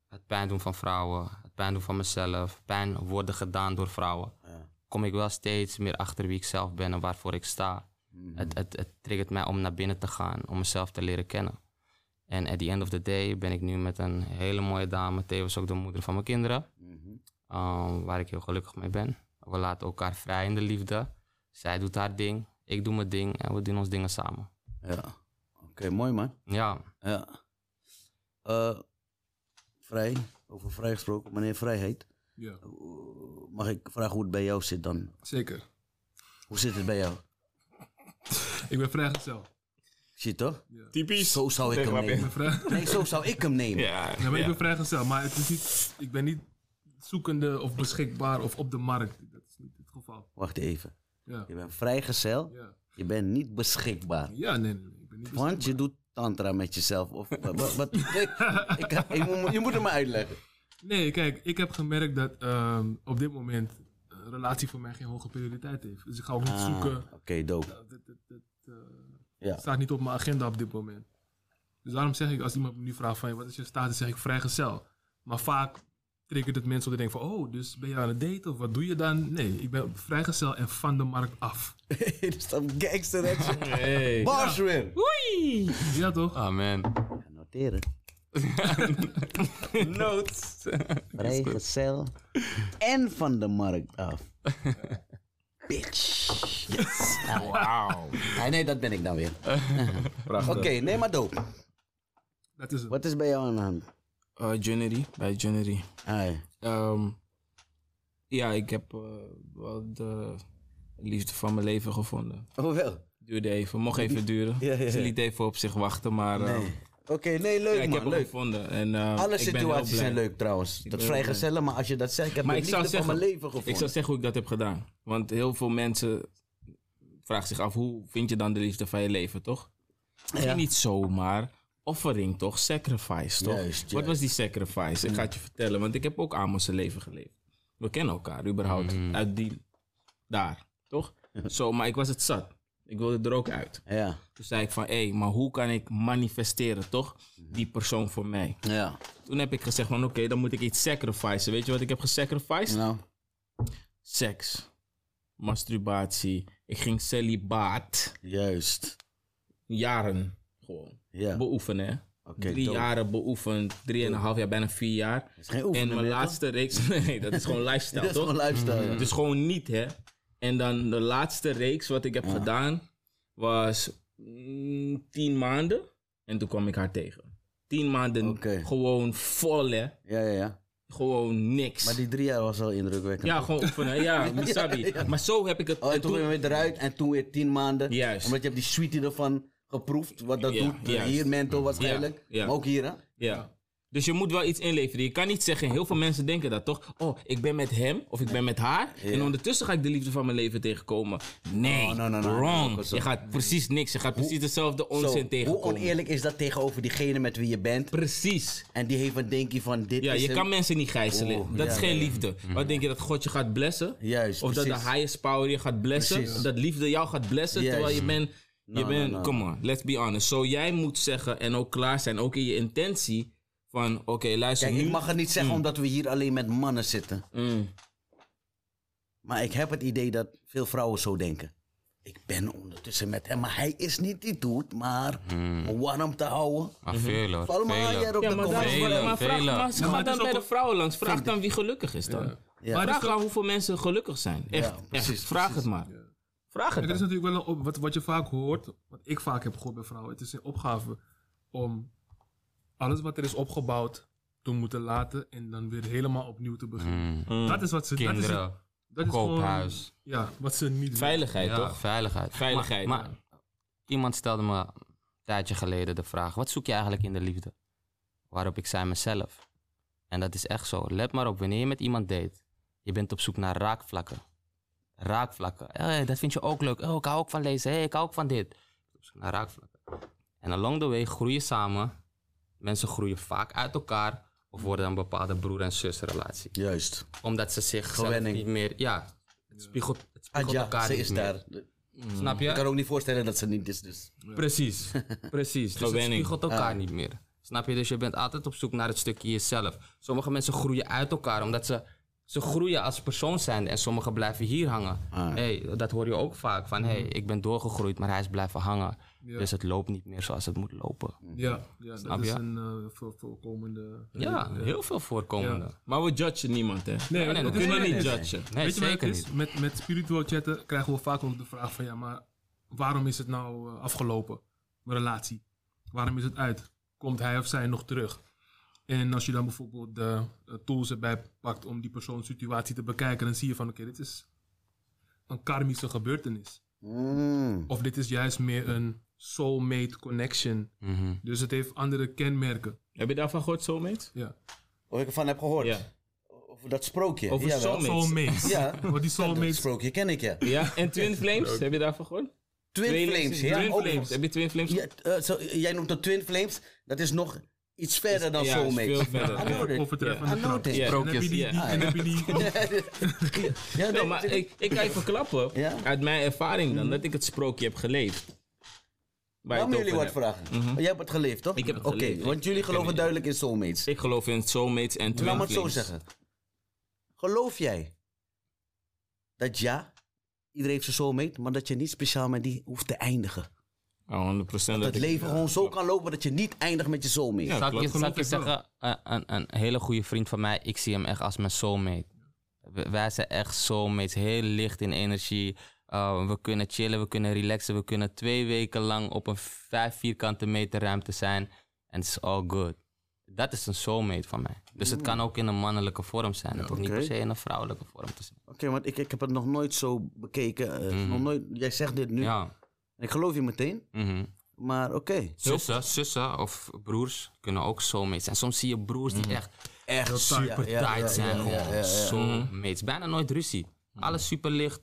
het pijn doen van vrouwen, het pijn doen van mezelf, pijn worden gedaan door vrouwen, Ja. kom ik wel steeds meer achter wie ik zelf ben en waarvoor ik sta. Mm. Het, het, het triggert mij om naar binnen te gaan, om mezelf te leren kennen. En at the end of the day ben ik nu met een hele mooie dame, tevens ook de moeder van mijn kinderen. Um, waar ik heel gelukkig mee ben. We laten elkaar vrij in de liefde. Zij doet haar ding, ik doe mijn ding en we doen ons dingen samen. Ja. Oké, mooi man. Ja, Ja. Eh, vrij, over vrij gesproken, meneer Vrijheid. Ja, eh, Mag ik vragen hoe het bij jou zit dan? zeker. Hoe zit het bij jou? Ik ben vrijgezel. Shit toch? Typisch. Zo zou ik Nee, hem grapje. nemen. Ik ben vrij... Nee, zo zou ik hem nemen. Ja, Ja, maar ja. ik ben vrijgezel, maar het is niet, ik ben niet zoekende of beschikbaar of op de markt. Dat is niet het geval. Wacht even. Ja, Je bent vrijgezel. ja. Je bent niet beschikbaar. ja nee, nee, nee, ik ben niet beschikbaar. Want je doet tantra met jezelf. Of, wa- wa- wat, ik, ik- ik moet- je moet het me uitleggen. Nee, kijk, ik heb gemerkt dat ehm, op dit moment een relatie voor mij geen hoge prioriteit heeft. Dus ik ga ook niet zoeken. Ah, Oké, dope. Dat, dat, dat, dat, eh, Ja. staat niet op mijn agenda op dit moment. Dus daarom zeg ik, als iemand me nu vraagt van, wat is je status, zeg ik vrijgezel. Maar vaak triggert het mensen om te denken van, oh, dus ben je aan het daten of wat doe je dan? Nee, ik ben vrijgezel en van de markt af. Dit is dan gangster action. Hey. Bars weer. Ja toch? amen. Ga Noteren. Notes. Vrijgezel. En van de markt af. Bitch. Yes. Wauw. Ah, nee, dat ben ik dan weer. Oké, nee, maar dope. Dat is het. Wat is bij jou aan de hand? Eh, Johnnery, bij Johnnery. Ah, Ehm, ja, ik heb eh, wel de liefde van mijn leven gevonden. oh wel. Duurde even, mocht even duren. Ja, ja, ja. Ze liet even op zich wachten, maar eh, Nee. Oké, nee, leuk ja, ik man. heb hem Leuk. gevonden. En, eh, Alle ik ben heel situaties blij. zijn leuk trouwens. Dat ben heel vrijgezellen, maar als je dat zegt, ik heb Maar de ik zou liefde van zeggen- mijn leven gevonden. Ik zou zeggen hoe ik dat heb gedaan. Want heel veel mensen vragen zich af, hoe vind je dan de liefde van je leven, toch? Misschien Niet zomaar. Offering, toch? Sacrifice, toch? Juist, Wat was die sacrifice? Ik ga het je vertellen, want ik heb ook Amos' leven geleefd. We kennen elkaar, überhaupt. Mm. Uit die... Daar, toch? Zo, maar ik was het zat. Ik wilde er ook uit. Ja, Toen zei ik van, hé, maar hoe kan ik manifesteren, toch? Die persoon voor mij. ja. Toen heb ik gezegd van, oké, dan moet ik iets sacrificen. Weet je wat ik heb gesacrificed? Nou, seks, masturbatie. Ik ging celibaat. juist. Jaren gewoon. Ja. Beoefenen, hè? Oké, Drie dope. jaren beoefend, drieënhalf jaar, bijna vier jaar. is geen en oefenen mijn meer, toch? laatste reeks, nee, dat is gewoon lifestyle, Dit is toch? Mm-hmm. gewoon lifestyle. Het is gewoon niet, hè? En dan de laatste reeks wat ik heb Ah. gedaan was mm, tien maanden. En toen kwam ik haar tegen. Tien maanden Oké. gewoon vol, hè? Ja, ja, ja. Gewoon niks. Maar die drie jaar was al indrukwekkend. Ja, gewoon oefenen. Ja, Misabi. Maar zo heb ik het. Oh, en en toen ben je weer eruit en toen weer tien maanden. Juist. Omdat je hebt die sweetie ervan geproefd, wat dat Ja, doet. juist. Hier, mental waarschijnlijk. Ja, ja. Maar ook hier, hè? Ja. Dus je moet wel iets inleveren. Je kan niet zeggen, heel veel mensen denken dat toch? Oh, ik ben met hem of ik ben met haar. En ondertussen ga ik de liefde van mijn leven tegenkomen. Nee, Oh, no, no, no. wrong. Dat is ook je gaat precies niks. Je gaat precies dezelfde onzin Zo, hoe tegenkomen. oneerlijk is dat tegenover diegene met wie je bent? Precies. En die heeft een denkje van dit Ja, is je hem. kan mensen niet gijzelen. Oeh, dat ja, is geen liefde. Wat denk je dat God je gaat blessen? Juist, Of dat precies. de highest power je gaat blessen? Precies. Dat liefde jou gaat blessen Juist. terwijl je bent... je no, bent, no. come on, let's be honest. Zo jij moet zeggen en ook klaar zijn, ook in je intentie van, oké, luister Kijk, nu. ik mag het niet zeggen omdat we hier alleen met mannen zitten. Mm. Maar ik heb het idee dat veel vrouwen zo denken. Ik ben ondertussen met hem, maar hij is niet die dude, maar om warm te houden. Hmm. Maar veel hoor. Val maar veel, hoor. jij op de maar, daar- comments. Velen, maar, vraag, velen. maar ze Ja, maar gaat het dan is bij ook de een- vrouwen langs. Vraag dan wie gelukkig is dan. Ja. Maar Vraag het is dan hoeveel mensen gelukkig zijn. Echt, echt. precies, vraag het maar. Vraag het Kijk, dan. het is natuurlijk wel een op- wat, wat je vaak hoort, wat ik vaak heb gehoord bij vrouwen. Het is een opgave om alles wat er is opgebouwd te moeten laten en dan weer helemaal opnieuw te beginnen. Mm. Mm. Dat is wat ze... dat is- Kinderen, Dat is, gewoon- koophuis. ja, wat ze niet willen. Veiligheid, Ja, toch? veiligheid. Veiligheid, Maar, maar iemand stelde me een tijdje geleden de vraag: wat zoek je eigenlijk in de liefde? Waarop ik zei mezelf. En dat is echt zo. Let maar op, wanneer je met iemand date, je bent op zoek naar raakvlakken. Raakvlakken. Hey, dat vind je ook leuk. Oh, ik hou ook van lezen. Hey, ik hou ook van dit. Je bent Op zoek naar raakvlakken. En along the way groei je samen. Mensen groeien vaak uit elkaar of worden een bepaalde broer- en zusrelatie. Juist. Omdat ze zichzelf Gewenning. niet meer. Ja, het spiegelt, het Ah, spiegelt ja, elkaar ze niet is meer. daar. Ik Snap je? kan ook niet voorstellen dat ze niet is, dus. Precies, precies. Dus het Gewenning. spiegelt elkaar niet meer. Snap je? Dus je bent altijd op zoek naar het stukje jezelf. Sommige mensen groeien uit elkaar omdat ze, ze groeien als persoon zijn en sommigen blijven hier hangen. Ah. Hey, dat hoor je ook vaak van, hey, ik ben doorgegroeid, maar hij is blijven hangen. Ja. Dus het loopt niet meer zoals het moet lopen. Ja, ja Snap dat is je? een eh, voor, voorkomende... Ja, heel veel voorkomende. Maar we judgen niemand, hè? Nee, dat nee, nee. is kunnen wel niet eens. judgen. Nee, Weet je wat het zeker is? niet. Met, met spiritual chatten krijgen we vaak ook de vraag van ja, maar waarom is het nou eh, afgelopen? Mijn relatie. Waarom is het uit? Komt hij of zij nog terug? En als je dan bijvoorbeeld de eh, tools erbij pakt om die persoons situatie te bekijken, dan zie je van oké, dit is een karmische gebeurtenis. Mm. Of dit is juist meer een soulmate connection. Mhm. Dus het heeft andere kenmerken. Heb je daarvan gehoord, soulmates? Ja. Of ik ervan heb gehoord. Ja. Over dat sprookje. Over Jawel. soulmates. Soulmates. Ja, Want die dat soulmates. sprookje ken ik, ja. Ja, en Twin Flames? Heb je daarvan gehoord? Twin, Flames, ja. Twin ook Flames. Heb je Twin Flames? Ja, eh, zo, jij noemt dat Twin Flames. Dat is nog iets verder dan ja, is Soulmates. veel verder. I know that. Overtreffende I know trap. that. Ja. En dan heb je die- Sprookjes, die- ja. en dan heb je die- ja, Nee, dat- maar ik, ik kan je verklappen, Ja? uit mijn ervaring dan, dat ik het sprookje heb geleefd. Waar je Laat het me over jullie wat hebt. Mhm. vragen. Jij hebt het geleefd, toch? Ik heb het Oké, geleefd, ja. want jullie Ik ken geloven het. duidelijk in soulmates. Ik geloof in soulmates en twin Laat me het zo flames. zeggen. Geloof jij dat ja, iedereen heeft zijn soulmate, maar dat je niet speciaal met die hoeft te eindigen? Oh, 100% dat, Dat ik- het leven gewoon zo kan lopen dat je niet eindigt met je soulmate. Ja, Zal ik je, klopt. zal ik je Geloof ik wel. zeggen, een, een, een hele goede vriend van mij, ik zie hem echt als mijn soulmate. We- wij zijn echt soulmates, heel licht in energie. Uh, we kunnen chillen, we kunnen relaxen, we kunnen twee weken lang op een vijf vierkante meter ruimte zijn. En it's all good. Dat is een soulmate van mij. Dus het kan ook in een mannelijke vorm zijn. Het hoeft niet Mm. Oké. per se in een vrouwelijke vorm te zijn. Oké, want ik, ik heb het nog nooit zo bekeken. eh, Mhm. nog nooit, jij zegt dit nu. Ja. En ik geloof je meteen, mhm. maar oké. Zussen, zussen of broers kunnen ook soulmates zijn. Soms zie je broers die echt Echt super ja, ja, tight zijn. ja, ja, ja, Gewoon ja. soulmates. Bijna nooit ruzie. Alles super licht.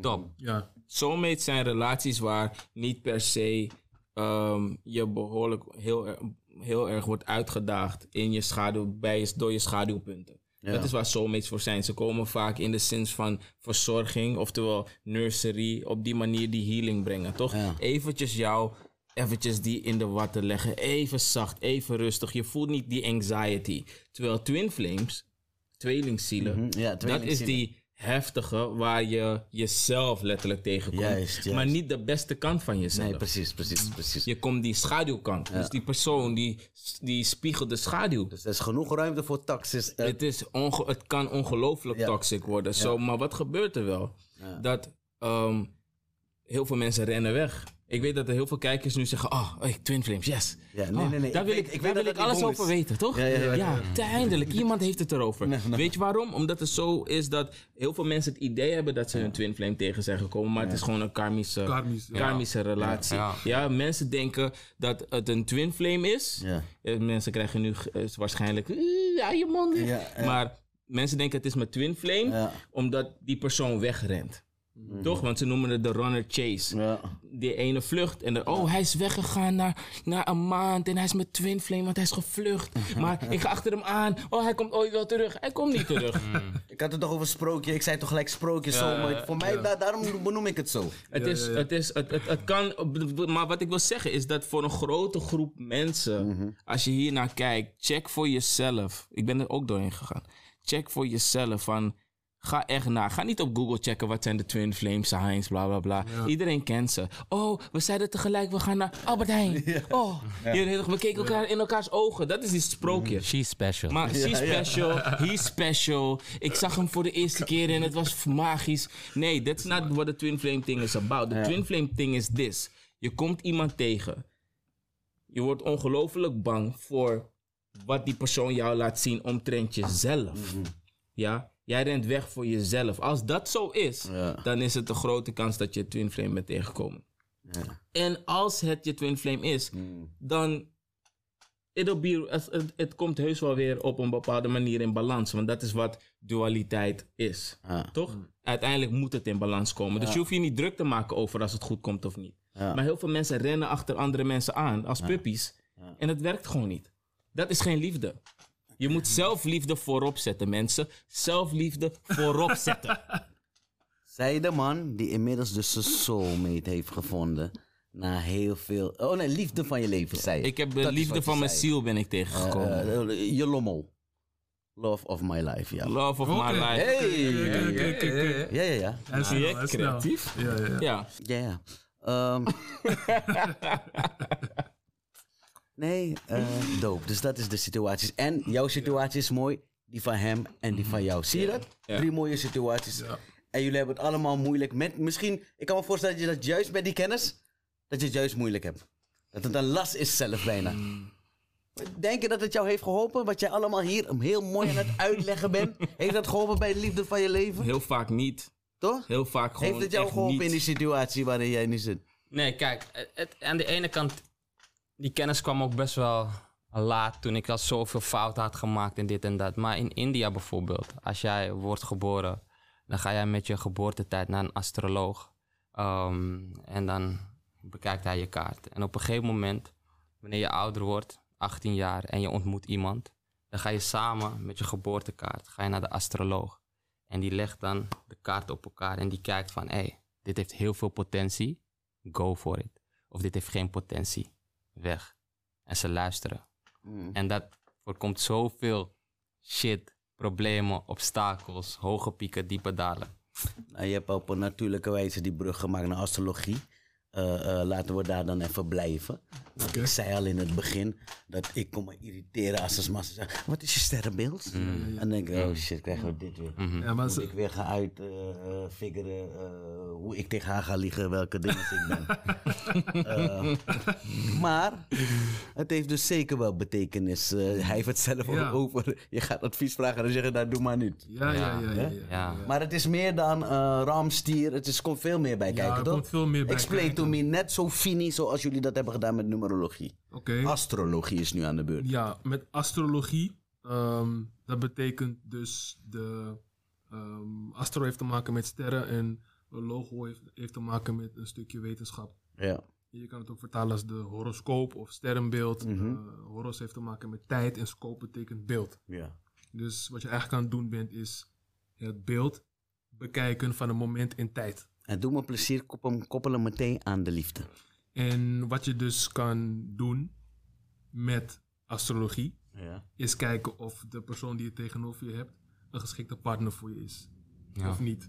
Top. Ja. Soulmates zijn relaties waar niet per se ehm, je behoorlijk heel, er- heel erg wordt uitgedaagd in je schaduw, bij je, door je schaduwpunten. Dat is waar soulmates voor zijn. Ze komen vaak in de zin van verzorging, oftewel nursery, op die manier die healing brengen, toch? Ja. Eventjes jou, eventjes die in de watten leggen. Even zacht, even rustig. Je voelt niet die anxiety. Terwijl twin flames, tweelingzielen, Mhm, ja, dat is tweelingzielen. die heftige waar je jezelf letterlijk tegenkomt. Juist, juist. Maar niet de beste kant van jezelf. Nee, precies, precies, precies. Je komt die schaduwkant. Dus die persoon die, die spiegelt de schaduw. Dus er is genoeg ruimte voor taxis. eh, Het, is onge- het kan ongelooflijk Ja. toxic worden. Zo, maar wat gebeurt er wel? Dat ehm, heel veel mensen rennen weg. Ik weet dat er heel veel kijkers nu zeggen: Oh, hey, Twin Flames, yes. Ja, nee, Oh, nee, nee, Daar ik wil weet- ik, ik weet dat daar wil dat ik niet alles dom over is. weten, toch? Ja, ja, ja, ja. uiteindelijk. Iemand heeft het erover. Weet je waarom? Omdat het zo is dat heel veel mensen het idee hebben dat ze hun Twin Flame tegen zijn gekomen. Maar het is gewoon een karmische, Karmisch, ja. karmische relatie. Ja. Ja. mensen denken dat het een Twin Flame is. Ja. Eh, Mensen krijgen nu eh, waarschijnlijk "Oeh, aan je mond. Ja, ja. Maar mensen denken het is mijn twin flame, Ja. Mhm. omdat die persoon wegrent. Toch? Want ze noemen het de runner chase. ja. Die ene vlucht en dan, oh, hij is weggegaan naar, naar een maand en hij is mijn twin flame, want hij is gevlucht. Maar ik ga achter hem aan, oh, hij komt ooit wel terug. Hij komt niet terug. Ik had het toch over sprookje. Ik zei toch gelijk sprookje zo. Maar voor mij, da- daarom benoem ik het zo. Het, is, Het, is, het, het, het kan, maar wat ik wil zeggen is dat voor een grote groep mensen, als je hier naar kijkt, check voor jezelf. Ik ben er ook doorheen gegaan. Check voor jezelf van Ga echt na. Ga niet op Google checken wat zijn de Twin Flame signs, bla bla bla. Iedereen kent ze. Oh, we zeiden tegelijk, we gaan naar Albert Heijn. Oh, jullie toch, we keken elkaar in elkaars ogen. Dat is die sprookje. She's special. Maar she's special, he's special. Ik zag hem voor de eerste keer en het was magisch. Nee, that's not what the twin flame thing is about. The twin flame thing is this. Je komt iemand tegen. Je wordt ongelooflijk bang voor wat die persoon jou laat zien omtrent jezelf. Ja? Jij rent weg voor jezelf. Als dat zo is, Ja. dan is het een grote kans dat je twin flame bent tegengekomen. En als het je twin flame is, dan it'll be, het, het- het komt heus wel weer op een bepaalde manier in balans. Want dat is wat dualiteit is. Ja. Toch? Uiteindelijk moet het in balans komen. Dus je hoeft je niet druk te maken over als het goed komt of niet. Ja. Maar heel veel mensen rennen achter andere mensen aan als puppies. En het werkt gewoon niet. Dat is geen liefde. Je moet zelfliefde voorop zetten, mensen. Zelfliefde voorop zetten. Zij de man die inmiddels dus zijn soulmate heeft gevonden. Na heel veel... Oh nee, liefde van je leven, zei je. Ik heb de Dat is wat liefde je van mijn zei. ziel ben ik tegengekomen. Eh, eh, je lommel. Love of my life, ja. Love of Oké. my life. Hey! Kijk, kijk, kijk, kijk. Ja, ja, ja. Hij is Zie snel, je, hij is snel. creatief. Ja, ja, ja. Ja. Ja, ja. Ehm, nee, eh dope. Dus dat is de situatie. En jouw situatie is mooi, die van hem en die van jou. Zie je dat? Ja. Drie mooie situaties. Ja. En jullie hebben het allemaal moeilijk met. Misschien, ik kan me voorstellen dat je dat juist met die kennis, dat je het juist moeilijk hebt. Dat het een last is zelf bijna. Denk je dat het jou heeft geholpen? Wat jij allemaal hier heel mooi aan het uitleggen bent. Heeft dat geholpen bij de liefde van je leven? Heel vaak niet. Toch? Heel vaak gewoon Heeft het jou echt geholpen niet. in die situatie waarin jij nu zit? Nee, kijk, het- het- aan de ene kant, die kennis kwam ook best wel laat toen ik al zoveel fouten had gemaakt en dit en dat. Maar in India bijvoorbeeld, als jij wordt geboren, dan ga jij met je geboortetijd naar een astroloog. Ehm, en dan bekijkt hij je kaart. En op een gegeven moment, wanneer je ouder wordt, 18 jaar, en je ontmoet iemand, dan ga je samen met je geboortekaart ga je naar de astroloog. En die legt dan de kaart op elkaar en die kijkt van, hé, hey, dit heeft heel veel potentie go for it. Of dit heeft geen potentie. Weg. En ze luisteren. En dat voorkomt zoveel shit, problemen, obstakels, hoge pieken, diepe dalen. Nou, je hebt op een natuurlijke wijze die brug gemaakt naar astrologie. Eh, eh, laten we daar dan even blijven. Want Ik zei al in het begin dat ik kon me irriteren als de massa zeggen... Wat is je sterrenbeeld? En dan denk ik, oh shit, krijgen we dit weer. Ja, maar Moet ze- ik weer gaan uitfiguren eh, hoe ik tegen haar ga liegen, welke dingen ik ben. Eh, maar het heeft dus zeker wel betekenis. Eh, hij heeft het zelf ook Ja. over. Je gaat advies vragen en dan zeggen, nou doe maar niet. ja, ja, ja, ja, ja. Ja. Maar het is meer dan eh ramstier. Het is, komt veel meer bij Ja, kijken, er toch? komt veel meer bij Explain to kijken. me net zo fini zoals jullie dat hebben gedaan met numerologie. Oké. Astrologie is nu aan de beurt. Ja, met astrologie. ehm, dat betekent dus de ehm, astro heeft te maken met sterren en logo heeft, heeft te maken met een stukje wetenschap. Ja. Je kan het ook vertalen als de horoscoop of sterrenbeeld. Mhm. Eh, horos heeft te maken met tijd en scope betekent beeld. ja. Dus wat je eigenlijk aan het doen bent is het beeld bekijken van een moment in tijd. En doe me plezier, koppel hem, koppel hem meteen aan de liefde. En wat je dus kan doen met astrologie Ja. is kijken of de persoon die je tegenover je hebt een geschikte partner voor je is. Ja. Of niet.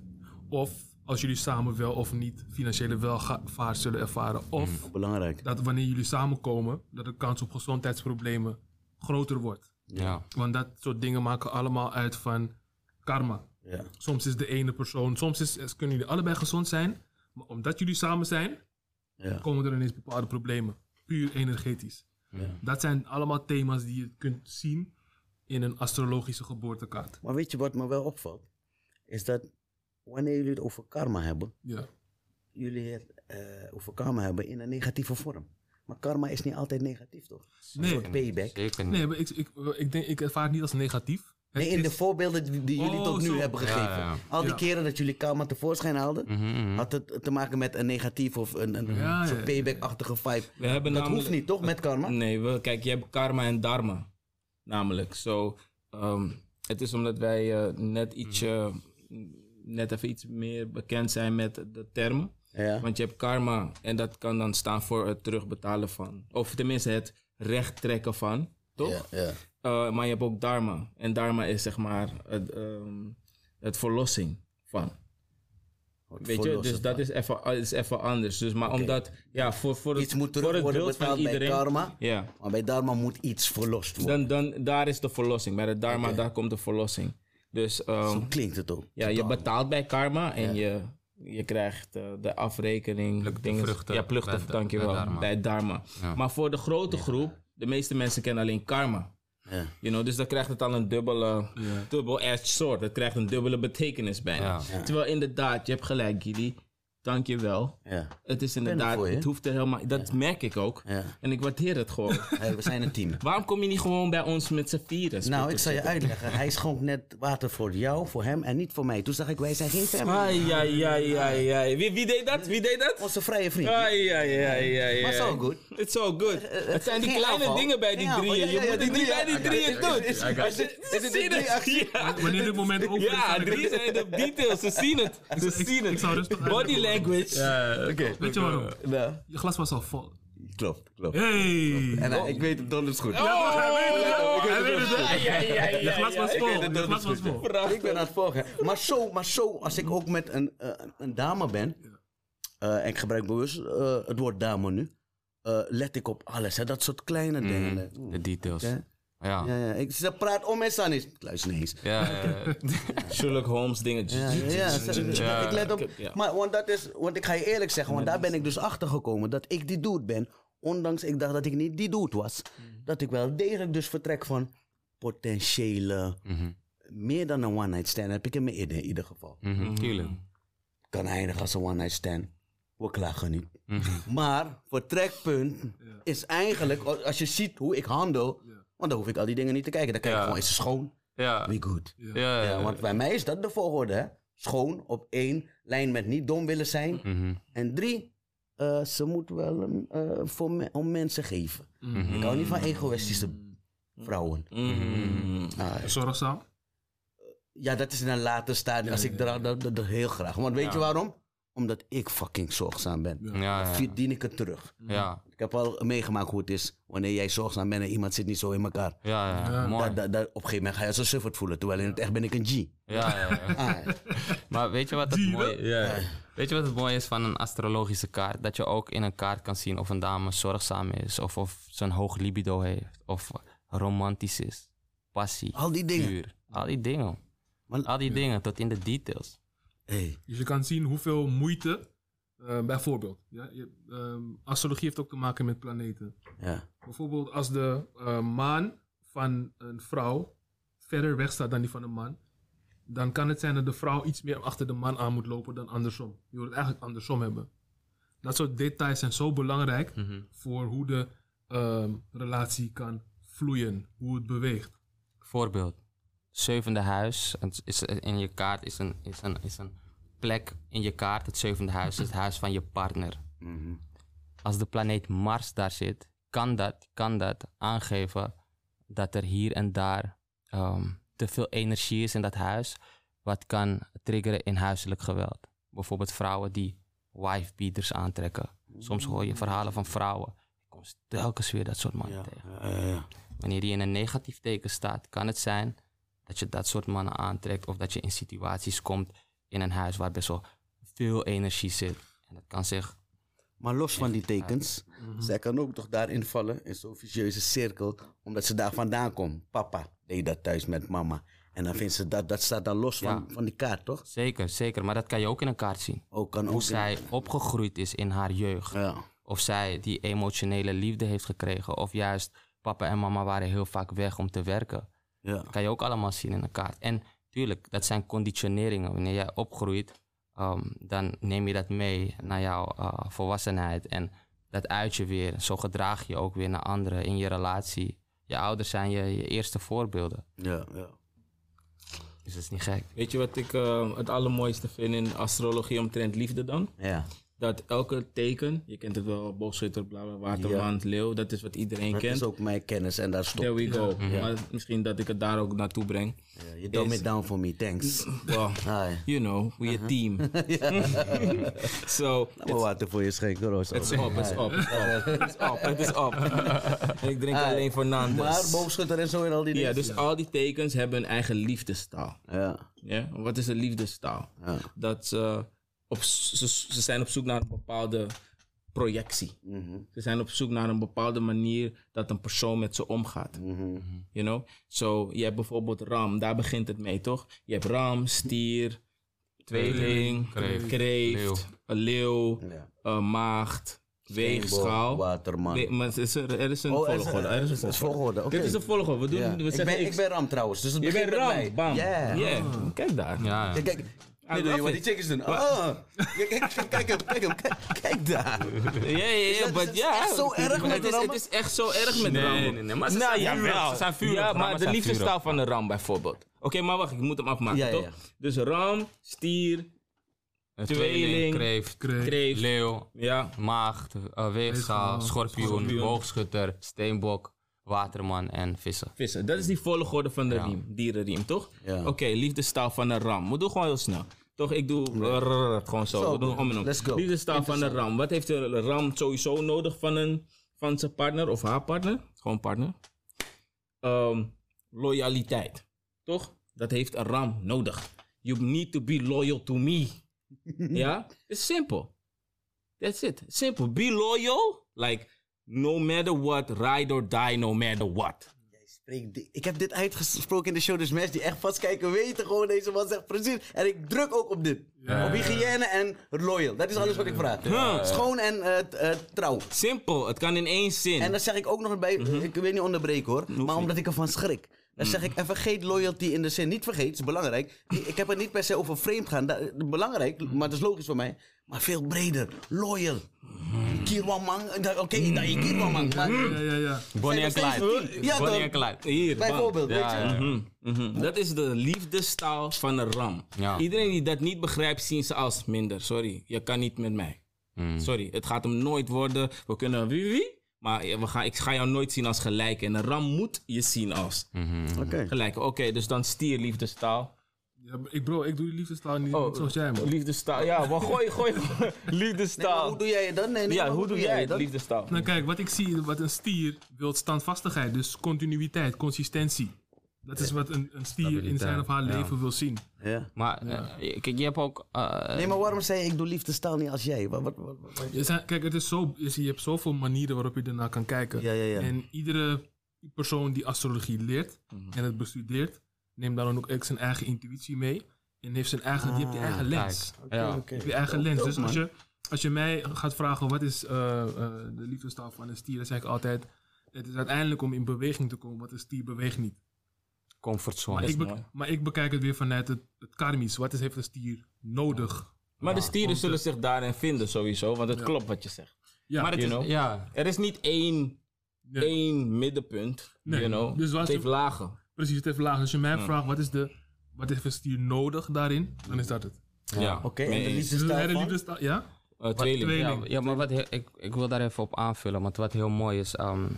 Of als jullie samen wel of niet financiële welvaart zullen ervaren. Of Mm. Belangrijk. dat wanneer jullie samenkomen, dat de kans op gezondheidsproblemen groter wordt. Ja. Want dat soort dingen maken allemaal uit van karma. Ja. Soms is de ene persoon, soms is, is- kunnen jullie allebei gezond zijn, maar omdat jullie samen zijn, Ja. komen er ineens bepaalde problemen. Puur energetisch. Dat zijn allemaal thema's die je kunt zien in een astrologische geboortekaart. Maar weet je wat me wel opvalt? Is dat wanneer jullie het over karma hebben, Ja. jullie het eh, over karma hebben in een negatieve vorm. Maar karma is niet altijd negatief, toch? Nee. Een soort payback. Zeker niet. Nee, maar ik, ik, ik, denk, ik ervaar het niet als negatief. Het Nee, in de is- voorbeelden die, die jullie Oh, tot nu zo. hebben gegeven. Ja, ja. Al die Ja. keren dat jullie karma tevoorschijn haalden, Mhm, Mhm. had het te maken met een negatief of een, een Ja, soort ja, payback-achtige vibe. We hebben dat namelijk- hoeft niet, toch, met karma? Nee, we, kijk, je hebt karma en dharma. Namelijk. Zo, ehm, het is omdat wij eh, net ietsje, net even iets meer bekend zijn met de termen. Ja. Want je hebt karma en dat kan dan staan voor het terugbetalen van. Of tenminste het recht trekken van, toch? Ja, ja. Eh, maar je hebt ook dharma. En dharma is zeg maar het, ehm, het verlossing van. Het Weet je, verlossen dus dat van. is even, is even anders. Dus, maar omdat, ja, voor, voor het, Iets moet voor terug het worden beeld van betaald bij iedereen. dharma. Ja. Maar bij dharma moet iets verlost worden. Dan, dan, daar is de verlossing. Bij de Dharma, Oké. daar komt de verlossing. Dus ehm, Zo klinkt het ook. ja, je betaalt bij karma en je, je krijgt eh, de afrekening. Pluk de dinges- vruchten Ja, plucht bij of, de- dankjewel. bij dharma. Bij dharma. Ja. Maar voor de grote groep, de meeste mensen kennen alleen karma. Ja. You know, dus dan krijgt het al een dubbele, dubbel-edged sword. Het krijgt een dubbele betekenis bijna. Ja. Terwijl inderdaad, je hebt gelijk, Gidi. Dankjewel. Ja. Het is er inderdaad, voor je. het hoeft er helemaal... Dat merk ik ook. Ja. En ik waardeer het gewoon. Hey, we zijn een team. Waarom kom je niet gewoon bij ons met z'n vieren? Nou, ik zal je uitleggen. Hij schonk net water voor jou, voor hem en niet voor mij. Toen zag ik, wij zijn geen family. Ai, ai, ai, ai, ai. Wie, wie deed dat? Wie deed dat? Onze vrije vriend. Ai, ai, ai, ai. Maar Maar it's all good. It's all good. Het zijn die eh, geen kleine aanval. dingen bij Geen die aanval. drieën. Ja, ja, Je ja, moet het die niet bij die drieën. drieën doen. Is- is- Als je- is- is het ze zien die actie? Ja. Wanneer het moment over is, Ja, dan- drie zijn de details. Ze zien het. Ze Ik- zien ik zou het. rustig Body uitleggen. language. Eh, Weet je waarom? Nou, Je glas was al vol. klopt, klopt. Hey! En eh, ik weet het donders goed. Oh, Hij weet het wel. Je Je glas was vol. Je glas was vol. Ik ben aan het volgen. Maar zo, maar zo als ik ook met een, eh, een dame ben, eh, en ik gebruik bewust eh, het woord dame nu, eh, let ik op alles. Hè? Dat soort kleine dingen. De details. Mhm. Ja. Ja. Ja. Ja, ja. Ik, ze praat om en aan is. Ik luister niet eens. Ja, ja. Sherlock Holmes dingen. Ja, ja, ze- ze- ja. ik let op. Ik heb- ja. Maar want dat is, want ik ga je eerlijk zeggen, want daar ben ik dus achter gekomen dat ik die dude ben. Ondanks ik dacht dat ik niet die dude was, dat ik wel degelijk dus vertrek van potentiële, Mhm. meer dan een one-night stand heb ik in mijn idee in ieder geval. Mhm. Tuurlijk. Kan eindigen als een one-night stand. We klagen niet. Mhm. Maar vertrekpunt is eigenlijk, als als je ziet hoe ik handel, want dan hoef ik al die dingen niet te kijken. Dan kijk ik Ja. gewoon, is het schoon? Ja. We good. Ja, Ja, ja. want bij mij is dat de volgorde, hè? Schoon, op één, lijn met niet dom willen zijn. Mhm. En drie, eh, ze moet wel um, eh, voor me- om mensen geven. Mm. Ik hou niet Mm. van egoïstische vrouwen. Mm. Ah, Zorgzaam. ja, dat is in een later stadium. Als ik draag, dat, dat, dat heel graag. Want weet je waarom? Omdat ik fucking zorgzaam ben. Ja, Ah, ja, ja. Verdien ik het terug. Ja, Ik heb al meegemaakt hoe het is wanneer jij zorgzaam bent en iemand zit niet zo in elkaar. ja, ja. Mooi. Dat, dat, dat- op een gegeven moment ga je zo sufferd voelen. Terwijl in het echt ben ik een G. Ja, ja, ja. Ah, Maar weet je wat het mooi Weet je wat het mooie is van een astrologische kaart? Dat je ook in een kaart kan zien of een dame zorgzaam is, of, of ze een hoog libido heeft, of romantisch is, passie, al die dingen. puur. Al die dingen. Maar- Al die dingen, tot in de details. Hey. Dus je kan zien hoeveel moeite, eh, bijvoorbeeld. Ja, je, ehm, astrologie heeft ook te maken met planeten. Ja. Bijvoorbeeld als de eh, maan van een vrouw verder weg staat dan die van een man, dan kan het zijn dat de vrouw iets meer achter de man aan moet lopen dan andersom. Je wil het eigenlijk andersom hebben. Dat soort details zijn zo belangrijk voor hoe de ehm, relatie kan vloeien, hoe het beweegt. Voorbeeld. Zevende huis. Het is in je kaart is een, is, een, is een plek in je kaart. Het zevende huis is het huis van je partner. Als de planeet Mars daar zit, kan dat, kan dat aangeven dat er hier en daar ehm, te veel energie is in dat huis. Wat kan triggeren in huiselijk geweld. Bijvoorbeeld vrouwen die wife-beaters aantrekken. Soms hoor je verhalen van vrouwen. Ik kom telkens weer dat soort mannen tegen. Eh, Wanneer die in een negatief teken staat, kan het zijn dat je dat soort mannen aantrekt of dat je in situaties komt in een huis waar best wel veel energie zit. En dat kan zich. Maar los van die tekens, Mhm. zij kan ook toch daarin vallen, in zo'n vicieuze cirkel, omdat ze daar vandaan komt. Papa deed dat thuis met mama. En dan vindt ze dat, dat staat dan los van, van die kaart, toch? Zeker, zeker. Maar dat kan je ook in een kaart zien. Ook kan Hoe ook. zij opgegroeid is in haar jeugd. Ja. Of zij die emotionele liefde heeft gekregen. Of juist papa en mama waren heel vaak weg om te werken. Ja. Dat kan je ook allemaal zien in een kaart. En tuurlijk, dat zijn conditioneringen. Wanneer jij opgroeit, ehm, dan neem je dat mee naar jouw eh, volwassenheid. En dat uit je weer. Zo gedraag je ook weer naar anderen in je relatie. Je ouders zijn je, je eerste voorbeelden. Ja, ja. Dus dat is niet gek. Weet je wat ik eh, het allermooiste vind in astrologie omtrent liefde dan? Ja. dat elke teken, je kent het wel, boogschutter, bla bla, waterwand, leeuw, dat is wat iedereen Dat kent. is ook mijn kennis en daar stopt. There we go. Ja. Maar misschien dat ik het daar ook naartoe breng. Ja, you dumb Is- it down for me, thanks. Well, Ah, ja. you know, we a team. so, Nou, maar water voor je schenken, Roos. het is op, het is op, het is op, het is op. Ik drink alleen Fernandes. Maar boogschutter en zo en al die dingen. Ja, dus al die tekens hebben een eigen liefdestaal. Ja, Ja? Wat is een liefdestaal? ja. Dat ze, op, ze, ze zijn op zoek naar een bepaalde projectie. Mhm, Ze zijn op zoek naar een bepaalde manier dat een persoon met ze omgaat. mhm. You know? Zo, je hebt bijvoorbeeld ram, daar begint het mee, toch? Je hebt ram, stier, tweeling, Kreeft. kreeft, Leeuw. een leeuw, Ja. een maagd, weegschaal. Waterman. Nee, maar het is er, er is een Oh, er is- volgorde. Er is een het is volgorde. volgorde, oké. Dit is de volgorde. We doen, Ja. we Ik, zeggen, ben, ik- ik ben Ram trouwens, dus het je begint bent met ram, mij. bam. Yeah. Yeah. Kijk daar. Ja, ja. Kijk, kijk. Nee, nee, love wat it. die chickens doen. Ah. Ja, kijk, kijk, kijk, hem, kijk, hem, kijk, kijk daar. Ja, ja, ja, dat- is but het ja. echt zo erg met het is, het rammen? is echt zo erg met Nee, rammen. nee, nee, maar ze nou, zijn vurig, jawel. ze zijn vurig, Ja, rammen maar de zijn liefdestaal van een ram bijvoorbeeld. Oké, maar wacht, ik moet hem afmaken, Ja, ja, toch? ja. Dus ram, stier, Tweeling. tweeling, kreeft, Kreeft. kreeft. leeuw, ja, maagd, eh, weegschaal, Weegschaal, schorpioen, schorpioen. boogschutter, steenbok, waterman en vissen. vissen. Dat is die volgorde van de Ja. riem, dierenriem, toch? Ja. Oké, liefdestaal van een ram. We doen gewoon heel snel. Toch, ik doe rrrr, gewoon zo. Zo, We doen om en om. let's go. Liefdestaal van een ram. Wat heeft een ram sowieso nodig van, een, van zijn partner of haar partner? Gewoon partner. Ehm, loyaliteit. Toch? Dat heeft een ram nodig. You need to be loyal to me. ja? It's simple. That's it. Simple. Be loyal. Like, no matter what, ride or die, no matter what. Spreek di- Ik heb dit uitgesproken in de show, dus mensen die echt vastkijken weten gewoon, deze man zegt precies. En ik druk ook op dit. Op hygiëne en loyal. Dat is alles wat ik vraag. Ja. Schoon en eh, t- eh, trouw. Simpel, het kan in één zin. En dan zeg ik ook nog bij, Mhm. eh, ik weet niet onderbreken hoor, maar omdat ik ervan schrik. Dan zeg Mhm. ik, en vergeet loyalty in de zin, niet vergeet, het is belangrijk. Ik ik heb het niet per se over vreemd gaan, da- belangrijk, Mhm. maar dat is logisch voor mij. Maar veel breder, loyal. Mhm. Kirwamang, eh, oké, dat je Kirwamang, maar Ja, ja, ja. Bonnie en Zijn nog steeds Clyde. tien. Ja, Bonnie toch? en Clyde. Hier, bam. bijvoorbeeld, weet Ja, je. ja, ja. Mhm, mhm. Dat is de liefdestaal van een ram. Ja. Iedereen die dat niet begrijpt, zien ze als minder. Sorry, je kan niet met mij. Mm. Sorry, het gaat hem nooit worden. We kunnen wie wie, maar we gaan, ik ga jou nooit zien als gelijk. En een ram moet je zien als Mm. Oké. gelijk. Oké, dus dan stier liefdestaal. Ja, maar ik, bro, ik doe die liefdestaal niet, Oh, niet zoals jij, man. Liefdestaal, ja, maar gooi, gooi. Nee, maar liefdestaal. hoe doe jij het dan? Nee, nee, ja, maar hoe doe jij het? dat? Liefdestaal. Nou kijk, wat ik zie, wat een stier wil standvastigheid, dus continuïteit, consistentie. Dat is wat een, een stier in zijn of haar Ja. leven wil zien. Ja. Maar eh, kijk, je hebt ook... eh, Nee, maar waarom zei je, ik doe liefdestaal niet als jij? Wat, wat, wat, wat- Je zijn- kijk, het is zo, je, ziet- je hebt zoveel manieren waarop je ernaar kan kijken. Ja, ja, ja. En iedere persoon die astrologie leert en het bestudeert, neemt dan ook echt zijn eigen intuïtie mee. En heeft zijn eigen, die heeft die eigen kijk. lens. ja. Oké. Je eigen lens. Dope, Dus als man. je, als je mij gaat vragen wat is eh, eh, de liefdestaal van een stier, dan zeg ik altijd, het is uiteindelijk om in beweging te komen, want een stier beweegt niet. Comfortzone. Maar is ik, bek- mooi. maar ik bekijk het weer vanuit het, het karmisch. Wat is, heeft een stier nodig? Maar de stieren want, zullen eh, zich daarin vinden sowieso, want het klopt wat je zegt. Ja. maar het Het is, is- Ja, er is niet één Nee. één middenpunt. Nee, You know. dus wat- het heeft lagen. eh, Precies, het heeft laag. Als je mij vraagt wat is de wat heeft een stier nodig daarin, dan is dat het. Ja. Oké, en Mee de eens. Dus de liefdestaal hele van? liefdestaal, ja? Eh, tweeling. twee- Ja, Training. ja, maar wat heel- ik, ik wil daar even op aanvullen. Want wat heel mooi is, ehm,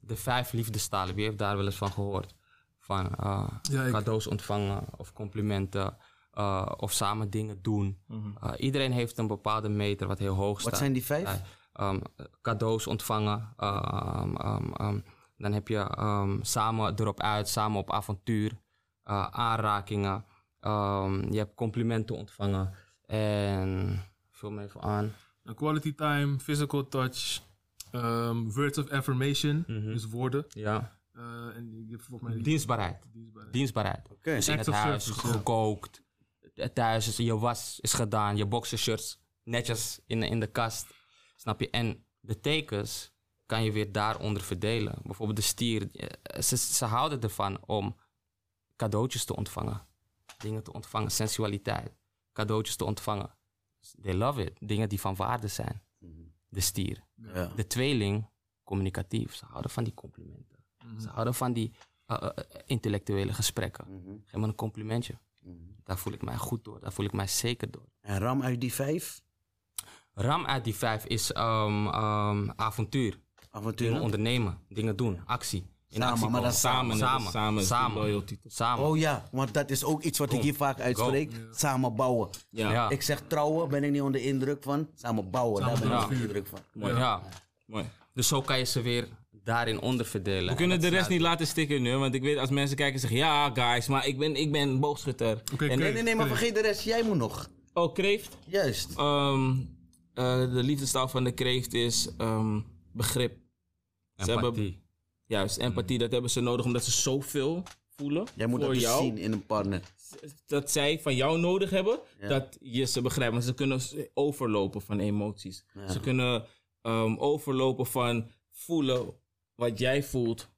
de vijf liefdestalen. Wie heeft daar wel eens van gehoord? Van eh, Ja, ik- cadeaus ontvangen of complimenten eh, of samen dingen doen. Eh, iedereen heeft een bepaalde meter wat heel hoog staat. Mhm. Wat zijn die vijf? Ehm, cadeaus ontvangen. ehm, ehm, ehm, dan heb je ehm, samen erop uit, samen op avontuur. eh, aanrakingen. ehm, je hebt complimenten ontvangen. En vul me even aan. Een Quality time, physical touch, ehm, words of affirmation, Mhm. dus woorden. Ja. Eh, en je hebt volgens mij die Dienstbaarheid. dienstbaarheid. Dienstbaarheid. Oké. Dus in Act het of huis, service, ja. gekookt. eh, Thuis, is, je was is gedaan. Je boxershirts netjes in, in de kast. Snap je? En de tekens kan je weer daaronder verdelen. Bijvoorbeeld de stier. eh, Ze, ze houden ervan om cadeautjes te ontvangen. Dingen te ontvangen. Sensualiteit. Cadeautjes te ontvangen. They love it. Dingen die van waarde zijn. De stier. Mhm. Ja. De tweeling, communicatief. Ze houden van die complimenten. Ze houden van die eh, eh, intellectuele gesprekken. Mhm. Geef me een complimentje. Daar voel ik mij goed door. Daar voel ik mij zeker door. En Ram uit die vijf? Ram uit die vijf is ehm, ehm, avontuur. Dingen Avontuur. ondernemen, dingen doen, actie. In Samen, actie maar dat komen. Samen, samen, samen, samen, is die samen. loyalty. samen. Oh ja, want dat is ook iets wat ik hier vaak uitspreek. Samen bouwen. Ja, Ja. Ik zeg trouwen, ben ik niet onder de indruk van. Samen bouwen, daar ben ik bouwen. onder de indruk van. ja. mooi. Dus zo kan je ze weer daarin onderverdelen. We kunnen de rest niet laten stikken nu, want ik weet als mensen kijken zeggen, ja guys, maar ik ben, ik ben boogschutter. Oké, En- Nee, nee, nee, maar vergeet de rest. Jij moet nog. Oh, kreeft? Juist. Ehm, eh, de liefdestaal van de kreeft is ehm, begrip. Ze hebben- Empathie. Juist, empathie, dat hebben ze nodig omdat ze zoveel voelen Jij moet voor dat dus jou. zien in een partner. Dat zij van jou nodig hebben, Ja. dat je ze begrijpt. Want ze kunnen s- overlopen van emoties. Ze kunnen ehm, overlopen van voelen wat jij voelt.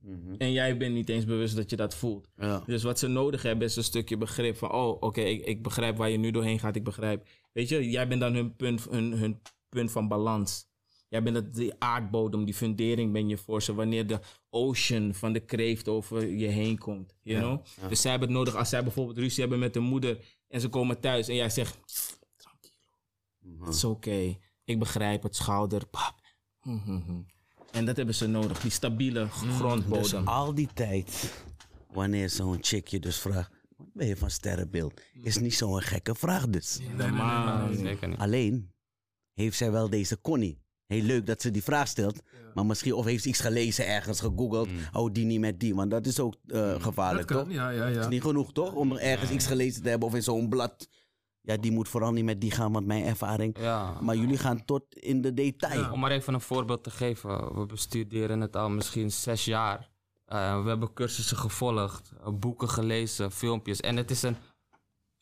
Mhm. En jij bent niet eens bewust dat je dat voelt. Ja. Dus wat ze nodig hebben is een stukje begrip van... oh, oké, ik, ik begrijp waar je nu doorheen gaat. Ik begrijp... Weet je, jij bent dan hun punt, hun, hun punt van balans. Jij bent het, die aardbodem, die fundering ben je voor ze... wanneer de ocean van de kreeft over je heen komt. You know? Dus zij hebben het nodig als zij bijvoorbeeld ruzie hebben met de moeder... en ze komen thuis en jij zegt... Mhm. Het is oké. Ik begrijp het, schouder. pap. Hm, hm, hm. En dat hebben ze nodig, die stabiele Dus grondbodem. al die tijd, wanneer zo'n chick je dus vraagt... Wat ben je van sterrenbeeld? Is niet zo'n gekke vraag dus. Maar- Zeker niet. Alleen heeft zij wel deze Connie. Heel leuk dat ze die vraag stelt. Maar misschien of heeft ze iets gelezen ergens, gegoogeld. Oh, die niet met die. Want dat is ook eh, dat gevaarlijk, kan. toch? Ja, ja, ja. is niet genoeg, toch? Om ergens iets gelezen te hebben of in zo'n blad. Ja, die moet vooral niet met die gaan, want mijn ervaring. Ja. Maar jullie gaan tot in de detail. Ja. Om maar even een voorbeeld te geven. We bestuderen het al misschien zes jaar. Eh, we hebben cursussen gevolgd, eh, boeken gelezen, filmpjes. En het is een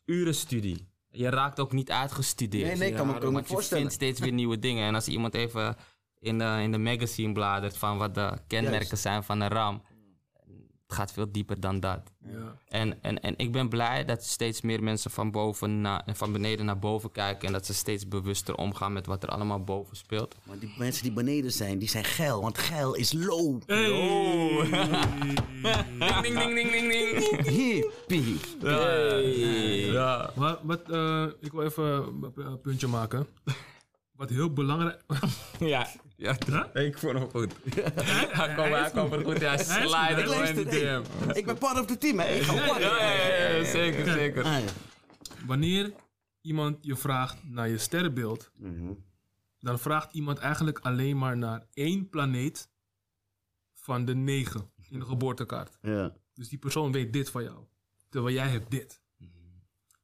urenstudie. Je raakt ook niet uitgestudeerd. Nee, nee, ik kan me- Ja, kan me want voorstellen. Je vindt steeds weer nieuwe dingen. En als iemand even in de, in de magazine bladert van wat de kenmerken Juist. zijn van een ram. Het gaat veel dieper dan dat. Ja. En, en, en ik ben blij dat steeds meer mensen van, boven na, van beneden naar boven kijken. En dat ze steeds bewuster omgaan met wat er allemaal boven speelt. Want die mensen die beneden zijn, die zijn geil. Want geil is low. Ding, ding, ding, ding, ding. Hippie. Ja. Maar wat, eh, ik wil even een p- een puntje maken. Wat heel belangrijk... Ja. Ja, ik vond hem goed. Hij kwam, hij kwam er goed. Hij goed, slide hij gewoon in de luistert, hey. DM. Ik ben part of the team, hè. Ik ga part. Ja, ja, ja, ja, zeker, zeker. Ah, ja. Wanneer iemand je vraagt naar je sterrenbeeld... Mhm. dan vraagt iemand eigenlijk alleen maar naar één planeet van de negen in de geboortekaart. ja. Dus die persoon weet dit van jou. Terwijl jij hebt dit.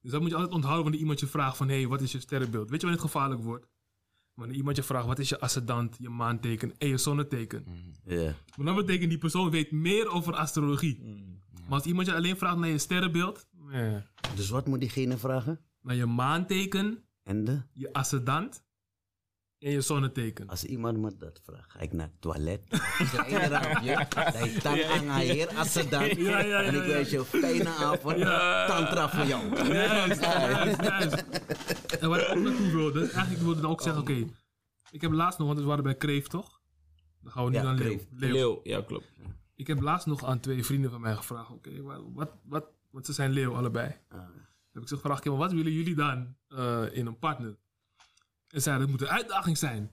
Dus dat moet je altijd onthouden wanneer iemand je vraagt van... hé, hey, wat is je sterrenbeeld? Weet je wanneer het gevaarlijk wordt? Wanneer iemand je vraagt, wat is je ascendant, je maanteken en je zonneteken? Ja. Maar dat betekent, die persoon weet meer over astrologie. Maar als iemand je alleen vraagt naar je sterrenbeeld... eh, Dus wat moet diegene vragen? naar je maanteken, En de? je ascendant en je zonneteken. Als iemand me dat vraagt, ga ik naar het toilet. Zeg ik raampje, dat tang aan haar heer als ze dan. ja, ja, En ik ja. wens je een fijne avond. Tantra voor jou. Juist, juist, juist. En waar ik ook naartoe wilde, eigenlijk wilde ik dan ook zeggen, oké, ik heb laatst nog, want we waren bij Kreeft toch? Dan gaan we nu Ja, aan Leeuw. Kreeft. Leeuw. Leeuw, ja klopt. Ik heb laatst nog aan twee vrienden van mij gevraagd, oké, wa- wat, wat, want ze zijn Leeuw allebei. Ah. Dan heb ik ze gevraagd, oké, maar wat willen jullie dan eh, in een partner? En zeiden, dat moet een uitdaging zijn.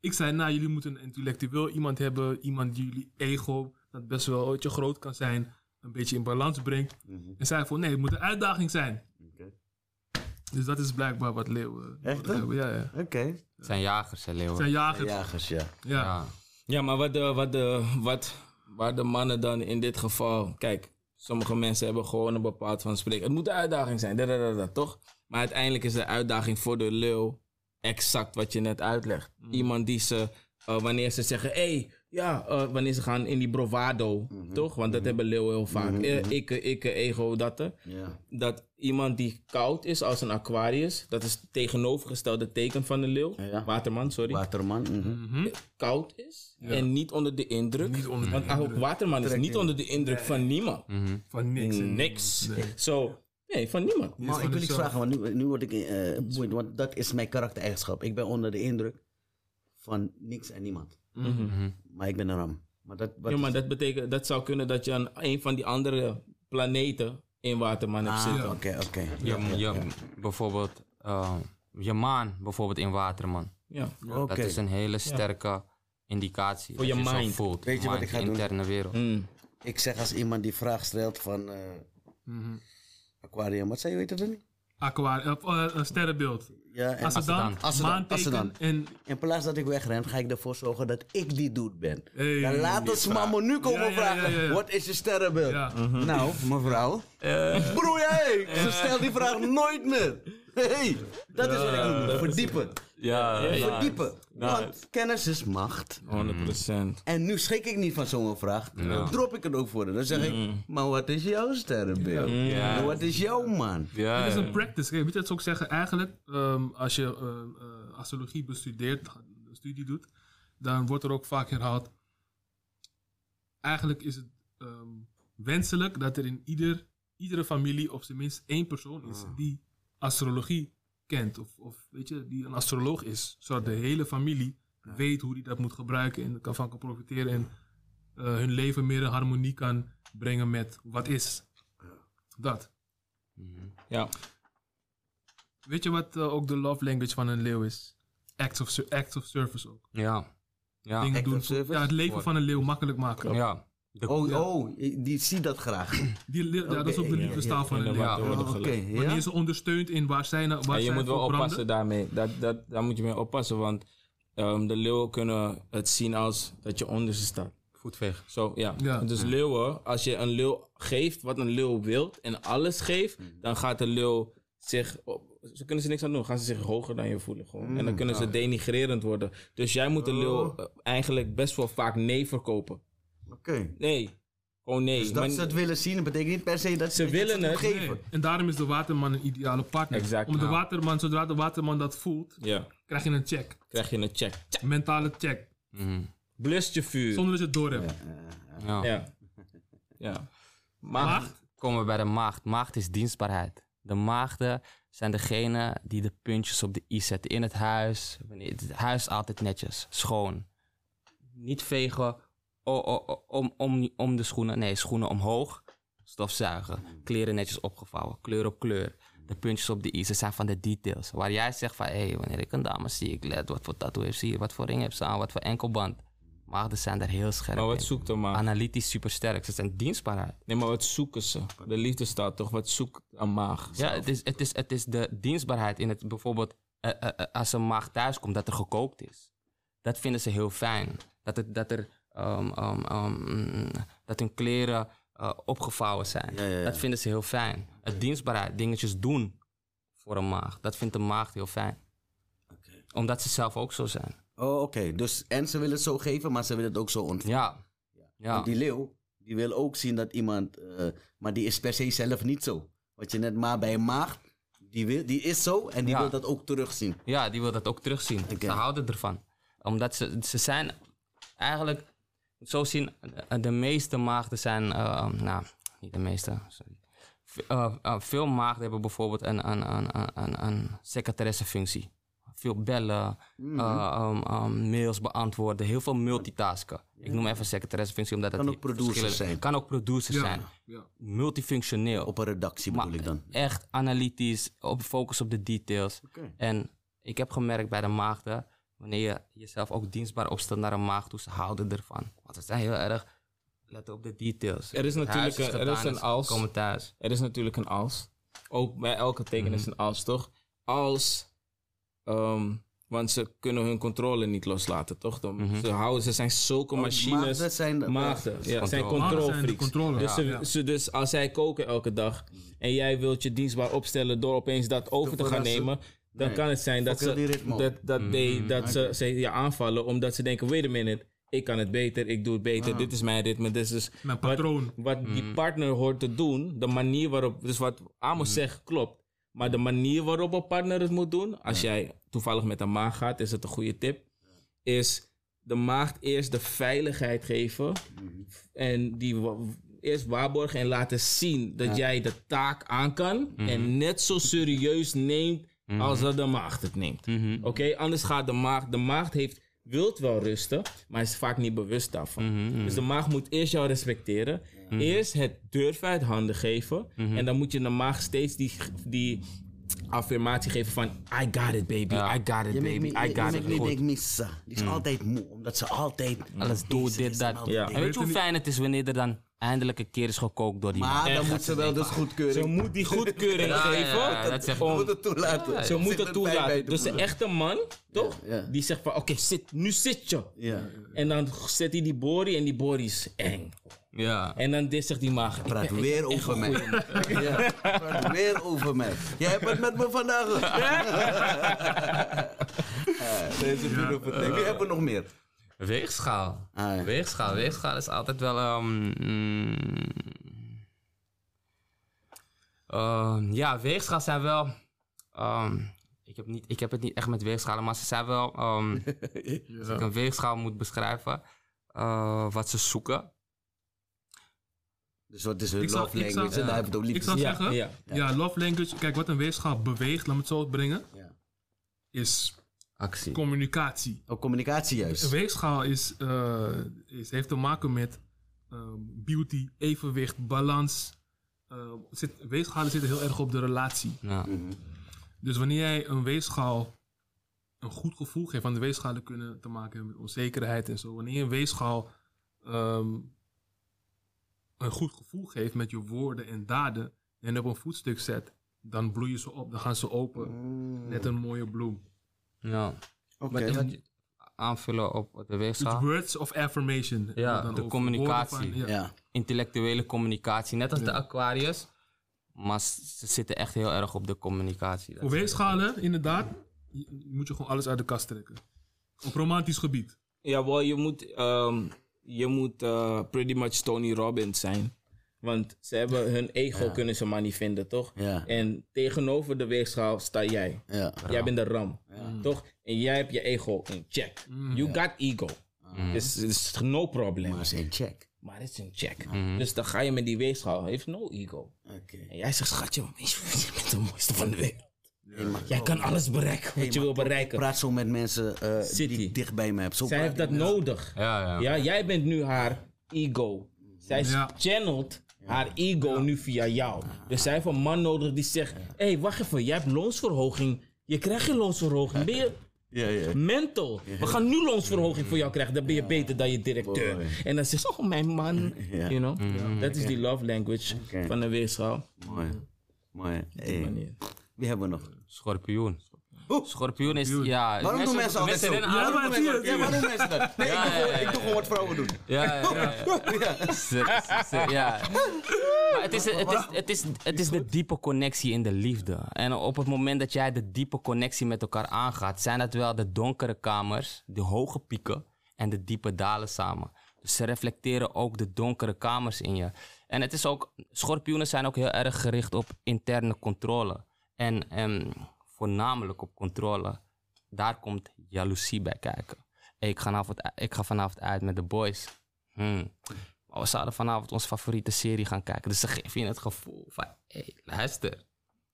Ik zei, nou, jullie moeten een intellectueel iemand hebben, iemand die jullie ego, dat best wel ooit groot kan zijn, een beetje in balans brengt. mhm. En zij van, nee, het moet een uitdaging zijn. Oké. Dus dat is blijkbaar wat leeuwen. Echt, hè? hebben. Ja, ja. Het Oké. Het zijn jagers, hè, leeuwen. zijn jagers. Ja. Jagers, ja. Ja. Ja, maar wat, de, wat, de, wat waar de mannen dan in dit geval... Kijk, sommige mensen hebben gewoon een bepaald van spreken. Het moet een uitdaging zijn, da, da, da, da, toch? Maar uiteindelijk is de uitdaging voor de leeuw exact wat je net uitlegt. Iemand die ze, eh, wanneer ze zeggen... hey, ja, eh, wanneer ze gaan in die bravado, toch? Want dat hebben leeuwen heel vaak. Eh, ikke, ikke, ego, dat. eh. Ja. Dat iemand die koud is als een aquarius... dat is het tegenovergestelde teken van de leeuw. Ja. Waterman, sorry Waterman. mhm. koud is en niet onder de indruk. Niet onder de want indruk. ook Waterman is niet onder de indruk van niemand. Mhm. Mm. Van niks. hè. Mm. Niks. Zo, Nee. nee. van niemand. Maar ik gewoon wil iets zo. vragen, want nu, nu word ik eh boeiend, want dat is mijn karaktereigenschap. Ik ben onder de indruk van niks en niemand. Mhm. Maar ik ben een ram. Maar dat, wat Ja, maar is- dat, betekent, dat zou kunnen dat je aan een van die andere planeten in Waterman hebt Ah, zitten. Oké, oké. Je, je, bijvoorbeeld, eh, je maan bijvoorbeeld in water, man. Ja. Oké. Dat is een hele sterke indicatie. Voor dat je zo mind. voelt. Weet je wat ik ga doen? interne wereld. Mm. Ik zeg als iemand die vraag stelt van eh, Mhm. aquarium, wat zei je, weet het niet? Aquarium, of, eh, eh, sterrenbeeld. Ja, en Assedan, Assedan, Assedan. maanteken en... in plaats dat ik wegren, ga ik ervoor zorgen dat ik die dude ben. Hey, Dan laat die ons vraag. mama nu komen Ja, ja, ja, vragen, ja, ja. wat is je sterrenbeeld? Ja. Mhm. Eh. Nou, mevrouw. Broer, hey, ze stelt die vraag nooit meer. Hey, dat is wat ik noem, verdiepen. Ja, nice. Verdiepen. Nice. Want kennis is macht. 100%. En nu schrik ik niet van zo'n vraag. Dan drop ik het ook voor haar. Dan zeg ik, maar wat is jouw sterrenbeeld? Mm. Ja. En Wat is jouw man? Ja, Het is ja. een practice. Kijk, weet je wat ze ook zeggen? Eigenlijk, ehm, als je ehm, eh, astrologie bestudeert, een studie doet, dan wordt er ook vaak herhaald. Eigenlijk is het ehm, wenselijk dat er in ieder, iedere familie op zijn minst één persoon is Ah. die astrologie kent. Of, of weet je, die een astroloog is. Zodat de hele familie weet hoe die dat moet gebruiken en kan van kan profiteren. En eh, hun leven meer in harmonie kan brengen met wat is. Dat. Ja. Weet je wat eh, ook de love language van een leeuw is? Acts of, ser- acts of service ook. Ja. Ja. Dingen act doen of voor- service? Ja, het leven Voor- van een leeuw makkelijk maken. ja. Oh, oh, die ziet dat graag. Die leeuw- ja, dat is Oké, ook de ja, liefdestaal ja, van een En leeuw. dan wordt- wordt Oké, het gelukt. ja? Wanneer ze ondersteunt in waar zij, na- waar En je zij moet wel voor branden. oppassen daarmee. Dat, dat, daar moet je mee oppassen, want ehm, de leeuwen kunnen het zien als dat je onder ze staat. Voetveeg. Zo, ja. Ja. Dus leeuwen, als je een leeuw geeft wat een leeuw wilt en alles geeft, dan gaat de leeuw zich... Op, ze kunnen ze niks aan doen. Gaan ze zich hoger dan je voelen gewoon. en dan kunnen ze denigrerend worden. Dus jij moet de Oh. leeuw eh, eigenlijk best wel vaak nee verkopen. Oké. Nee. Gewoon nee. Dus dat Maar- ze het willen zien, dat betekent niet per se dat Ze dat je willen moet het. geven. Nee. En daarom is de waterman een ideale partner. Exact. Om de Ja. waterman, zodra de waterman dat voelt, Ja. krijg je een check. Krijg je een check. Een mentale check. Blust je vuur. Zonder dat je het door hebt. Mhm. Ja. Ja. Ja. Maar Maar... Komen we bij de maagd. Maagd is dienstbaarheid. De maagden zijn degene die de puntjes op de i zetten in het huis. Wanneer- Het huis altijd netjes, schoon. Niet vegen o- o- o- om, om, om de schoenen. Nee, schoenen omhoog. Stofzuigen. Kleren netjes opgevouwen. Kleur op kleur. De puntjes op de i. Ze zijn van de details. Waar jij zegt van, hé, wanneer ik een dame zie, ik let wat voor tattoo heeft ze hier. Wat voor ring heeft ze aan. Wat voor enkelband. Maagden zijn daar heel scherp Maar wat in. zoekt een maag? Analytisch supersterk. Ze zijn dienstbaarheid. Nee, maar wat zoeken ze? De liefde staat toch? Wat zoekt een maag? Ja, het is, het, is, het is de dienstbaarheid in het bijvoorbeeld eh, eh, eh, als een maag thuiskomt dat er gekookt is. Dat vinden ze heel fijn. Dat, het, dat, er, ehm, ehm, ehm, mm, dat hun kleren eh, opgevouwen zijn. Ja, ja, ja. Dat vinden ze heel fijn. Het dienstbaarheid, dingetjes doen voor een maag. Dat vindt de maag heel fijn. Omdat ze zelf ook zo zijn. Oh, oké. Dus, en ze willen het zo geven, maar ze willen het ook zo ontvangen. Ja. ja. Want die leeuw, die wil ook zien dat iemand... eh, maar die is per se zelf niet zo. Wat je net maar bij een maagd, die, wil, die is zo en die Ja. wil dat ook terugzien. Ja, die wil dat ook terugzien. Oké. Ze houden ervan. Omdat ze, ze zijn eigenlijk, zo zien, eh, de meeste maagden zijn, eh, nou, niet de meeste, sorry. V- eh, eh, veel maagden hebben bijvoorbeeld een, een, een, een, een, een secretaressefunctie. Veel bellen, Mhm. eh, um, um, mails beantwoorden, heel veel multitasken. Ik noem even secretaressefunctie omdat Kan het ook producers verschillen- zijn. Kan ook producer zijn. ja. Multifunctioneel. Op een redactie Maar bedoel ik dan. echt analytisch, op focus op de details. Oké. En ik heb gemerkt bij de maagden, wanneer je jezelf ook dienstbaar opstelt naar een maagd toe, ze houden ervan. Want ze zijn heel erg, letten op de details. Er is Het natuurlijk huis een- er is gedaan, een dus als. ze Komen thuis. Er is natuurlijk een als. Ook bij elke teken is een als, toch? Als. ehm, want ze kunnen hun controle niet loslaten, toch? Dan, ze, houden, ze zijn zulke machines. maagden zijn dat, ja. Maagden, ja, Controle. zijn Maagden zijn de controlfreaks. controle. Dus, ze- Ja. ze- dus als zij koken elke dag en jij wilt je dienstbaar opstellen door opeens dat over te gaan verrassen. nemen, dan Nee. kan het zijn dat, Fuck heel die ze, ritme op. dat, dat, they- dat ze, ze je aanvallen omdat ze denken, wait a minute, ik kan het beter, ik doe het beter, dit is mijn ritme, dit is dus Mijn wat- patroon. wat die partner hoort te doen, de manier waarop, dus wat Amos zegt klopt, maar de manier waarop een partner het moet doen, als jij toevallig met een maag gaat, is het een goede tip, is de maagd eerst de veiligheid geven en die wa- eerst waarborgen en laten zien dat jij de taak aan kan en net zo serieus neemt als dat de maagd het neemt. Oké, anders gaat de maagd, de maagd heeft wilt wel rusten, maar is vaak niet bewust daarvan. Dus de maag moet eerst jou respecteren. Eerst het durven uit handen geven. En dan moet je de maag steeds die, die affirmatie geven van I got it baby, I got it Je baby, maakt me, I got je it. maakt me Goed. denk missa. Die is altijd moe, omdat ze altijd... Alles doe bezig dit, is dat. en altijd Ja. En dit. weet je hoe fijn het is wanneer er dan eindelijk een keer is gekookt door die man? Maar dan moet ze wel dus Ze goedkeuren. moet die goedkeuring Ja, ja, geven. ja, dat zegt om- Ze moet het toelaten. Ze Zit moet erbij het bij toelaten. de Dus de moeder. echte man, toch? ja. Die zegt van, oké, zit, nu zit je. Ja. En dan zet hij die bori en die bori is eng. Ja. En dan dit zegt die maag. Praat weer over mij. Ja, praat weer over mij. Jij hebt het met me vandaag. Eh, Deze video vertrekt. Wie hebben we nog meer? Weegschaal. Ah, ja. Weegschaal. Weegschaal is altijd wel. ehm, mm, ehm, ja, weegschaal zijn wel. ehm, ik, heb niet, ik heb het niet echt met weegschalen, maar ze zijn wel. ehm, als ik een weegschaal moet beschrijven, eh, wat ze zoeken. Dus wat is hun Ik zou- love ik zou- language? En daar hebben we het ook Ik liefde. zou Ja, zeggen, ja. ja, love language, kijk wat een weegschaal beweegt, laat me het zo brengen, Ja. is Actie. communicatie. Ook Oh, communicatie Een juist. weegschaal is, eh, is, heeft te maken met ehm, beauty, evenwicht, balans. Eh, zit, weegschalen zitten heel erg op de relatie. Ja. Dus wanneer jij een weegschaal een goed gevoel geeft, want de weegschalen kunnen te maken hebben met onzekerheid en zo. Wanneer je een weegschaal ehm, een goed gevoel geeft met je woorden en daden en op een voetstuk zet, dan bloeien ze op, dan gaan ze open. Mm. Mm. Net een mooie bloem. ja. Oké. Wat is het aanvullen op de Dus weegschaal? words of affirmation. Ja, Dan de over communicatie. woorden ja. Ja. Intellectuele communicatie, net als de Ja. Aquarius. Maar s- ze zitten echt heel erg op de communicatie. Dat Voor is- weegschalen, inderdaad, je- je moet je gewoon alles uit de kast trekken. Op romantisch gebied. Jawel, je moet, ehm, je moet eh, pretty much Tony Robbins zijn. Want ze hebben hun ego kunnen ze maar niet vinden, toch? Ja. En tegenover de weegschaal sta jij. Ja. Jij bent de ram, toch? En jij hebt je ego in check. You got ego. Mm. Is is no problem. Maar ze check. Maar het is een check. Dus dan ga je met die weegschaal. Hij heeft no ego. Oké. En jij zegt, schatje, weet je, je bent de mooiste van de wereld. jij kan alles bereiken wat je wil bereiken. Praat zo met mensen eh, die eh, City. ik dicht bij me heb. Zo Zij praat heeft dat ik met- nodig. Ja, ja. Ja, jij bent nu haar ego. Zij Ja. channelt haar ego nu via jou. Dus zij heeft een man nodig die zegt... Hé, hey, wacht even. Jij hebt loonsverhoging. Je krijgt geen loonsverhoging. Ben je Ja, ja. mental? We gaan nu loonsverhoging voor jou krijgen. Dan ben je beter dan je directeur. Mooi. En dan zegt ze... Oh, mijn man. Ja. You know? Dat is die love language Oké. van een weegschaal. Mooi. Mooi. Hey, Manier. Wie hebben we nog? Schorpioen. Oeh. Schorpioen is, ja... Waarom doen mensen altijd zo? rennen aan- Waarom doen mensen- Ja, waarom mensen dat? Nee, ik Ja, doe ja, gewoon- ja, ik doe gewoon wat vrouwen doen. Ja, ja, ja. Ze- ze- ze- ja. Maar het is, het, is, het, is, het is de diepe connectie in de liefde. En op het moment dat jij de diepe connectie met elkaar aangaat, zijn dat wel de donkere kamers, de hoge pieken en de diepe dalen samen. Dus ze reflecteren ook de donkere kamers in je. En het is ook, schorpioenen zijn ook heel erg gericht op interne controle. En ehm, voornamelijk op controle. Daar komt jaloezie bij kijken. Ik ga vanavond, ik ga vanavond uit met de boys. Hmm. Maar we zouden vanavond onze favoriete serie gaan kijken. Dus ze geven je het gevoel van, hé, luister.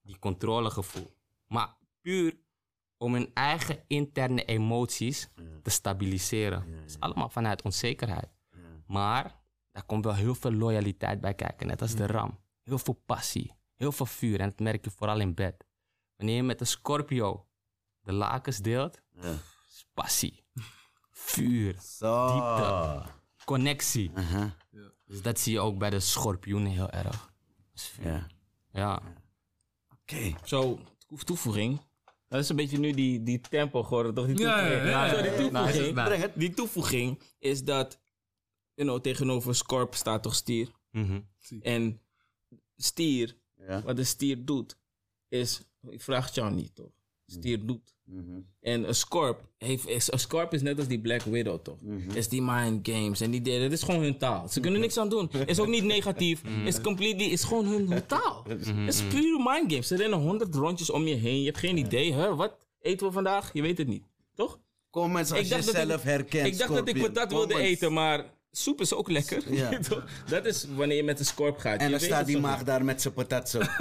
Die controlegevoel. Maar puur om hun eigen interne emoties te stabiliseren. Dat is allemaal vanuit onzekerheid. Maar daar komt wel heel veel loyaliteit bij kijken. Net als de ram. Heel veel passie. Heel veel vuur. En dat merk je vooral in bed. Wanneer je met een Scorpio de lakens deelt, Ja. is passie. Vuur Zo. Diepte. connectie. Aha, Dus dat zie je ook bij de schorpioenen heel erg. Ja. Ja. Oké. Zo, toe- toevoeging. Dat is een beetje nu die, die tempo geworden, toch? Die Ja, toevoeging. Nou, ja, ja, ja. Zo, die toevoeging. Nice, nice. eh, Breng het. Die toevoeging is dat, you know, tegenover Scorp staat toch stier. Mhm. En stier, Ja. wat een stier doet, is, ik vraag jou niet toch? Stier doet. Mhm. En een Scorp, heeft, is, een Scorp is net als die Black Widow toch? Mhm. Is die mind games en die dingen, dat is gewoon hun taal. Ze kunnen niks aan doen. Is ook niet negatief. Mhm. Is completely, is gewoon hun, hun taal. Het is puur mind games. Ze rennen honderd rondjes om je heen. Je hebt geen idee, hè? Wat eten we vandaag? Je weet het niet, toch? Kom eens als Ik dacht je dat ik- zelf herkent. Ik dacht dat ik Scorpion. patat Kom wilde eens. eten, maar soep is ook lekker. Ja. Toch? dat is wanneer je met een scorp gaat. Je En dan weet staat het die toch maag daar met zijn patat zo.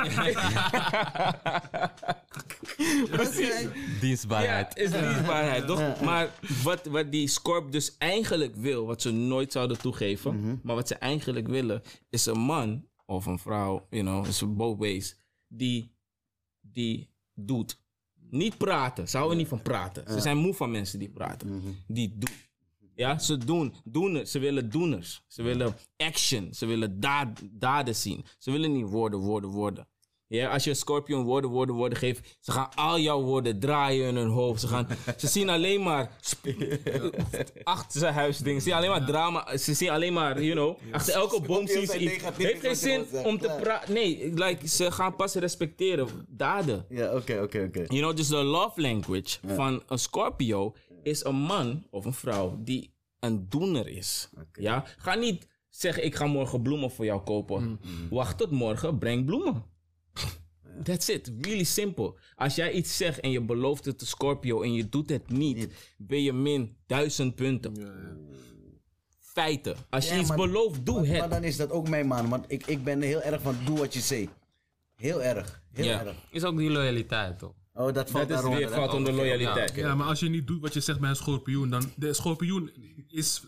Precies. Ja, Dienstbaarheid. het is dienstbaarheid, toch? Maar wat, wat die Scorp dus eigenlijk wil, wat ze nooit zouden toegeven, maar wat ze eigenlijk willen, is een man of een vrouw, you know, is both ways, die, die doet. Niet praten. Ze houden niet van praten. Ze zijn moe van mensen die praten. Die doen. Ja, ze doen. doen. Ze willen doeners. Ze willen action. Ze willen daad, daden zien. Ze willen niet woorden, woorden, woorden. Ja, als je een Scorpion woorden, woorden, woorden geeft, ze gaan al jouw woorden draaien in hun hoofd. Ze, gaan, ze zien alleen maar sp- achter zijn huisdingen. Ze zien alleen maar drama. Ze zien alleen maar, you know, achter elke boom zien ze zijn iets. Het negatief, heeft geen wat je zin wil zeggen. om te Klaar. praten. Nee, like, ze gaan pas respecteren. Daden. Ja, oké, oké, oké. You know, dus de love language van een Scorpio is een man of een vrouw die een doener is. Ja? Ga niet zeggen, ik ga morgen bloemen voor jou kopen. Mm. Wacht tot morgen, breng bloemen. That's it. Really simple. Als jij iets zegt en je belooft het de Scorpio en je doet het niet, ben je min duizend punten. Feiten. Als je Ja, iets maar- belooft, doe Maar, het. maar dan is dat ook mijn man, want ik, ik ben heel erg van doe wat je zegt. Heel erg, heel Ja. erg. Is ook die loyaliteit, toch? Oh, dat valt dat is daaronder. weer hè? valt onder Oké, oké, loyaliteit. oké. Ja, maar als je niet doet wat je zegt bij een schorpioen, dan... De schorpioen is...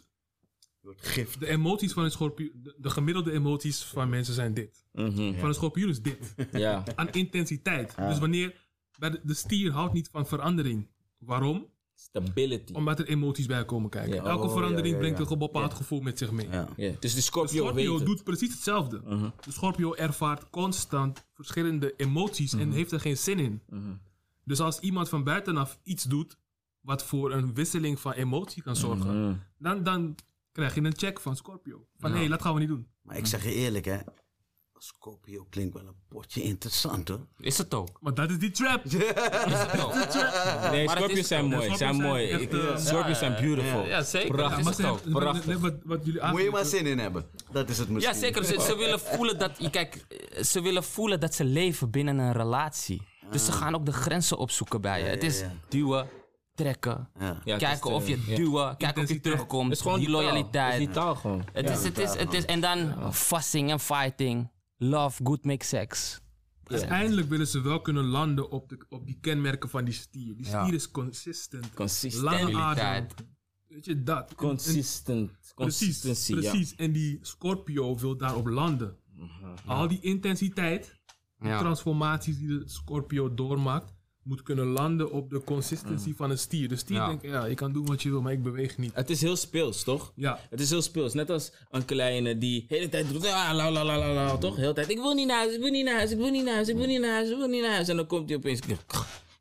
Gift. De emoties van een schorpioen... De, de gemiddelde emoties van mensen zijn dit. Mhm. Van een schorpioen is dit. Ja. Aan intensiteit. Dus wanneer... Bij de, de stier houdt niet van verandering. Waarom? Stability. Omdat er emoties bij komen kijken. Ja. Elke Oh, verandering ja, ja, brengt ja. een bepaald gevoel met zich mee. Ja. Ja. Dus de De Scorpio, weet Scorpio het. doet precies hetzelfde. De Scorpio ervaart constant verschillende emoties en heeft er geen zin in. Dus als iemand van buitenaf iets doet wat voor een wisseling van emotie kan zorgen, dan, dan krijg je een check van Scorpio. Van hé, hey, dat gaan we niet doen. Maar ik zeg je eerlijk, hè. Scorpio klinkt wel een potje interessant, hoor. Is het ook? Maar dat is die trap. Nee, Maar het Scorpios is- zijn Nee, mooi. Zijn Scorpions zijn mooi. echt, Ik- eh, Scorpios zijn beautiful. Ja, zeker. Prachtig. Ja, Maar maar ze hebben- prachtig. net wat, wat jullie Moet je aangeven. maar zin in hebben. Dat is het misschien. Ja, zeker. Ze, ze willen voelen dat, kijk, ze willen voelen dat ze leven binnen een relatie. Dus ze Ah. gaan ook de grenzen opzoeken bij je. het is ja. duwen, trekken, Ja. Ja, het is kijken de- of je ja. duwen, kijken of je Intensiteit. terugkomt. Het is gewoon die taal. Het is loyaliteit. die taal gewoon. Het is, het is, het is, en dan fussing en fighting. Love, good make sex. Uiteindelijk willen ze wel kunnen landen op, de, op die kenmerken van die stier. Die stier is consistent. Consistent. Lange adem. Stabiliteit. Weet je dat? En- en- Consistent. Precies, Consistency. ja. Mhm. precies. En die Scorpio wil daarop landen. Al die intensiteit, Ja. transformaties die de Scorpio doormaakt, moet kunnen landen op de consistency Mhm. van een stier. De stier Ja. denkt, ja, je kan doen wat je wil, maar ik beweeg niet. Het is heel speels, toch? Ja. Het is heel speels. Net als een kleine die de hele tijd doet. Ah, la, la, la, la, la, toch? De hele tijd. Ik wil niet naar huis, ik wil niet naar huis, ik wil niet naar huis, ik wil niet naar huis, ik wil niet naar huis. En dan komt hij opeens.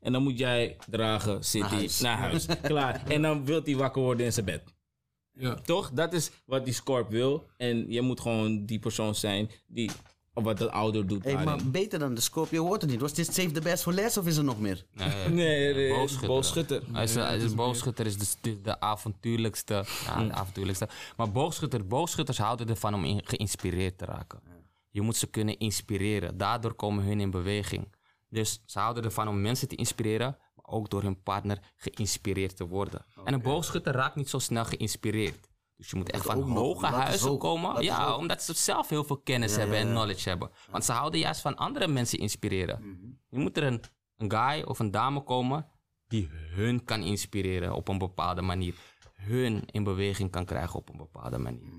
En dan moet jij dragen, zit hij naar huis. Klaar. En dan wil hij wakker worden in zijn bed. Ja. Toch? Dat is wat die Scorp wil. En je moet gewoon die persoon zijn die of wat de ouder doet. Hey, daarin. maar beter dan de Scorpio hoort het niet. Was dit Save the Best for Last of is er nog meer? Nee, nee, nee, boogschutter. boogschutter. Hij is, hij is boogschutter is de, de, de avontuurlijkste. Hm. Ja, de avontuurlijkste. Maar boogschutter, boogschutters houden ervan om in- geïnspireerd te raken. Je moet ze kunnen inspireren. Daardoor komen hun in beweging. Dus ze houden ervan om mensen te inspireren, maar ook door hun partner geïnspireerd te worden. En een boogschutter raakt niet zo snel geïnspireerd. Dus je moet echt van ook nog. hoge Dat is huizen ook. Dat komen. is Ja, ook. omdat ze zelf heel veel kennis hebben en knowledge hebben. Want ze houden juist van andere mensen inspireren. Mhm. Je moet er een, een guy of een dame komen die hun kan inspireren op een bepaalde manier. Hun in beweging kan krijgen op een bepaalde manier. Mhm.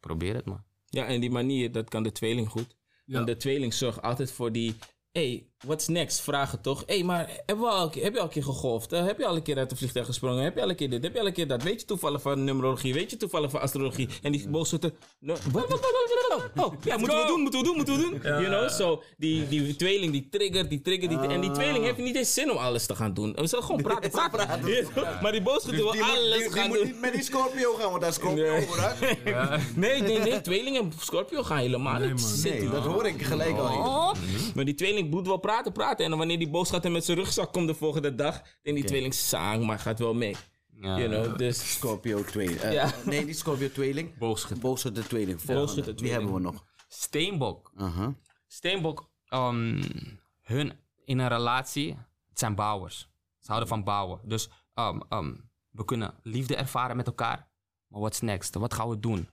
Probeer het maar. Ja, en die manier, dat kan de tweeling goed. Want de tweeling zorgt altijd voor die... hey, what's next? Vragen toch? hey, maar hebben we al, een keer- heb je al een keer gegolfd? Eh, heb je al een keer uit een vliegtuig gesprongen? Heb je al een keer dit? Heb je al een keer dat? Weet je toevallig van numerologie? Weet je toevallig van astrologie? En die boogschutter... No, wat, wat, wat, wat, wat, wat? Oh, ja, moeten we doen, moeten we doen, moeten we doen. You know, so, die, die tweeling die triggert, die triggert, die En die tweeling heeft niet eens zin om alles te gaan doen. We zullen gewoon praten, praten. You know? Maar die boogschutter wil alles gaan doen. met die Scorpio gaan, want daar is Scorpio Nee. vooruit. Nee, nee, nee. Tweeling en Scorpio gaan helemaal niet man. zitten. Nee, dat hoor ik gelijk al. Oh. Maar die tweeling moet wel praten, praten. En dan wanneer die boos gaat en met zijn rugzak komt de volgende dag. En die tweeling saang, maar gaat wel mee. Ah. You know, dus... Scorpio 2. eh, Ja. Nee, niet Scorpio tweeling. Boogschutter. Boogschutter tweeling. Boogschutter Volgende. Die tweeling. hebben we nog. Steenbok. Aha. Steenbok, ehm, hun in een relatie, het zijn bouwers. Ze houden van bouwen. Dus ehm, ehm, we kunnen liefde ervaren met elkaar. Maar what's next? Wat gaan we doen?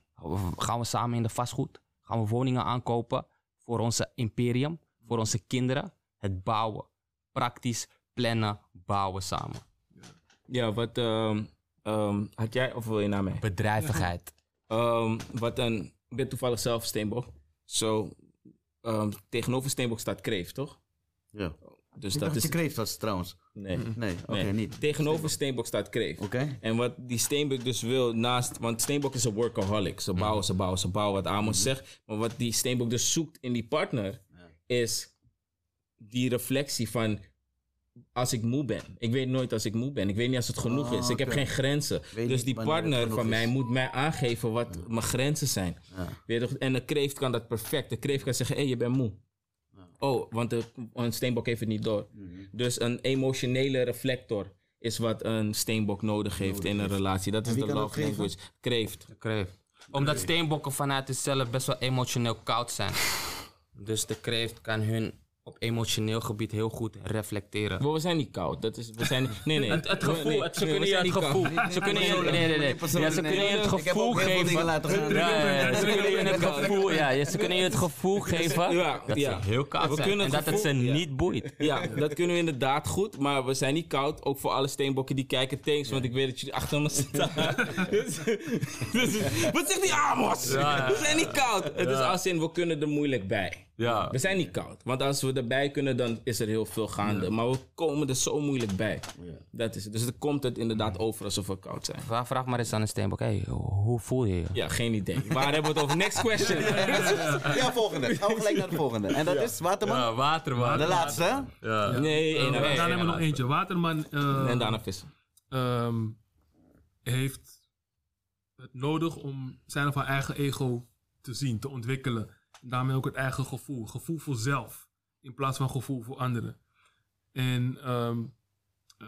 Gaan we samen in de vastgoed? Gaan we woningen aankopen voor onze imperium, voor onze kinderen? Het bouwen. Praktisch plannen, bouwen samen. Ja, wat ehm, ehm, had jij, of wil je naar mij? Bedrijvigheid. Ehm, wat een... Ik ben toevallig zelf Steenbok. Zo, ehm, tegenover Steenbok staat Kreeft, toch? Ja. Dus Ik dat dacht is je kreeft was trouwens. Nee. Nee, oké, Nee. niet. Tegenover Steenbok staat Kreef. Oké. En wat die Steenbok dus wil naast... Want Steenbok is een workaholic. Ze Mm-hmm. bouwen, ze bouwen, ze bouwen. Wat Amos zegt. Maar wat die Steenbok dus zoekt in die partner... is die reflectie van... Als ik moe ben. Ik weet nooit als ik moe ben. Ik weet niet als het genoeg Ah, is. Ik heb oké. geen grenzen. Weet niet dus die wanneer het partner genoeg van mij is. moet mij aangeven wat mijn grenzen zijn. Ja. Weet je toch? en een kreeft kan dat perfect. De kreeft kan zeggen, hé, je bent moe. Oh, want de, een steenbok heeft het niet door. Dus een emotionele reflector is wat een steenbok nodig heeft in een relatie. Dat is wie de kan dat love geven? language. Kreeft. De kreeft. Omdat steenbokken vanuit zichzelf best wel emotioneel koud zijn. Dus de kreeft kan hun op emotioneel gebied heel goed reflecteren. Maar we zijn niet koud. Dat is, we zijn, nee, nee. Het- het gevoel, Nee, het- ze nee, we kunnen zijn je het niet gevoel- koud. ze kunnen je- Nee, nee, nee, nee. Ja, ze Nee, kunnen je ik het heb ook gevoel heel veel geven. dingen laten gaan. Ja, ja, ja, ze kunnen je het gevoel, ja, ja, ze kunnen je het gevoel geven Ja, dat ja. ze heel We koud zijn kunnen en het dat het ze gevoel- ja. niet boeit. Ja, dat kunnen we inderdaad goed. Maar we zijn niet koud. Ook voor alle steenbokken die kijken. Thanks, want ik weet dat jullie achter me staan. dus, dus- wat zegt die Amos? We zijn niet koud. Het is als in, we kunnen er moeilijk bij. Ja. We zijn niet koud. Want als we erbij kunnen, dan is er heel veel gaande. Maar we komen er zo moeilijk bij. Dat is het. Dus dan komt het inderdaad over alsof we koud zijn. Vraag, vraag maar eens aan een steenbok, hey, hoe voel je je? Ja, geen idee. Waar hebben we het over? Next question. Ja, volgende. Gaan we gelijk naar de volgende. En dat is Waterman. water, De laatste. hè? Nee, Eh, één daarna aan hebben we nog eentje. Waterman eh, En daarna vissen. ehm, heeft het nodig om zijn of haar eigen ego te zien, te ontwikkelen. En daarmee ook het eigen gevoel. Gevoel voor zelf in plaats van gevoel voor anderen. En ehm, eh,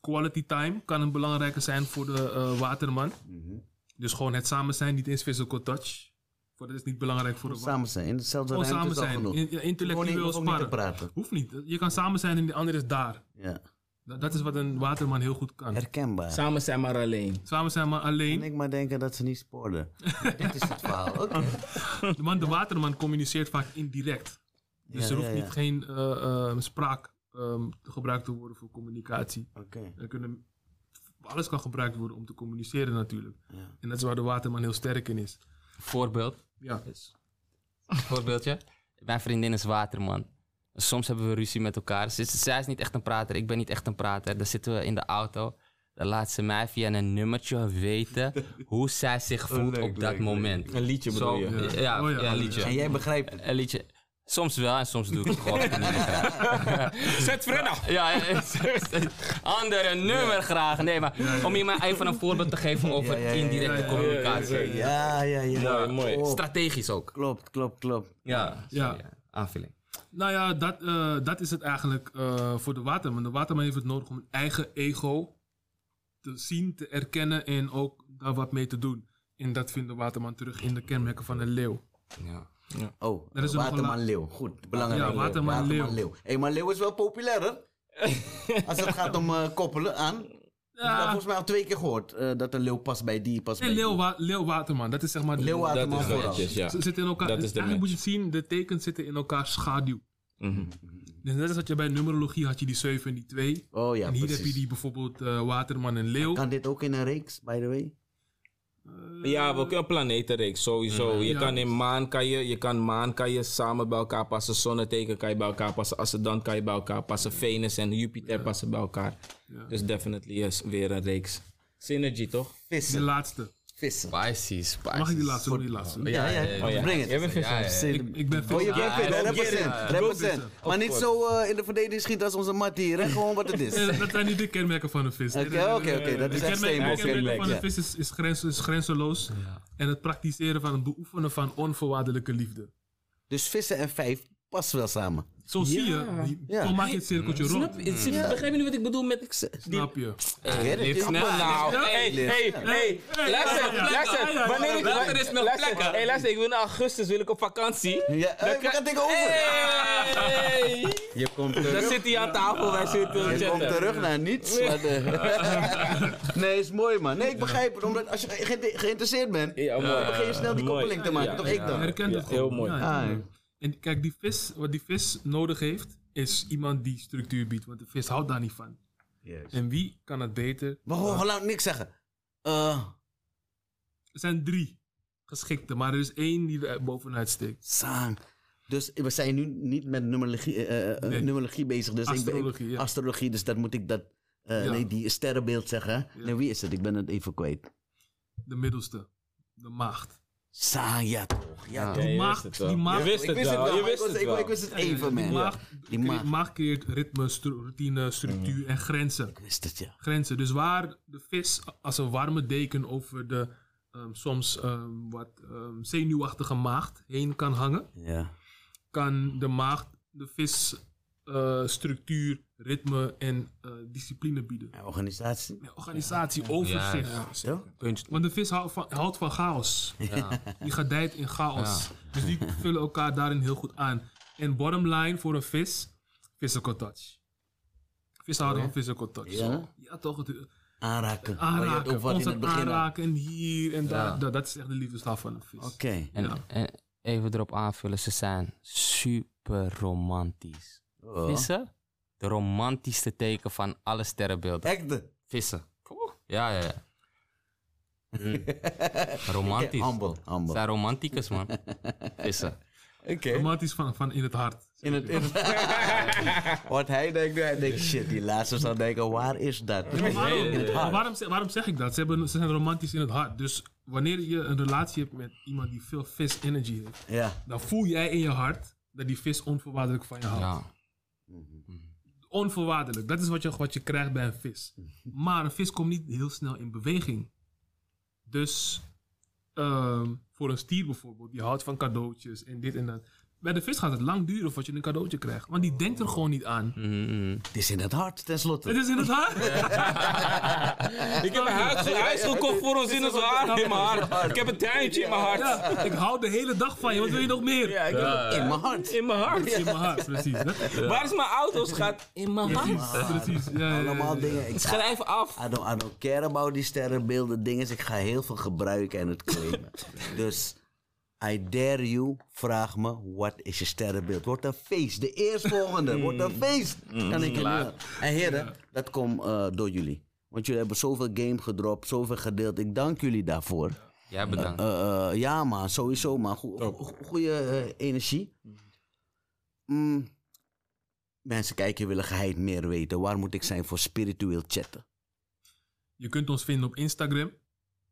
quality time kan een belangrijke zijn voor de eh, waterman. Mhm. Dus gewoon het samen zijn, niet eens physical touch. Voor dat is niet belangrijk voor de wa- Samen zijn. In dezelfde Gewoon ruimte samen is al zijn, genoeg. in- ja, Gewoon niet- intellectueel hoef ook niet te sparren. praten. Hoeft niet. Je kan samen zijn en de ander is daar. Ja. Dat, dat is wat een waterman heel goed kan. Herkenbaar. Samen zijn maar alleen. Samen zijn maar En alleen. ik maar denken dat ze niet spoorden. Dit is het verhaal. Oké. De man, de waterman communiceert vaak indirect. Dus Ja, er hoeft ja, ja. niet geen eh, eh, spraak ehm, te gebruikt te worden voor communicatie. Oké. Er kunnen, alles kan gebruikt worden om te communiceren natuurlijk. Ja. En dat is waar de waterman heel sterk in is. Voorbeeld. Ja. Voorbeeldje. Mijn vriendin is waterman. Soms hebben we ruzie met elkaar. Ze- Zij is niet echt een prater, ik ben niet echt een prater. Dan zitten we in de auto. Dan laat ze mij via een nummertje weten hoe zij zich Oh, voelt op dat moment. Een liedje bedoel je? Ja, Ja. ja, Oh ja. een En liedje. jij begrijpt het. Een liedje. Soms wel en soms doe ik het gewoon niet graag. Zet Frenna! Ja, andere nummer graag. Nee, maar om je maar even een voorbeeld te geven Ja, over ja, ja, ja, indirecte ja, ja, communicatie. Ja, ja, ja. Mooi, mooi. Oh, Strategisch ook. klopt, klopt, klopt. Ja, Ja. ja. aanvulling. Nou ja, dat, eh, dat is het eigenlijk eh, voor de waterman. De waterman heeft het nodig om een eigen ego te zien, te erkennen en ook daar wat mee te doen. En dat vindt de waterman terug in de kenmerken van een leeuw. Ja. Oh, Er is nog een Waterman la- Leeuw. Goed, belangrijk. Ja, Waterman Leeuw. Hé, maar Leeuw is wel populair, hè? Als het gaat om eh, koppelen aan. Ik heb dat volgens mij al twee keer gehoord. eh, dat een leeuw past bij die, past En bij leeuw, die. wa- leeuw waterman, dat is zeg maar... de- Leeuw Dat Waterman is vooral. netjes, ja. Ze zitten in elkaar. Dat is de eigenlijk moet je het zien, de tekens zitten in elkaar schaduw. Mhm. Dus net als dat je bij numerologie had je die 7 en die 2. Oh ja, en hier precies. heb je die bijvoorbeeld eh, waterman en leeuw. Kan dit ook in een reeks, by the way? Ja, we kunnen planetenreeks sowieso. Mhm. Je Ja. kan in maan kan je, je kan maan kan je samen bij elkaar passen. Zonneteken kan je bij elkaar passen. Ascendant kan je bij elkaar passen. Venus en Jupiter passen bij elkaar. Dus definitely yes, weer een reeks. Synergy toch? De Vissen. laatste. Vissen. Spicy, spicy. Mag ik die laatste? Sorry, die laatste. Ja, ja, Oh ja. Breng het. Jij bent visser. Ik, ik ben Oh, je Ja, bent fit, ja, represent, ja. represent. Maar niet zo eh, in de verdediging schieten als onze mat hier, hè? gewoon wat het is. eh, dat zijn niet de kenmerken van een vis. Eh, Oké, oké, oké, dat is de echt kenmerken, steenbok, de kenmerken van ja. een vis is, is, grens, is grenzeloos. En het praktiseren van het beoefenen van onvoorwaardelijke liefde. Dus vissen en vijf past wel samen. Zo zie je, die- Ja. zo maak je het cirkeltje rond. Snap, je- begrijp je nu wat ik bedoel met... Die, Snap je? Get it? Lift snel nou, Ja. hey, hey, hey, luister, luister. Wanneer ik... Later is nog luister, plekken. Hey, luister, ik wil in augustus wil ik op vakantie. Ja, eh, we gaan tegenover. Hey! Je komt Dan terug. zit hij aan tafel, wij zitten... Je komt chatten. terug naar niets. maar de- nee, is mooi man. Nee, ik begrijp het. Omdat als je ge- ge- geïnteresseerd bent, Ja, dan mooi. begin je snel die Mooi. koppeling te maken. Ja, Toch ja. ik dan? Herkent Ja, het gewoon. heel mooi. Ah, herkent het. En kijk, die vis, wat die vis nodig heeft, is iemand die structuur biedt. Want de vis houdt daar niet van. En wie kan het beter? Maar hoor, hoor, laat niks zeggen. Eh, Er zijn drie geschikte, maar er is één die er bovenuit steekt. Sang. Dus we zijn nu niet met numerologie, eh, eh, Nee. numerologie bezig. Dus ik Astrologie, ben, ja. Astrologie, dus dat moet ik dat... eh, Ja. Nee, die sterrenbeeld zeggen. Ja. Nee, wie is het? Ik ben het even kwijt. De middelste. De maagd. Saya toch. Ja, Ja. toch. je maakt- wist het die wel. Je maakt- wist Ik het wist het wel. wel. Je maar Ik wist was- het ik- wel. ik wist het even, Die man. maagd, Die cre- maagd. maagd creëert ritme, stru- routine, structuur en grenzen. Ik wist het, ja. grenzen. Dus waar de vis als een warme deken over de ehm, soms ehm, wat ehm, zenuwachtige maagd heen kan hangen, Ja. kan de maagd de vis eh, structuur, ritme en eh, discipline bieden. En organisatie. Organisatie, overzicht. Zo? Puntje. Want de vis houdt van, houdt van chaos. Ja. Die gedijt in chaos. Dus die vullen elkaar daarin heel goed aan. En bottom line voor een vis, physical touch. Vissen houden van physical touch. Oh, Ja? Oh, ja toch. Het, eh, Aanraken. Waar je het Aanraken, over had in constant het begin al. aanraken en hier en daar. Ja. Dat, dat is echt de liefdestaal van een vis. Oké. En, Ja. en even erop aanvullen, ze zijn super romantisch. Oh. Vissen? De romantischste teken van alle sterrenbeelden. Echte. Vissen. Ja, ja, ja. Mm. Romantisch. Humble. Ze Humble. zijn romanticus, man. Vissen. Oké. Romantisch van, van in het hart. In het, in het- Wat hij denkt, hij denkt, shit, die laatste zou denken, waar is dat? Maar waarom, In het maar hart. waarom, zeg- waarom zeg ik dat? Ze, hebben, ze zijn romantisch in het hart. Dus wanneer je een relatie hebt met iemand die veel vis energy heeft, Ja. dan voel jij in je hart dat die vis onvoorwaardelijk van je houdt. Ja. Onvoorwaardelijk. Dat is wat je, wat je krijgt bij een vis. Maar een vis komt niet heel snel in beweging. Dus ehm, voor een stier bijvoorbeeld, die houdt van cadeautjes en dit en dat. Bij de vis gaat het lang duren voordat je een cadeautje krijgt. Want die denkt er gewoon niet aan. Mm, mm. Het is in het hart, Het tenslotte. is in het hart. Ik heb een huis, huis gekocht voor ons in het hart. in mijn hart. Ik heb een tuintje in mijn hart. Ja, ik hou de hele dag van je. Wat wil je nog meer? Ja, ik heb een- In mijn hart. In mijn hart. In mijn hart, precies. hè? Waar is mijn auto, schat? In mijn hart. Precies. Ja, ja, ja, ja. Allemaal dingen. Ik ga, Schrijf af. I don't, I don't care about die sterrenbeelden, dingen. Ik ga heel veel gebruiken en het claimen. dus, I dare you, vraag me, wat is je sterrenbeeld? Wordt een feest. De eerstvolgende wordt een feest. Kan ik je nu al- En heren, dat komt eh, door jullie. Want jullie hebben zoveel game gedropt, zoveel gedeeld. Ik dank jullie daarvoor. Jij bedankt. Eh, eh, ja, maar sowieso, maar goede eh, energie. Mm. Mensen kijken willen geheid meer weten. Waar moet ik zijn voor spiritueel chatten? Je kunt ons vinden op Instagram,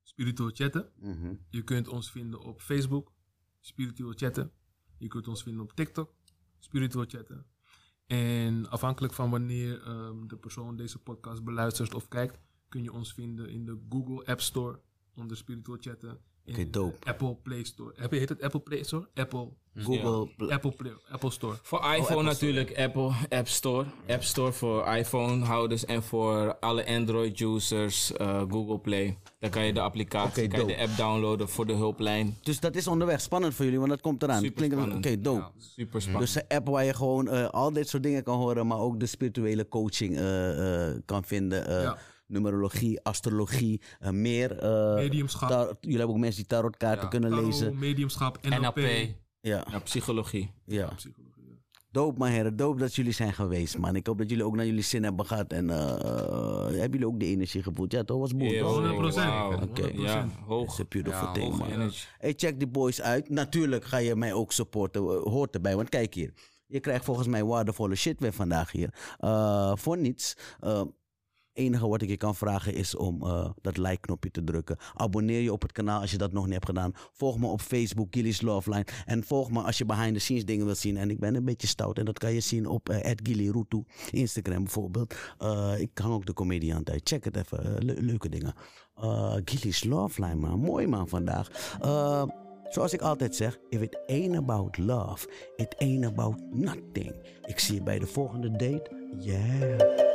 Spiritual Chatten. Mhm. Je kunt ons vinden op Facebook, Spiritual Chatten. Je kunt ons vinden op TikTok, Spiritual Chatten. En afhankelijk van wanneer ehm, de persoon deze podcast beluistert of kijkt, kun je ons vinden in de Google App Store onder Spiritual Chatten. In Oké, dope. de Apple Play Store. Heb- Heet het Apple Play Store? Apple. Google. pla- Apple, Play, Apple Store. Oh, Voor iPhone natuurlijk, Apple App Store. App Store voor iPhone-houders en voor alle Android-users, eh, Google Play. Dan kan je de applicatie, Oké, kan je de dope. app downloaden voor de hulplijn. Dus dat is onderweg. Spannend voor jullie, want dat komt eraan. Super Klinkt- Oké, spannend. dope. Super spannend. Dus een app waar je gewoon eh, al dit soort dingen kan horen, maar ook de spirituele coaching eh, eh, kan vinden. eh, Ja. Numerologie, astrologie, eh, meer. eh, Mediumschap. tarot- jullie hebben ook mensen die tarotkaarten Ja. kunnen Tarot, lezen. mediumschap, Eh, NLP. NLP. Ja, ja, psychologie. ja. Psychologie, ja. Doop, mijn heren. Doop dat jullie zijn geweest, man. Ik hoop dat jullie ook naar jullie zin hebben gehad. En eh, eh, hebben jullie ook de energie gevoeld? Ja, toch? Was boel, Yo, toch? 100%. wauw. Oké. Ja, 100%. It's hoog. a beautiful Ja, thing, hoog man. energy. Hey, check die boys uit. Natuurlijk ga je mij ook supporten. eh, Hoort erbij. Want kijk hier. Je krijgt volgens mij waardevolle shit weer vandaag hier. Eh, voor niets. Eh, enige wat ik je kan vragen is om eh, dat like-knopje te drukken. Abonneer je op het kanaal als je dat nog niet hebt gedaan. Volg me op Facebook, Gilly's Love Line. En volg me als je behind-the-scenes dingen wilt zien. En ik ben een beetje stout. En dat kan je zien op eh Gilly Rutu. Instagram bijvoorbeeld. Eh, ik hang ook de comedian uit. Check het even. Eh, le- leuke dingen. Eh Gilly's Love Line, man. Mooi, man, vandaag. Eh, zoals ik altijd zeg, if it ain't about love, it ain't about nothing. Ik zie je bij de volgende date. Yeah.